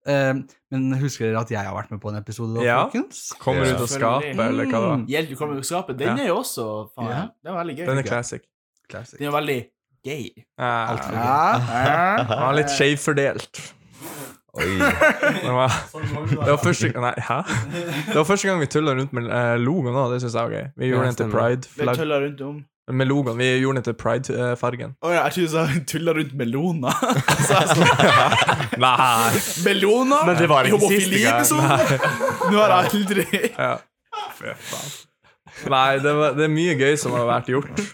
S5: Eh, men husker dere at jeg har vært med på en episode da,
S1: Ja.
S5: folkens?
S1: Kommer
S4: Ja.
S1: ut av skapet, eller hva det var.
S5: Mm.
S2: Hjelp, du kommer ut av skapet. Den
S1: Ja.
S2: er jo også faen,
S5: Ja.
S2: Den var veldig gøy.
S1: Den
S2: tenker
S1: er
S2: jeg.
S1: classic.
S5: Classic.
S2: Den er veldig gay.
S1: Eh,
S5: Alt for gøy.
S2: Ja.
S1: Den var litt skjevfordelt.
S4: Oi.
S1: Det var, det var første Nei, hæ? Det var første gang vi tulla rundt med eh, logoen òg, det syns jeg var gøy. Vi
S3: Ja,
S1: gjorde den til
S3: stemmer.
S2: Vi
S1: pride-flagg.
S2: tulla rundt om
S1: Med logoen. Vi gjorde den til pride-fargen.
S2: Å ja, jeg trodde du sa tulla rundt meloner. Så jeg sånn,
S1: Nei!
S2: meloner?
S3: Men det var ikke siste gang.
S2: Homofili-episoden? Nå har jeg aldri
S1: Ja. liksom. Fy faen. Nei, det, var, det er mye gøy som har vært gjort.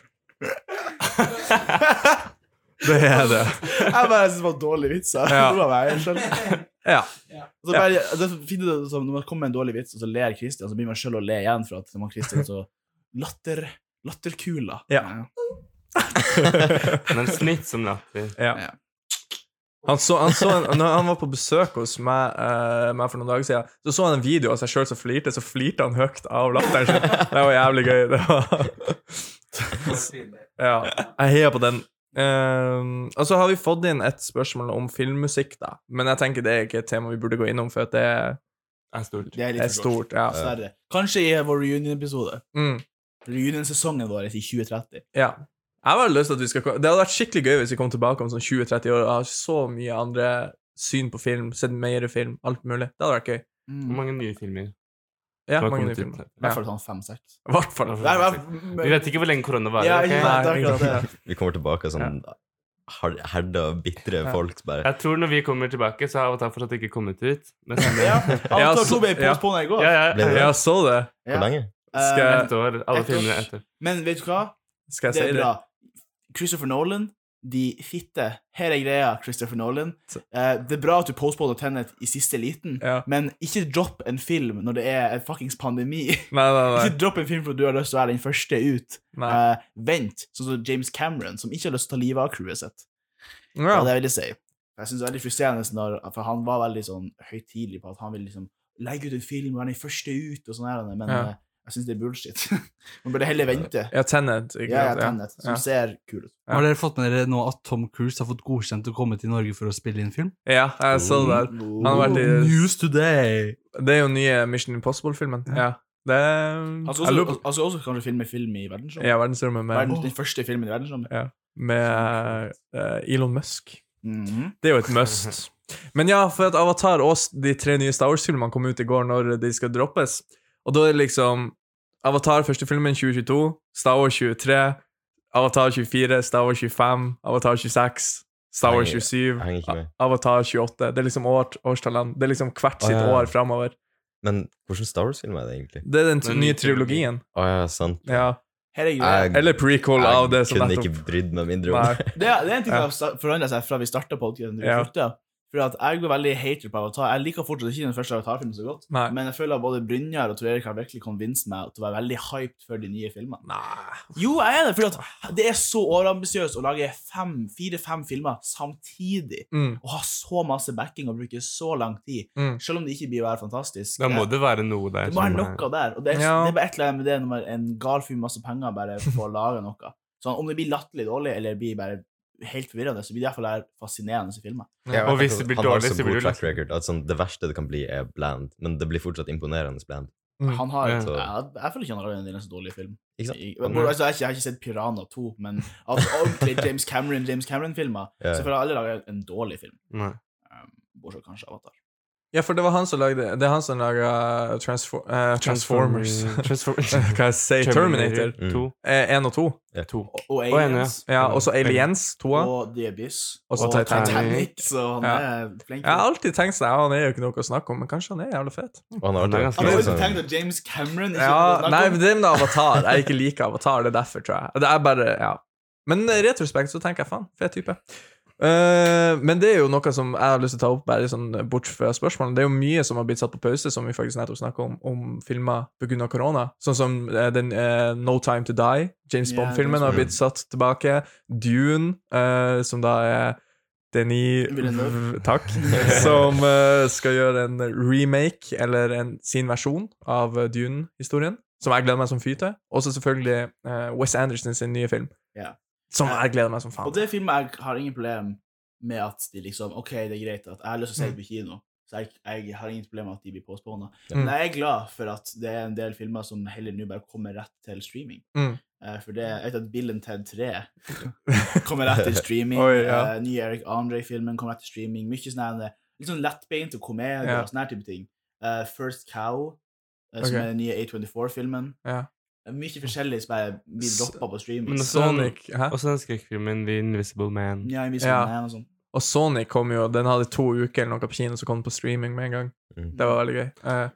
S1: Det er det.
S2: Jeg bare synes det var dårlig vits. Jeg.
S1: Ja.
S2: Det var meg, jeg skjønner.
S1: Ja.
S2: Så bare, det er fint det, som når man kommer med en dårlig vits, og så ler Christian, så begynner man selv å le igjen for at man Christian er så latter, latterkula.
S1: Ja.
S3: Men smittsom latter.
S1: Ja.
S2: Ja.
S1: Han, så, han, så en, når han var på besøk hos meg, eh, meg for noen dager siden, så så han en video av seg sjøl som flirte, så flirte han høyt av latteren sin. Det var jævlig gøy. Det var Ja. Jeg heier på den. Eh, og så har vi fått inn et spørsmål om filmmusikk, da. Men jeg tenker det er ikke et tema vi burde gå innom, for at det er,
S3: er stort.
S2: Det er
S1: er
S2: litt for godt.
S1: stort. Ja.
S2: Dessverre. Kanskje i vår reunion-episode.
S1: Mm,
S2: Reunion-sesongen vår i 2030.
S1: ja. Jeg har veldig lyst til at vi skal ko- Det hadde vært skikkelig gøy hvis vi kom tilbake om sånn 20-30 år og har så mye andre syn på film, sett mer film, alt mulig. Det hadde vært gøy.
S3: Hvor
S2: Mm.
S3: mange nye filmer?
S1: Ja,
S3: som har
S1: mange
S3: kommet
S1: nye filmer.
S3: ut?
S2: I hvert fall sånn fem-seks.
S1: I hvert fall.
S3: Nei, Vi vet ikke hvor lenge korona varer.
S2: Ja,
S3: ok?
S2: ikke sant, det er akkurat det.
S4: Vi kommer tilbake som har- herda og bitre
S1: Ja.
S4: folk. Bare.
S3: Jeg tror når vi kommer tilbake, så har Avatar fortsatt ikke kommet ut. Men
S2: Ja,
S1: Ja,
S2: Antar
S1: så-
S2: to ble
S1: ja.
S2: postpone i går.
S3: ja, ja,
S4: Ble det?
S1: Ja, så det.
S2: Ja.
S4: Hvor lenge?
S1: Skal
S2: Eh,
S1: jeg,
S3: ett år. Alle
S2: Ett år.
S3: filmene etter.
S2: Men vet du hva?
S1: skal jeg
S2: Det
S1: si
S2: er
S1: det?
S2: bra. Christopher Nolan, de fitte. Her er greia, Christopher Nolan. Eh, det er bra at du postponer Tenet i siste liten,
S1: Ja.
S2: men ikke dropp en film når det er en fuckings pandemi.
S1: Nei, nei, nei.
S2: ikke dropp en film fordi du har lyst til å være den første ut.
S1: nei.
S2: Eh, vent, sånn som James Cameron, som ikke har lyst til å ta livet av crewet sitt.
S1: Ja.
S2: Ja. Det vil jeg si. Jeg synes det er veldig frustrerende, når, for han var veldig sånn høytidelig på at han ville liksom legge ut en film og være den første ut, og sånn her, men
S1: Ja.
S2: eh, jeg syns det er bullshit. Man burde heller vente.
S1: Ja, Tenet. Ikke
S2: Ja, ja,
S1: sant? Ja.
S2: Tenet, som ser kul ut.
S1: Ja.
S5: Har dere fått med dere nå at Tom Cruise har fått godkjent å komme til Norge for å spille inn film?
S1: ja, jeg så det. der.
S2: Han
S1: har vært i-
S5: News today!
S1: Det er jo nye Mission Impossible-filmen. Ja. Det
S2: Han skal
S1: Jeg lurer på-
S2: Altså, også, han skal også kanskje filme film i verdensrommet.
S1: Ja, verdensrommet med,
S2: Verden, den første filmen i verdensrommet.
S1: med eh, Elon Musk.
S2: Mhm.
S1: Det er jo et must. Men ja, for at Avatar og s- de tre nye Star Wars-filmene kom ut i går når de skal droppes. Og da er det liksom Avatar første filmen 2022, Star Wars 23, Avatar 24, Star Wars 25, Avatar 26, Star Wars
S4: Jeg-
S1: 27,
S4: jeg henger ikke med.
S1: A- Avatar 28. Det er liksom år, årstallene. Det er liksom hvert
S4: Å,
S1: sitt
S4: ja, ja.
S1: år framover.
S4: Men hvordan Star Wars-film er det egentlig?
S1: Det er den t
S3: Den
S1: nye
S3: nye
S1: trilogien.
S4: Å ja, sant.
S1: Ja.
S2: Her er greia.
S4: Jeg,
S1: Eller prequel av det
S4: jeg
S1: som
S4: kunne ikke
S1: nettopp
S4: brydd meg mindre om
S1: Nei.
S4: det.
S2: Det, er- det er en ting
S1: Ja.
S2: som har forandra seg fra vi starta podkasten til vi
S1: Ja.
S2: slutta. For at jeg går veldig hater på Avatar. Jeg liker fortsatt ikke den første Avatar-filmen så godt.
S1: Nei.
S2: Men jeg føler at både Brynjar og Tor Erik har virkelig convinced meg til å være veldig hyped for de nye filmene.
S1: Nei.
S2: Jo, jeg er det, for at det er så overambisiøst å lage fem- fire-fem filmer samtidig.
S1: Mm,
S2: Å ha så masse backing og bruke så lang tid,
S1: mm.
S2: selv om det ikke blir å være fantastisk.
S3: Da må det være noe der.
S2: Det må være
S3: som er-
S2: noe der. Og det er,
S1: Ja.
S2: det er bare et eller annet med det når man- en gal fyr med masse penger bare får lage noe. Sånn, om det blir latterlig dårlig, eller blir bare helt forvirrende, så blir det i hvert fall her fascinerende filmer.
S3: og hvis det blir
S4: Han har
S3: dårlig,
S4: så
S3: så blir
S4: god
S3: det
S4: track
S3: liksom-
S4: record at sånn, det verste det kan bli, er bland, men det blir fortsatt imponerende bland.
S1: Mm.
S2: Han har,
S3: Ja.
S2: jeg, jeg føler ikke han har laget en eneste dårlig film.
S4: Ikke
S2: I-
S4: sant?
S2: Jeg, altså, jeg, har ikke- jeg har ikke sett Piranha 2, men av ordentlige James Cameron James Cameron-filmer
S4: Ja.
S2: så føler jeg alle lager en dårlig film.
S3: Nei.
S2: Um, bortsett kanskje Avatar.
S1: Ja, for det var han som lagde Det er han som laga Transfor eh, Transformers.
S3: Transformers.
S1: Hva jeg sier Terminator.
S4: Mm.
S3: 2.
S1: Eh, Én og to.
S3: To.
S2: Og, og
S3: enig,
S2: Aliens.
S1: Ja, og så Aliens, toa.
S2: Og The Abyss.
S1: Og så
S2: og
S1: Titanic.
S2: Titanic. Så han
S1: Ja.
S2: er flink.
S1: Jeg har alltid tenkt sånn, ja, han er jo ikke noe å snakke om, men kanskje han er jævlig fet.
S4: Og han har
S3: Han er
S2: Han
S4: alltid
S2: har
S4: vært
S3: ganske-
S2: jo
S4: sånn-
S2: tenkt at James Cameron ikke
S1: Ja,
S2: snakker
S1: nei,
S2: om-
S1: men det er med avatar. Jeg ikke liker avatar, det er derfor, tror jeg. Det er bare, ja. Men i retrospekt så tenker jeg, faen, fet type. Eh, men det er jo noe som jeg har lyst til å ta opp, bare sånn eh, bort fra spørsmålene. Det er jo mye som har blitt satt på pause, som vi faktisk nettopp snakket om, om filmer pga. korona. Sånn som eh, den eh, No Time To Die, James
S2: Ja,
S1: Bond-filmen,
S2: James
S1: har blitt satt tilbake. Dune, eh, som da er Denis
S2: Villeneuve.
S1: Takk. Som eh, skal gjøre en remake, eller en, sin versjon, av eh, Dune-historien. Som jeg gleder meg som fy til. Og så selvfølgelig eh, Wes Anderson sin nye film.
S2: Ja.
S1: Som jeg gleder meg som faen
S2: Og det filmet jeg har ingen problem med at de liksom OK, det er greit at jeg har lyst til å se
S1: Mm.
S2: det på kino, så jeg, jeg har ingen problem med at de blir postpona.
S1: Mm.
S2: Men jeg er glad for at det er en del filmer som heller nå bare kommer rett til streaming.
S1: Mm.
S2: Eh, For det jeg vet at Bill and Ted 3 kommer rett til streaming.
S1: Oi, ja.
S2: eh, nye Eric Andre-filmen kommer rett til streaming. Mye sånn her, litt sånn lettbeint og komedie
S1: Ja.
S2: og sånne her type ting. Eh, First Cow, eh, som
S1: Ok.
S2: er den nye A24-filmen.
S1: Ja.
S2: Mye forskjellig som bare blir
S1: S-
S2: droppa på streaming.
S3: Men også-
S1: Sonic, hæ?
S3: Og så den skrekkfilmen The Invisible Man.
S2: Ja, jeg viser
S1: Ja.
S2: den her og sånn.
S1: Og Sonic kom jo, den hadde to uker eller noe på kino, så kom den på streaming med en gang.
S4: Mm.
S1: Det var veldig gøy. Eh,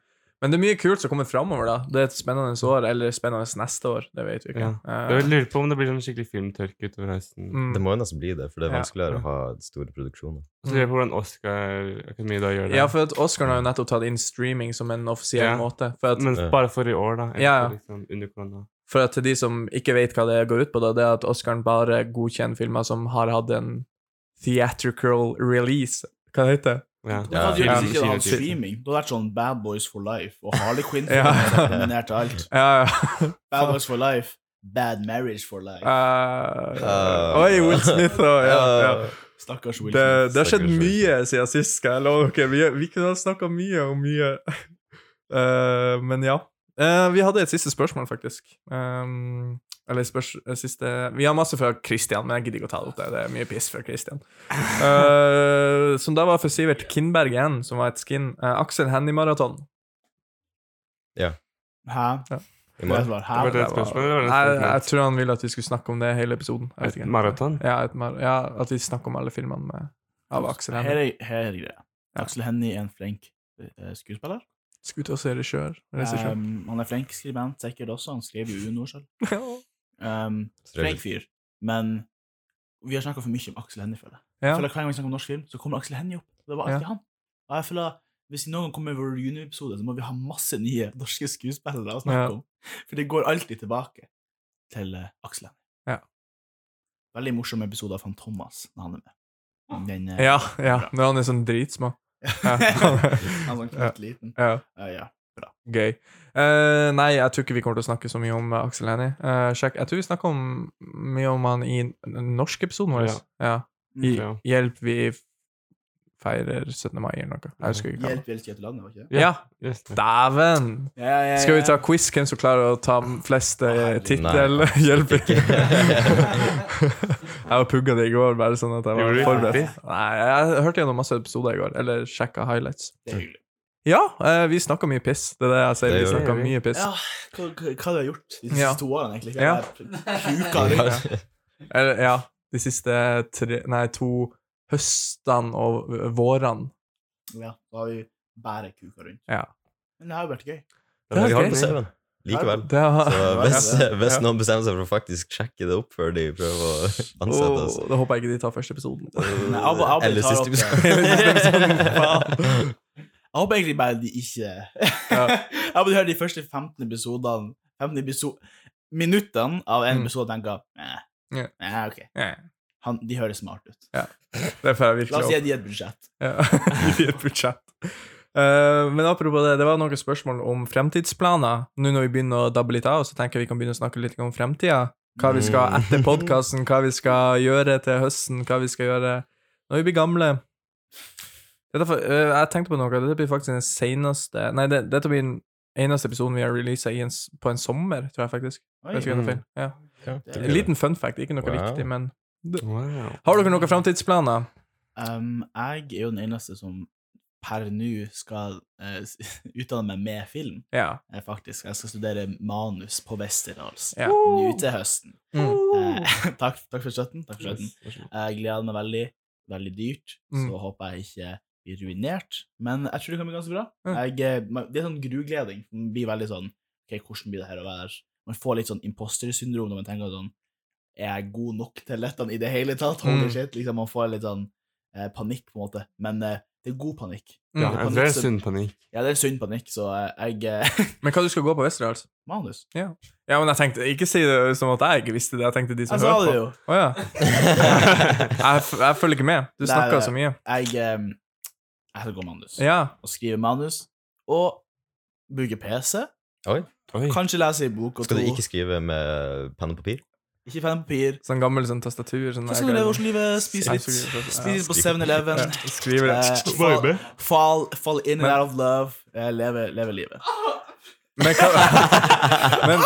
S1: men det er mye kult som kommer framover, da. Det er et spennende år, eller spennende neste år. Det vet vi ikke. Eh,
S3: Jeg lurer på om det blir sånn skikkelig filmtørke utover høsten.
S1: mm.
S4: Det må jo nesten bli det, for det er
S1: Ja.
S4: vanskeligere å ha store produksjoner.
S3: Så lurer jeg på hvordan Oscar-akademiet da gjør det.
S1: Ja, for at Oscaren har jo nettopp tatt inn streaming som en offisiell
S3: Ja.
S1: måte. For at
S3: Men
S4: Ja.
S3: bare for i år, da.
S1: Ja, ja.
S3: Etter, liksom, under korona.
S1: For at til de som ikke vet hva det går ut på, da, det er at Oscaren bare godkjenner filmer som har hatt en theatrical release. Hva det heter det?
S3: Ja.
S2: Da
S1: Ja.
S2: hadde jo ikke hatt
S3: Kino-
S2: streaming. Da hadde det vært sånn Bad Boys for Life og Harley Quinn.
S1: Ja.
S2: Nominert til alt.
S1: Ja, Eh, ja.
S2: Bad Boys for Life, Bad Marriage for Life.
S1: Eh,
S4: Ah.
S1: Oi, Will Smith og ja, ja.
S2: Stakkars Will
S1: Det,
S2: Smith.
S1: det har skjedd
S4: Stakkars Will
S1: mye siden sist, skal jeg love dere. Vi, vi kunne ha snakka mye om mye. Eh, men ja. Eh, vi hadde et siste spørsmål, faktisk. Um, eller spørs, eh, siste Vi har masse fra Christian, men jeg gidder ikke å ta det opp. Det, det er mye piss fra Christian. Eh, som da var for Sivert Kindberg igjen, som var et skin. Eh, Aksel Hennie-maraton.
S2: Hæ?
S4: I
S2: Det
S4: morgen.
S2: var
S3: Det var
S2: hæ?
S3: det et spørsmål, eller var det et
S1: Jeg, jeg
S3: statement?
S1: tror han ville at vi skulle snakke om det hele episoden. Jeg vet
S3: Et
S1: ikke.
S3: maraton?
S1: Ja, et mar ja, at vi snakker om alle filmene med, av Aksel
S2: Her
S1: Hennie.
S2: er, her er greia. Aksel Hennie er en flink eh, skuespiller.
S1: Skutt og regissør. regissør.
S2: Um, han er flink skribent sikkert også. Han skrev jo Uno selv. Um,
S4: Så det
S2: flink
S4: er-
S2: fyr. Men vi har snakka for mye om Aksel Hennie, føler jeg.
S1: Ja.
S2: Jeg føler Hver gang vi snakker om norsk film, så kommer Aksel Hennie opp. Det var alltid
S1: Ja.
S2: han. Og jeg føler Hvis vi noen gang kommer med vår Reunion-episode, så må vi ha masse nye norske skuespillere å snakke
S1: Ja.
S2: om. For det går alltid tilbake til eh, Aksel Hennie.
S1: Ja.
S2: Veldig morsom episode av Fantomas når han er med. Den, eh,
S1: Ja, ja. Når han er sånn dritsmå. Ja.
S2: han er sånn knøtt liten.
S1: ja.
S2: Eh, ja.
S1: Gøy. Eh, nei, jeg tror ikke vi kommer til å snakke så mye om eh, Aksel Hennie. Eh, sjekk- jeg tror vi snakker om, mye om han i den norske episoden vår. Ja.
S2: Mm.
S1: I,
S3: Ja.
S1: Hjelp, vi feirer 17. mai eller noe. Jeg husker ikke hva. det var.
S2: Hjelp, hjelp, hjelp landet, var ikke det?
S1: Ja,
S3: Yes, det.
S1: dæven!
S2: Ja, ja, ja,
S1: Skal vi ta
S2: ja.
S1: quiz hvem som klarer å ta flest eh,
S2: Herregud.
S1: tittel? Hjelp! jeg var pugga det i går, bare sånn at jeg var
S3: Gjorde du
S1: forberedt. Nei, jeg hørte gjennom masse episoder i går, eller sjekka highlights.
S2: Det er hyggelig.
S1: Ja, eh, vi snakka mye piss. Det er det jeg sier.
S4: Det
S1: Vi
S4: gjør
S1: snakka
S3: vi.
S1: mye piss.
S2: Ja, hva, hva, hva du har gjort de siste
S1: Ja.
S2: to årene, egentlig? Hva
S1: Ja.
S2: er det? Kuka det?
S1: Eller, ja, de siste tre, nei, to høstene og v- vårene.
S2: Ja, da har vi bare kuka rundt.
S1: Ja.
S2: Men det har jo vært gøy.
S1: Det er
S4: Vi har
S1: gøy.
S4: den sauen. likevel.
S1: Det har,
S4: Så
S2: Ja,
S4: hvis,
S2: ja,
S4: hvis
S1: ja.
S4: noen bestemmer seg for å faktisk sjekke det opp før de prøver å ansette oss
S1: Åh, da håper jeg ikke de tar første episoden.
S2: Nei, Abu- Abu
S4: Eller
S2: tar
S4: siste
S2: opp,
S4: episode.
S1: liksom.
S2: eh,
S1: Faen.
S2: Jeg håper egentlig bare de ikke
S1: Ja.
S2: Jeg håper du hører de første 15 episodene 15 episo minuttene av en
S1: Mm.
S2: episode og tenker eh,
S1: Ja.
S2: eh, ok,
S1: Ja,
S2: Han, de høres smart ut.
S1: det får jeg virkelig
S2: La oss
S1: håpe.
S2: gi de et budsjett.
S1: Ja, i et budsjett. Eh, men apropos det, det var noen spørsmål om fremtidsplaner. Nå når vi begynner å dabbe litt av, så tenker jeg vi kan begynne å snakke litt om fremtida. Hva vi skal
S4: Mm.
S1: etter podkasten, hva vi skal gjøre til høsten, hva vi skal gjøre når vi blir gamle. Dette, for- eh, jeg tenkte på noe, dette blir faktisk den seneste Nei, det, dette blir den eneste episoden vi har releasa på en sommer, tror jeg faktisk.
S2: Oi,
S1: Vet ikke om det er feil. Ja.
S2: det-
S1: En liten fun fact, ikke noe
S4: Wow.
S1: riktig, men
S3: Wow.
S1: Har dere noen fremtidsplaner?
S2: Um, jeg er jo den eneste som per nå skal eh, utdanne meg med film,
S1: Ja.
S2: eh, faktisk. Jeg skal studere manus på Westerdals
S1: Ja.
S2: nå til høsten.
S1: Mm.
S2: Eh, takk, takk for støtten. Takk for støtten. Jeg gleder meg veldig. Veldig dyrt.
S1: Mm.
S2: Så håper jeg ikke blir ruinert. Men jeg tror det kan bli ganske bra.
S1: Ja.
S2: Jeg, eh, man- det er sånn grugleding. Man blir veldig sånn Ok, hvordan blir det her å være Man får litt sånn impostersyndrom når man tenker sånn Er jeg god nok til dette i det hele tatt? Holy
S1: Mm.
S2: shit. Liksom, man får litt sånn eh, panikk, på en måte. Men eh, det er god panikk.
S3: Ja,
S1: Mm.
S3: jeg tror det er sunn panikk.
S2: Ja, det er sunn panikk, så eh, jeg eh,
S1: Men hva du skal gå på altså? Westerdals?
S2: Manus.
S1: Ja, men jeg tenkte, Ikke si det som at jeg ikke visste det. Jeg tenkte de som
S2: Jeg sa
S1: hører
S2: det
S1: på.
S2: jo.
S1: Å ja. jeg, f jeg følger ikke med. Du
S2: Nei,
S1: snakker
S2: nei.
S1: så mye.
S2: Jeg, eh, jeg skal gå manus.
S1: Ja.
S2: Og skrive manus. Og bruke PC.
S3: Oi.
S2: Kanskje lese ei bok og
S4: Skal
S2: to.
S4: du ikke skrive med penn og papir?
S2: Ikke penn og papir.
S1: Sånn gammel sånn tastatur. Sånn
S2: Hva skal du leve hvordan livet? Spise litt, spise
S1: Skriver
S2: litt på 7-Eleven.
S1: Skriver
S2: Eh,
S1: det.
S2: fall, fall, fall in and
S1: Men-
S2: out of love. Eh, leve, leve livet.
S1: Men, hva, men,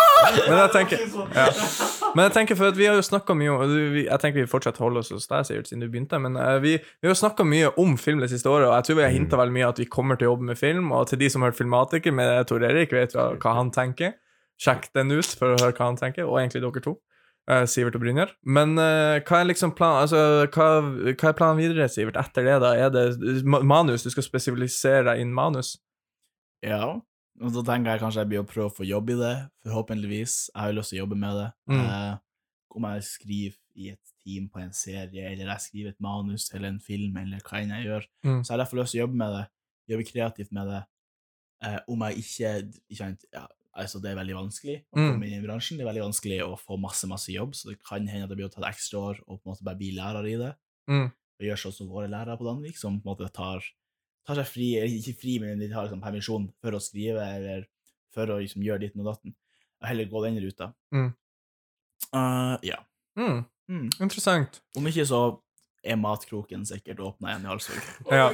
S1: men jeg tenker ja. Men jeg tenker, for at vi har jo snakka mye om og du- vi- Jeg tenker vi fortsatt holder oss hos deg, Sivert, siden du begynte. Men eh, vi, vi har jo snakka mye om film det siste året, og jeg tror vi har hinta veldig mye at vi kommer til å jobbe med film. Og til de som har hørt Filmatiker med Tor Erik, vet hva, hva han tenker. Sjekk den ut for å høre hva han tenker, og egentlig dere to. eh, Sivert og Brynjar. Men eh, hva er liksom plan, altså, hva, hva er planen videre, Sivert, etter det? da? Er det ma- manus? Du skal spesialisere deg innen manus?
S2: Ja. Og da tenker jeg kanskje jeg blir å prøve å få jobb i det. Forhåpentligvis. Jeg har jo lyst til å jobbe med det.
S1: Mm.
S2: Eh, om jeg skriver i et team på en serie, eller jeg skriver et manus eller en film, eller hva enn jeg gjør,
S1: Mm.
S2: så jeg har derfor lyst til å jobbe med det. Jobbe kreativt med det. Eh, om jeg ikke, ikke sant, ja, altså Det er veldig vanskelig å
S1: Mm.
S2: komme inn i bransjen. Det er veldig vanskelig å få masse masse jobb, så det kan hende at det blir å ta et ekstra år og på en måte bare bli lærer i det.
S1: Mm.
S2: Og gjør sånn som våre lærere på Danvik, som på en måte tar, tar seg fri, eller ikke fri, men de tar liksom permisjon for å skrive eller for å liksom gjøre ditten og datten. Og heller gå den ruta.
S1: Mm.
S2: Eh, ja.
S1: Mm.
S2: Mm.
S1: Interessant.
S2: Om ikke så er matkroken sikkert åpna igjen i Halsvåg.
S1: Ja,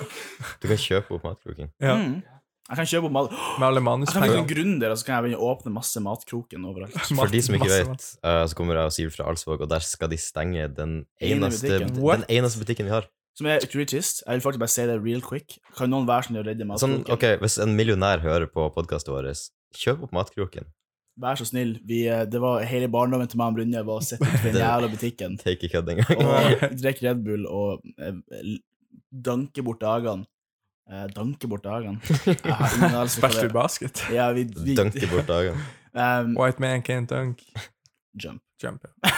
S4: Du kan kjøpe opp matkroken.
S1: Ja.
S2: Mm. Jeg kan kjøpe opp mat
S1: Med alle
S2: Jeg kan bli
S1: manuspengene.
S2: sånn gründer, og så kan jeg begynne å åpne masse matkroken overalt.
S4: For de som ikke
S1: Masse-
S4: vet, eh, så kommer jeg og Sivert fra Alsvåg, og der skal de stenge den
S2: Ene
S4: eneste,
S2: butikken.
S1: What?
S4: den eneste butikken vi har.
S2: Som er utrolig trist. Jeg vil faktisk bare si det real quick. Kan noen være snill å redde
S4: Sånn,
S2: matkroken?
S4: ok, Hvis en millionær hører på podkastet vårt, kjøp opp matkroken.
S2: Vær så snill. Vi, eh, det var hele barndommen til meg og Brynjar var å sitte i den
S4: Det-
S2: jævla butikken
S4: Det er ikke kødd engang.
S2: og drikke Red Bull og eh, l- danke bort dagene. Eh, danke bort dagene. Jeg har ingen anelse på
S1: Bash to
S2: det.
S1: basket.
S2: Ja, vi, vi
S4: Dunke bort dagene.
S2: Um,
S1: White man can't dunk.
S2: jump.
S1: Jump. ja.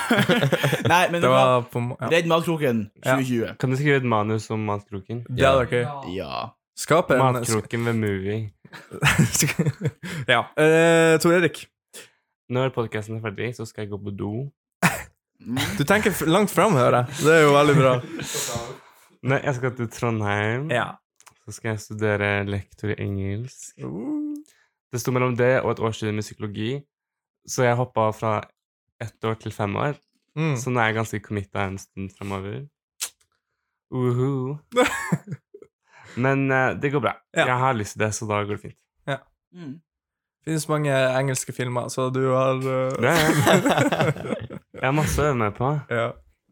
S2: Nei, men
S1: Det var på må- ja.
S2: Redd matkroken 2020.
S3: Kan du skrive et manus om matkroken?
S1: Det hadde vært gøy.
S2: Ja.
S1: Skap en
S3: Matkroken ved movie.
S1: Ja. Eh, Tor Erik,
S3: Når podkasten er ferdig, så skal jeg gå på do.
S2: Mm.
S1: du tenker f- langt fram, hører jeg. Det er jo veldig bra.
S3: Nei, jeg skal til Trondheim.
S1: Ja.
S3: Så skal jeg studere lektor i engelsk.
S1: Uh,
S3: Det sto mellom det og et årsstudium i psykologi, så jeg hoppa fra ett år til fem år.
S1: Mm.
S3: Så nå er jeg ganske committa en stund framover. Uhu. Men eh, det går bra.
S1: Ja.
S3: Jeg har lyst til det, så da går det fint.
S2: Mm.
S1: Finnes mange engelske filmer, så du har
S3: Det
S1: eh,
S3: er, jeg har masse å øve meg på.
S1: Ja.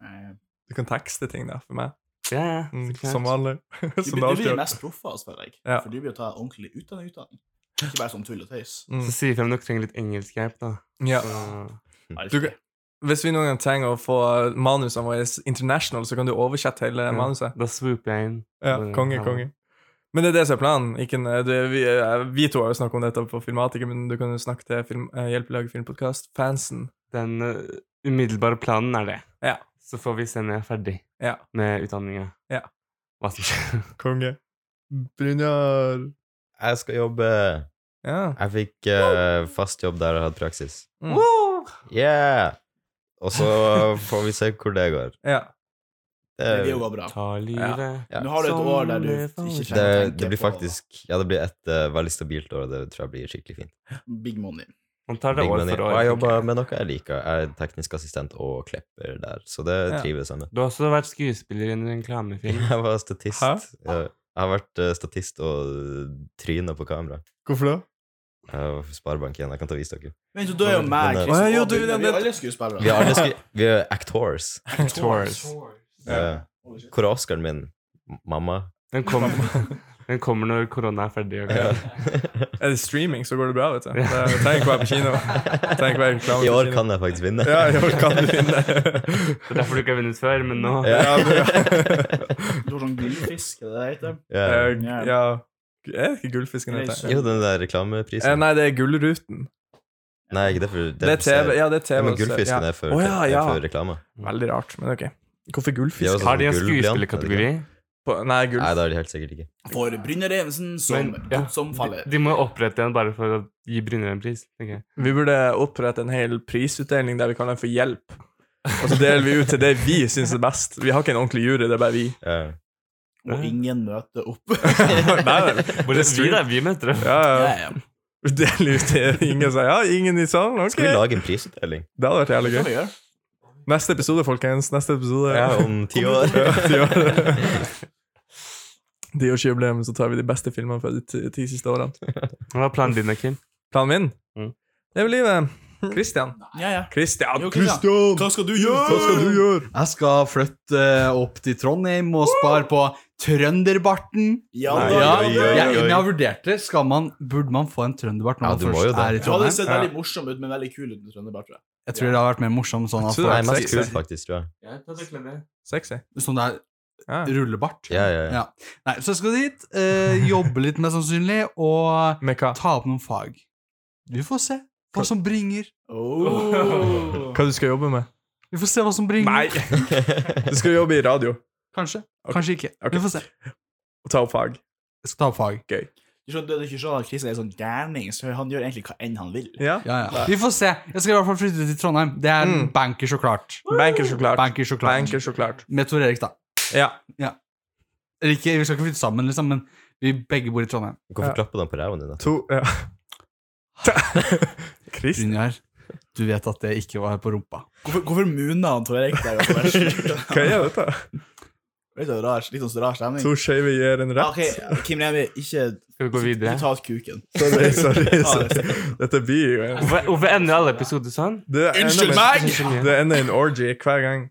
S2: Eh,
S1: Du kan tekste ting der for meg.
S3: Ja, ja, så
S1: Mm,
S3: klart.
S1: som vanlig. Som
S2: Du, blir-
S1: det
S2: du
S1: alltid
S2: blir
S1: gjør.
S2: mest proff av oss, føler jeg.
S1: Sånn Ja.
S2: For du blir jo ta ordentlig utdanning. utdanning. Ikke bare sånn tull og tøys.
S1: Mm.
S3: Så si ifra om dere trenger litt engelskhjelp, da.
S1: Ja.
S3: Så-
S1: Du kan- Hvis vi noen gang trenger å få manusene våre international, så kan du oversette hele
S3: Ja.
S1: manuset.
S3: Da swooper jeg inn.
S1: Ja,
S3: Bare-
S1: konge,
S3: ja.
S1: konge. Men det er det som er planen. Ikke, en- det, vi, eh, vi to har jo snakket om dette på Filmatiker, men du kan jo snakke til film, eh, Hjelpelaget Filmpodkast, fansen.
S3: Den eh, umiddelbare planen er det.
S1: Ja.
S3: Så får vi se når jeg er ferdig
S1: Ja.
S3: med utdanninga.
S1: Ja.
S3: Hva som skjer.
S1: Konge. Brynjar.
S4: Jeg skal jobbe
S1: Ja.
S4: Jeg fikk eh, fast jobb der jeg hadde praksis.
S1: Mm.
S4: Yeah! Og så får vi se hvor det går.
S1: ja.
S4: Det,
S2: Det vil jo gå bra.
S3: Ta livet
S4: Eh, Ja.
S2: Nå har du et år der du ikke
S4: det,
S2: trenger å tenke
S4: det blir
S2: på
S4: faktisk Ja, det blir et eh, veldig stabilt år, og det tror jeg blir skikkelig fint.
S2: big money.
S3: Man tar det
S4: Big
S3: år
S4: money.
S3: for
S4: og
S3: år.
S4: jeg
S3: tenker
S4: jobber
S3: jeg.
S4: med noe jeg liker. Jeg er teknisk assistent og klepper der, så det
S1: Ja.
S4: trives jeg med.
S3: Du har også vært skuespiller i en reklamefilm.
S4: Jeg var statist.
S1: Hæ?
S4: Eh, Jeg har vært eh, statist og tryna på kamera.
S1: Hvorfor da?
S4: Jeg var fra Sparebank1. Jeg kan ta og vise dere.
S2: Men så da er jo meg,
S1: Å,
S4: Men, eh,
S1: ja,
S2: Christian
S1: jo,
S2: og
S1: du,
S2: Birger,
S1: den-
S2: Vi er
S1: den-
S2: alle skuespillere.
S4: Vi er, alle skri vi er actors.
S3: Tours.
S4: Eh, Hvor er Oscaren min? M- Mamma.
S3: Den, kom, den kommer når korona er ferdig. og
S4: Ja.
S3: greier.
S1: Er det streaming, så går det bra, vet du. Det er- Trenger ikke være på kino. Trenger ikke være reklame
S4: I
S1: på
S4: år
S1: kino.
S4: kan jeg faktisk vinne.
S1: Ja, i år kan du vinne.
S3: Det er derfor du ikke har vunnet før, men nå
S1: Ja,
S4: Ja.
S2: Du har sånn gullfisk, er det det heter?
S4: Ja.
S1: Eh, ja. Er det ikke Gullfisken
S2: Nei,
S1: heter?
S4: Jo, den der
S1: Eh,
S4: reklameprisen.
S1: nei, det er Gullruten.
S4: Nei, ikke det er for
S1: Det er TV. Ja, det er TV.
S4: Men
S1: også,
S4: gullfisken
S1: ja.
S4: er for,
S1: Å, ja, ja.
S4: er for reklame.
S1: Veldig rart, men ok. Hvorfor
S4: Ja,
S1: gullfisk?
S4: altså-
S3: har de en
S4: Gull, Jan,
S3: skuespillerkategori.
S1: På- Nei, gull...
S4: Nei, det har de helt sikkert ikke.
S2: For Brynjar Evensen som,
S3: Men, ja.
S2: som faller.
S3: De må jo opprette en bare for å gi Brynjar en pris. tenker jeg.
S1: Vi burde opprette en hel prisutdeling der vi kaller den for hjelp. Og så deler vi ut til det vi syns er best. Vi har ikke en ordentlig jury, det er bare vi.
S4: Ja.
S2: Og ingen møter opp.
S1: Nei, nei.
S3: Hvor er vi, da? Vi møter dem.
S1: Ja, ja.
S2: Ja, ja.
S1: Vi deler ut til ingen som Ja, ingen i salen? Ok.
S4: Skal vi lage en prisutdeling?
S1: Det hadde vært jævlig
S2: Det
S1: gøy.
S2: kan vi gjøre.
S1: Neste episode, folkens. Neste episode.
S4: Ja, om ti år.
S1: Tiårsjubileum, så tar vi de beste filmene fra de ti, ti siste årene.
S3: Hva er planen din, da, Kim?
S1: Planen min?
S3: Mm.
S1: Det er jo livet. Christian.
S2: Ja, ja.
S1: Christian!
S2: Jo, Christian.
S5: Christian!
S2: Hva skal du gjøre? Hva skal du gjøre?
S5: Jeg skal flytte eh, opp til Trondheim og spare på trønderbarten.
S2: Ja,
S4: Nei,
S2: da,
S4: oi,
S5: Ja,
S2: ja,
S4: oi,
S5: jeg,
S2: ja.
S5: men jeg har vurdert det. Skal man, burde man få en trønderbart når
S4: Ja,
S5: man
S4: du må jo
S5: først
S4: det.
S5: er
S2: Du
S5: i
S2: hadde
S5: Trondheim?
S2: sett veldig morsom ut, men veldig kul ut med Trøndeberg, tror jeg.
S5: Jeg tror det hadde vært mer morsomt sånn at
S1: Jeg tror
S4: Nei,
S5: folk-
S1: det
S4: mest
S1: Sexy.
S4: kult, faktisk, tror jeg.
S1: Sexy.
S5: sånn der
S1: Ja.
S5: rullebart.
S4: Ja, ja, ja.
S5: Ja. Nei, så jeg skal dit, eh, jobbe litt mer sannsynlig, og
S1: Med hva?
S5: ta opp noen fag. Vi får se hva som bringer.
S2: Oh.
S1: Hva du skal jobbe med?
S5: Vi får se hva som bringer.
S1: Nei! Du skal jobbe i radio
S5: Kanskje.
S1: Ok.
S5: Kanskje ikke.
S1: Ok.
S5: Vi får se.
S1: og ta opp fag.
S5: Jeg skal ta opp fag.
S2: Du skjønner, du ikke sånn at Christian er sånn gærning, så han gjør egentlig hva enn han vil.
S1: Ja.
S5: Ja, ja. Vi får se. Jeg skal i hvert fall flytte til Trondheim. Det er
S1: Mm.
S5: bankers og klart.
S1: Banker, så klart.
S5: Bankers og klart.
S1: Banker, så klart.
S5: Med Tor Erik, da.
S1: Ja.
S5: Eller ikke, vi skal ikke flytte sammen, liksom, men vi begge bor i Trondheim.
S4: Hvorfor
S1: Ja.
S4: klapper de på ræva di?
S1: To ja. Chris?
S5: Brynjar, du vet at det ikke var på rumpa.
S2: Hvorfor, hvorfor muna han Tor Erik der? og bare slutter?
S1: Hva er dette?
S2: Litt sånn rar, litt sånn rar stemning.
S1: To skeive gir en
S2: Ja,
S1: rett.
S2: ok, Kim Remi, ikke,
S3: Skal vi gå
S2: ikke
S3: videre?
S2: ta ut kuken.
S1: Sorry, sorry.
S2: Ja, det er
S1: sorry. Dette blir jo en
S3: Hvorfor hvorfor ender alle episoder sånn?
S1: Det ender
S2: Unnskyld
S1: med-
S2: meg!
S1: Det ender i en orgy hver gang.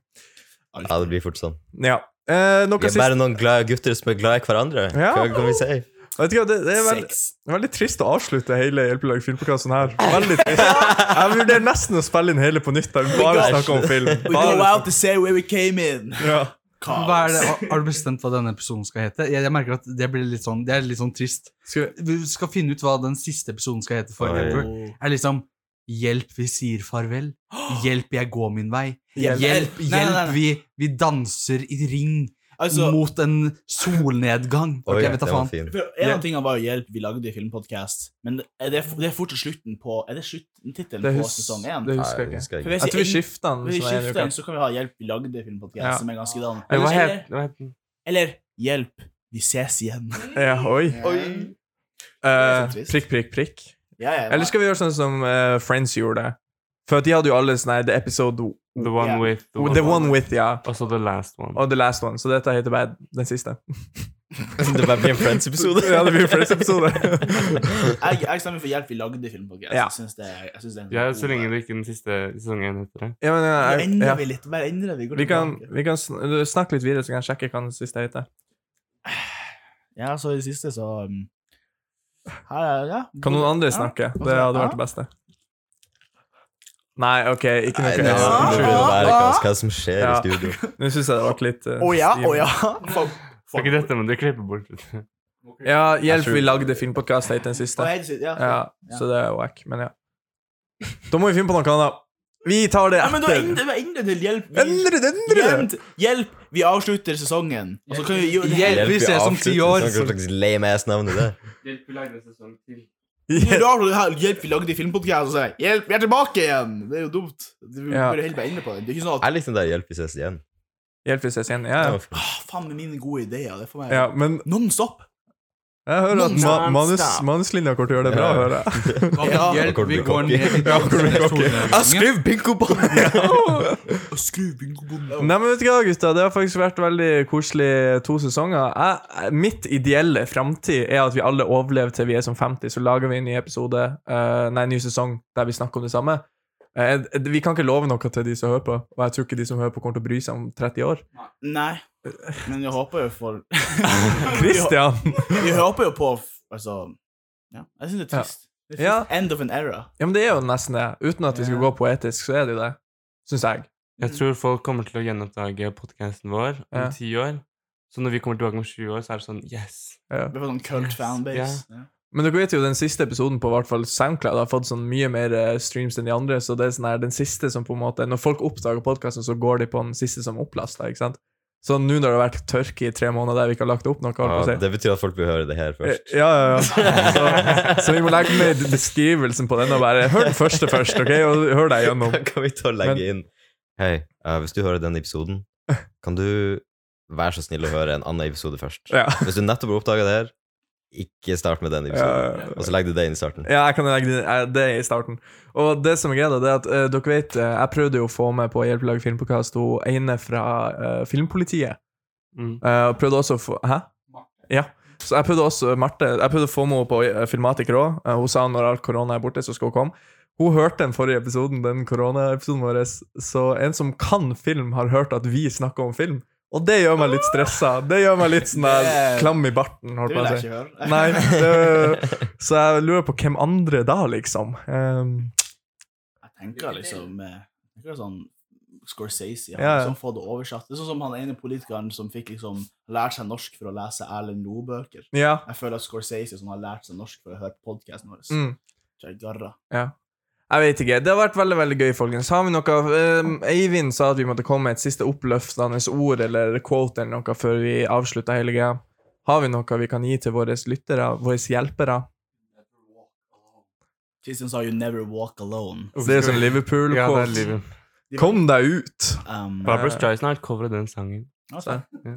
S4: Ja, det blir fort sånn.
S1: Ja. Eh, noe
S4: Vi er
S1: sist
S4: bare noen glade gutter som er glad i hverandre.
S1: Ja.
S4: Hva kan vi si?
S1: Vet du hva, det, det er veldig,
S2: Sex.
S1: veldig trist å avslutte hele Hjelpelag filmpodkasten her. Veldig trist. Jeg vurderer nesten å spille inn hele på nytt, der vi bare
S4: go-
S1: snakker om film.
S2: We go
S1: Bare,
S2: out the same way we came in.
S1: ja.
S5: Hva er det, har- har du bestemt hva denne episoden skal hete? Jeg, jeg merker at det blir litt sånn, det er litt sånn trist.
S1: Skal vi,
S5: Vi skal finne ut hva den siste episoden skal hete. for
S4: Oi.
S5: eksempel. Er liksom Hjelp, vi sier farvel. Hjelp, jeg går min vei.
S2: Hjelp.
S5: Hjelp, hjelp,
S2: Nei, nei, nei.
S5: Vi, vi danser i ring
S2: Altså,
S5: mot en solnedgang.
S4: Oi,
S5: Ok, jeg vet da
S4: den var
S5: faen.
S4: fin.
S2: for en av tingene var jo hjelp, vi lagde jo filmpodcast, men er det, det er fortsatt slutten på, er det slutten tittelen
S1: det,
S2: på
S1: hus,
S2: sesong 1?
S1: det
S4: Nei,
S1: husker jeg
S4: det
S1: ikke.
S4: husker
S2: For
S4: jeg ikke.
S2: hvis
S1: Jeg tror vi
S2: jeg-
S1: skifter den.
S2: Hvis vi
S1: som er en
S2: skifter
S1: uke.
S2: den, så kan vi ha hjelp, vi lagde filmpodcast,
S1: Ja.
S2: som er ganske da.
S3: Men Hva
S2: Eller,
S3: het
S2: eller,
S3: hva het den?
S2: eller hjelp, vi ses igjen.
S1: Ja, oi. Eh,
S2: er så trist.
S1: prikk, prikk, prikk.
S2: Ja, ja,
S1: Eller skal vi gjøre sånn som eh, Friends gjorde? For at de hadde jo alle sånn her The episode
S3: The one
S2: Ja.
S3: with
S1: The one with, ja.
S3: Og så The Last One.
S1: Og The last one. Så dette heter bare den siste.
S4: Det bare blir en Friends-episode.
S1: ja, det blir en Friends-episode.
S2: jeg, jeg stemmer for hjelp, vi lagde filmpodcast.
S1: Ja.
S2: Jeg synes det, er- jeg synes det er en
S3: Ja,
S2: god-
S3: så lenge det ikke den siste sesongen heter det.
S1: ja, men, ja,
S2: Nå
S1: jeg,
S2: endrer
S1: ja.
S2: vi litt, bare endrer vi. går
S1: Vi kan,
S2: tilbake.
S1: vi kan sn snakke litt videre, så kan jeg sjekke hva den siste heter.
S2: Ja, så i det siste så um, her, er- ja.
S1: Kan noen andre
S2: Ja.
S1: snakke? Det hadde vært det beste. Nei, OK, ikke
S4: Nei,
S1: noe.
S4: det
S1: Ja,
S4: er- det
S1: unnskyld.
S4: burde være hva- hva som skjer i
S1: Ja.
S4: studio.
S1: Nå syns jeg det ble litt eh,
S2: Å ja,
S1: stiv.
S2: å ja. Fuck,
S3: Det er
S2: fuck.
S3: ikke dette, men du klipper bort.
S1: Ja,
S4: Jeg
S1: hjelp,
S4: tror-
S1: vi lagde filmpodkast helt den
S2: Og
S1: siste.
S2: jeg, ja,
S1: Ja, så det er wack, men ja. Da må vi finne på noe annet. Vi tar det
S2: ja, men da
S1: etter.
S2: endre endre til hjelp. Vi,
S1: Endre det, endre det!
S2: hjelp, hjelp, vi avslutter sesongen. Og så kan vi gjøre det her.
S5: Hjelp. Vi ses om ti år.
S4: Hva sånn slags lame ass-navn er det?
S3: Hjelp, vi lagde en sesong til.
S2: Det er rart når det her, hjelp, vi lagde filmpodkast, og så er det, hjelp, vi er tilbake igjen! Det er jo dumt. Du
S1: Ja.
S2: bør heller bare endre på det. Det er ikke sånn at
S4: Jeg likte den der 'Hjelp, vi ses igjen'.
S1: Hjelp, vi ses igjen. Ja, ja.
S4: Den var fin.
S2: ah, Faen med mine gode ideer. Det får meg
S1: ja men
S2: Non stop!
S1: jeg hører at ma manus, manuslinja kommer til å gjøre det bra,
S4: Ja.
S1: hører jeg.
S2: Ja.
S5: Hjelp, vi går ned i
S1: Ja, kommer til å bli
S5: Skriv
S4: bingo på den!
S2: Skru bingo-bommen.
S1: Nei, men vet du hva, gutta? Det har faktisk vært veldig koselig to sesonger. Jeg, mitt ideelle framtid er at vi alle overlever til vi er som 50, så lager vi en ny episode, eh, nei, en ny sesong der vi snakker om det samme. Eh, vi kan ikke love noe til de som hører på, og jeg tror ikke de som hører på, kommer til å bry seg om 30 år.
S2: Nei. Men jeg håper jo for
S1: Christian!
S2: Vi håper jo på Altså Ja, jeg syns det er trist. Det er trist. End of an era.
S1: Ja, men det er jo nesten det. Uten at vi skal gå poetisk, så er det jo det. Syns jeg.
S3: Jeg tror folk kommer til å gjenoppdage podkasten vår om
S1: Ja.
S3: ti år. Så når vi kommer tilbake om 20 år, så er det sånn Yes!
S1: Ja.
S2: Vi får sånn cult
S3: Yes,
S2: fanbase. Ja.
S1: Men dere vet jo den siste episoden på hvert fall SoundCloud har fått sånn mye mer eh, streams enn de andre, så det er sånn her, den siste som på en måte Når folk oppdager podkasten, så går de på den siste som opplasta, ikke sant? Så nå når det har vært tørke i tre måneder der vi ikke har lagt opp noe, holdt på å si.
S4: Ja, det betyr at folk vil høre det her først.
S1: Ja, ja, ja. Så, så vi må legge med beskrivelsen på den og bare Hør den første først, OK? Og hør eh, deg gjennom.
S4: Kan- Kan vi ta og legge inn Hei, eh, hvis du hører den episoden, kan du være så snill å høre en annen episode først?
S1: Ja.
S4: Hvis du nettopp har oppdaga det her, ikke start med den episoden.
S1: Ja, ja, ja.
S4: Og så legg du det inn i starten.
S1: Ja, jeg kan legge det, eh, det i starten. Og det som er greia, da, det er at eh, dere vet eh, Jeg prøvde jo å få med på Hjelpelag Filmpodkast hun ene fra eh, Filmpolitiet.
S3: Mm.
S1: Eh, og prøvde også å få Hæ? Ja. Så jeg prøvde også Marte Jeg prøvde å få med henne på eh, Filmatiker òg. hun sa når all korona er borte, så skal hun komme. Hun hørte den forrige episoden, den koronaepisoden vår, så en som kan film, har hørt at vi snakker om film. Og det gjør meg litt stressa. Det gjør meg litt sånn der
S2: Det-
S1: klam i barten. holdt
S2: Det
S1: på å
S2: vil
S1: si.
S2: jeg ikke høre.
S1: Nei, det, så jeg lurer på hvem andre da, liksom. Ehm,
S2: Jeg tenker liksom eh, jeg tenker sånn Scorsese han
S1: Ja, ja.
S2: har liksom fått det oversatt. Det er sånn som han ene politikeren som fikk liksom lært seg norsk for å lese Erlend Loe-bøker.
S1: ja.
S2: Jeg føler at Scorsese som har lært seg norsk for å høre podkasten vår,
S1: Mm.
S2: tror jeg garra.
S1: Jeg vet ikke. Det har vært veldig veldig gøy, folkens. Har vi noe ehm, Eivind sa at vi måtte komme med et siste oppløftende ord eller quote eller noe før vi avslutta hele greia. Har vi noe vi kan gi til våre lyttere, våre hjelpere?
S2: Christian sa 'You never walk alone'.
S1: Så det er jo sånn
S3: Ja, det er
S1: Liverpool-quote.
S3: livet.
S1: Kom deg ut!
S2: Um,
S3: Barbara Streisand har covret den sangen.
S2: altså,
S3: Ja.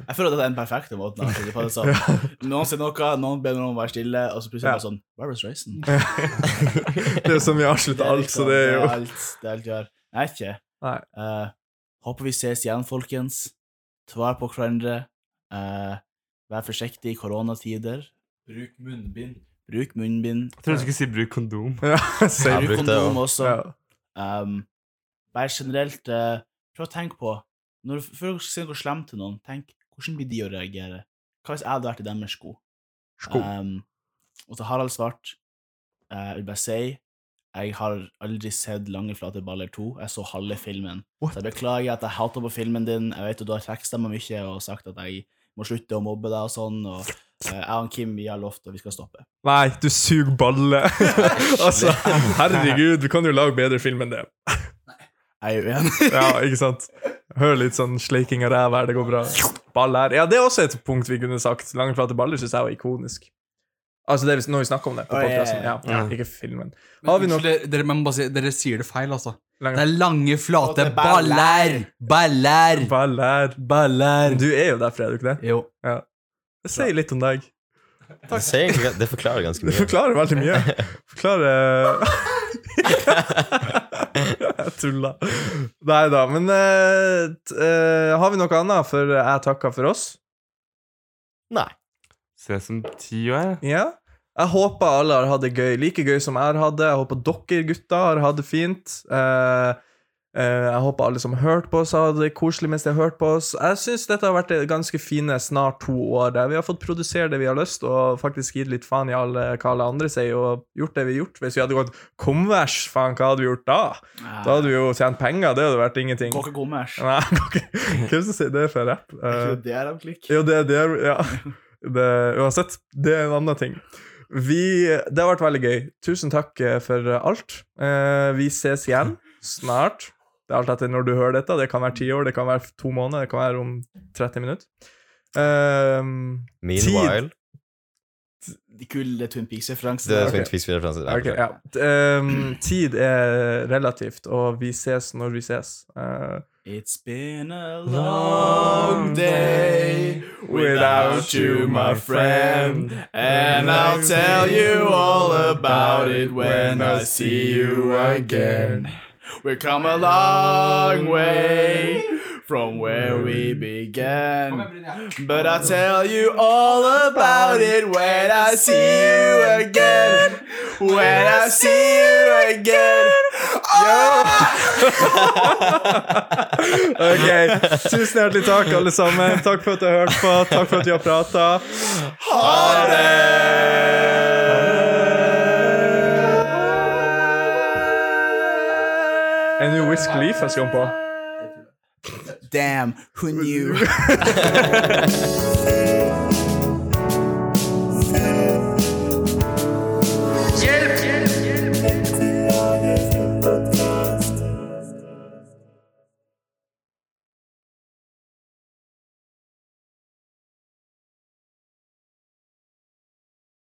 S2: jeg føler at det er den perfekte måten. Altså. Det er bare sånn, noen sier noe, noen ber noen være stille, og så plutselig
S1: Ja.
S2: bare sånn Barbra Streisand.
S1: Det er jo som vi avslutter alt, så
S2: liksom-
S1: det er jo
S2: alt, det er alt vi har. Jeg vet ikke.
S1: Nei.
S2: Eh, håper vi ses igjen, folkens. Ta vare på hverandre. Eh, vær forsiktig i koronatider. Bruk munnbind. Bruk munnbind. Eh,
S3: Jeg trodde du skulle si 'bruk kondom'.
S1: ja,
S4: Ja,
S1: safe.
S2: Bruk
S4: bruk det,
S2: kondom
S4: ja.
S2: også.
S1: Ja.
S2: Um, bare generelt, eh, prøv å tenke på når, du- Før du sier noe slemt til noen, tenk hvordan blir de å reagere? Hva hvis jeg hadde vært i deres sko?
S1: Sko.
S2: Um, og til Harald Svart eh, jeg vil bare si jeg har aldri sett Lange flate baller 2. Jeg så halve filmen.
S1: What?
S2: Så jeg beklager at jeg hater på filmen din. Jeg vet at du har teksta meg mye og sagt at jeg må slutte å mobbe deg og sånn. Og eh, jeg og Kim vi har lovt at vi skal stoppe.
S1: Nei, du suger balle. altså, herregud, du kan jo lage bedre film enn det.
S2: Jeg er uenig.
S1: Ja, ikke sant? Hør litt sånn sleiking av ræv her, det går bra. Ball her. Ja, det er også et punkt vi kunne sagt. Langflate baller syns jeg var ikonisk. Altså, det er hvis- når vi snakker om det på
S2: Å, ja, ja,
S1: podcasten. Ja,
S3: ja.
S1: Ikke filmen.
S5: Men
S1: Har vi noe-
S5: unnskyld, Dere, dere- men jeg må bare si, dere sier det feil, altså.
S1: Lang-
S5: Det er lange, flate
S2: Flate
S5: baller! Baller!
S1: Baller.
S5: Baller!
S1: Du er jo derfra, er du ikke det?
S5: Jo.
S1: Si litt om deg.
S4: Det, sier egentlig- det forklarer ganske
S1: Du
S4: mye.
S1: forklarer veldig mye. Forklarer Jeg tulla. Nei da, men eh, t- eh, Har vi noe annet før jeg takker for oss?
S4: Nei.
S3: Ses om ti år.
S1: Ja. Jeg håper alle har hatt det gøy, like gøy som jeg har hatt det. Jeg håper dere gutter har hatt det fint. Eh, eh, jeg håper alle som har hørt på oss, har hatt det koselig mens de har hørt på oss. Jeg syns dette har vært det ganske fine snart to år der vi har fått produsere det vi har lyst, og faktisk gitt litt faen i alle, hva alle andre sier, og gjort det vi har gjort. Hvis vi hadde gått konvers, faen, hva hadde vi gjort da? Da hadde vi jo tjent penger, det hadde vært ingenting.
S2: Eh, Kåke gommers.
S1: Nei, ok. Hvem som sier det for rapp?
S2: Er
S1: Eh,
S2: ikke det der de klikker?
S1: jo, det er det, ja. Det, uansett, det er en annen ting. Vi, det har vært veldig gøy. Tusen takk eh, for alt. Eh, vi ses igjen snart. Det er alt etter når du hører dette. Det kan være ti år, det kan være to måneder, det kan være om 30 minutter. Eh,
S4: Meanwhile
S2: De kule Twin
S4: Det er
S2: Peaks-referansene.
S1: Ok.
S4: Twin Peaks referanse.
S1: Ok, ja. Ehm, tid er relativt, og vi ses når vi ses. Eh,
S2: It's been a long day without you, my friend. And I'll tell you all about it when I see you again. We've come a long way from where we began. But I'll tell you all about it when I see you again. When I see you again.
S1: ok, tusen hjertelig takk, alle sammen. Takk for at du hørte på. Takk for at du har prata.
S2: Ha
S1: Er det Whisk Leaf jeg skal på?
S2: Damn, who knew?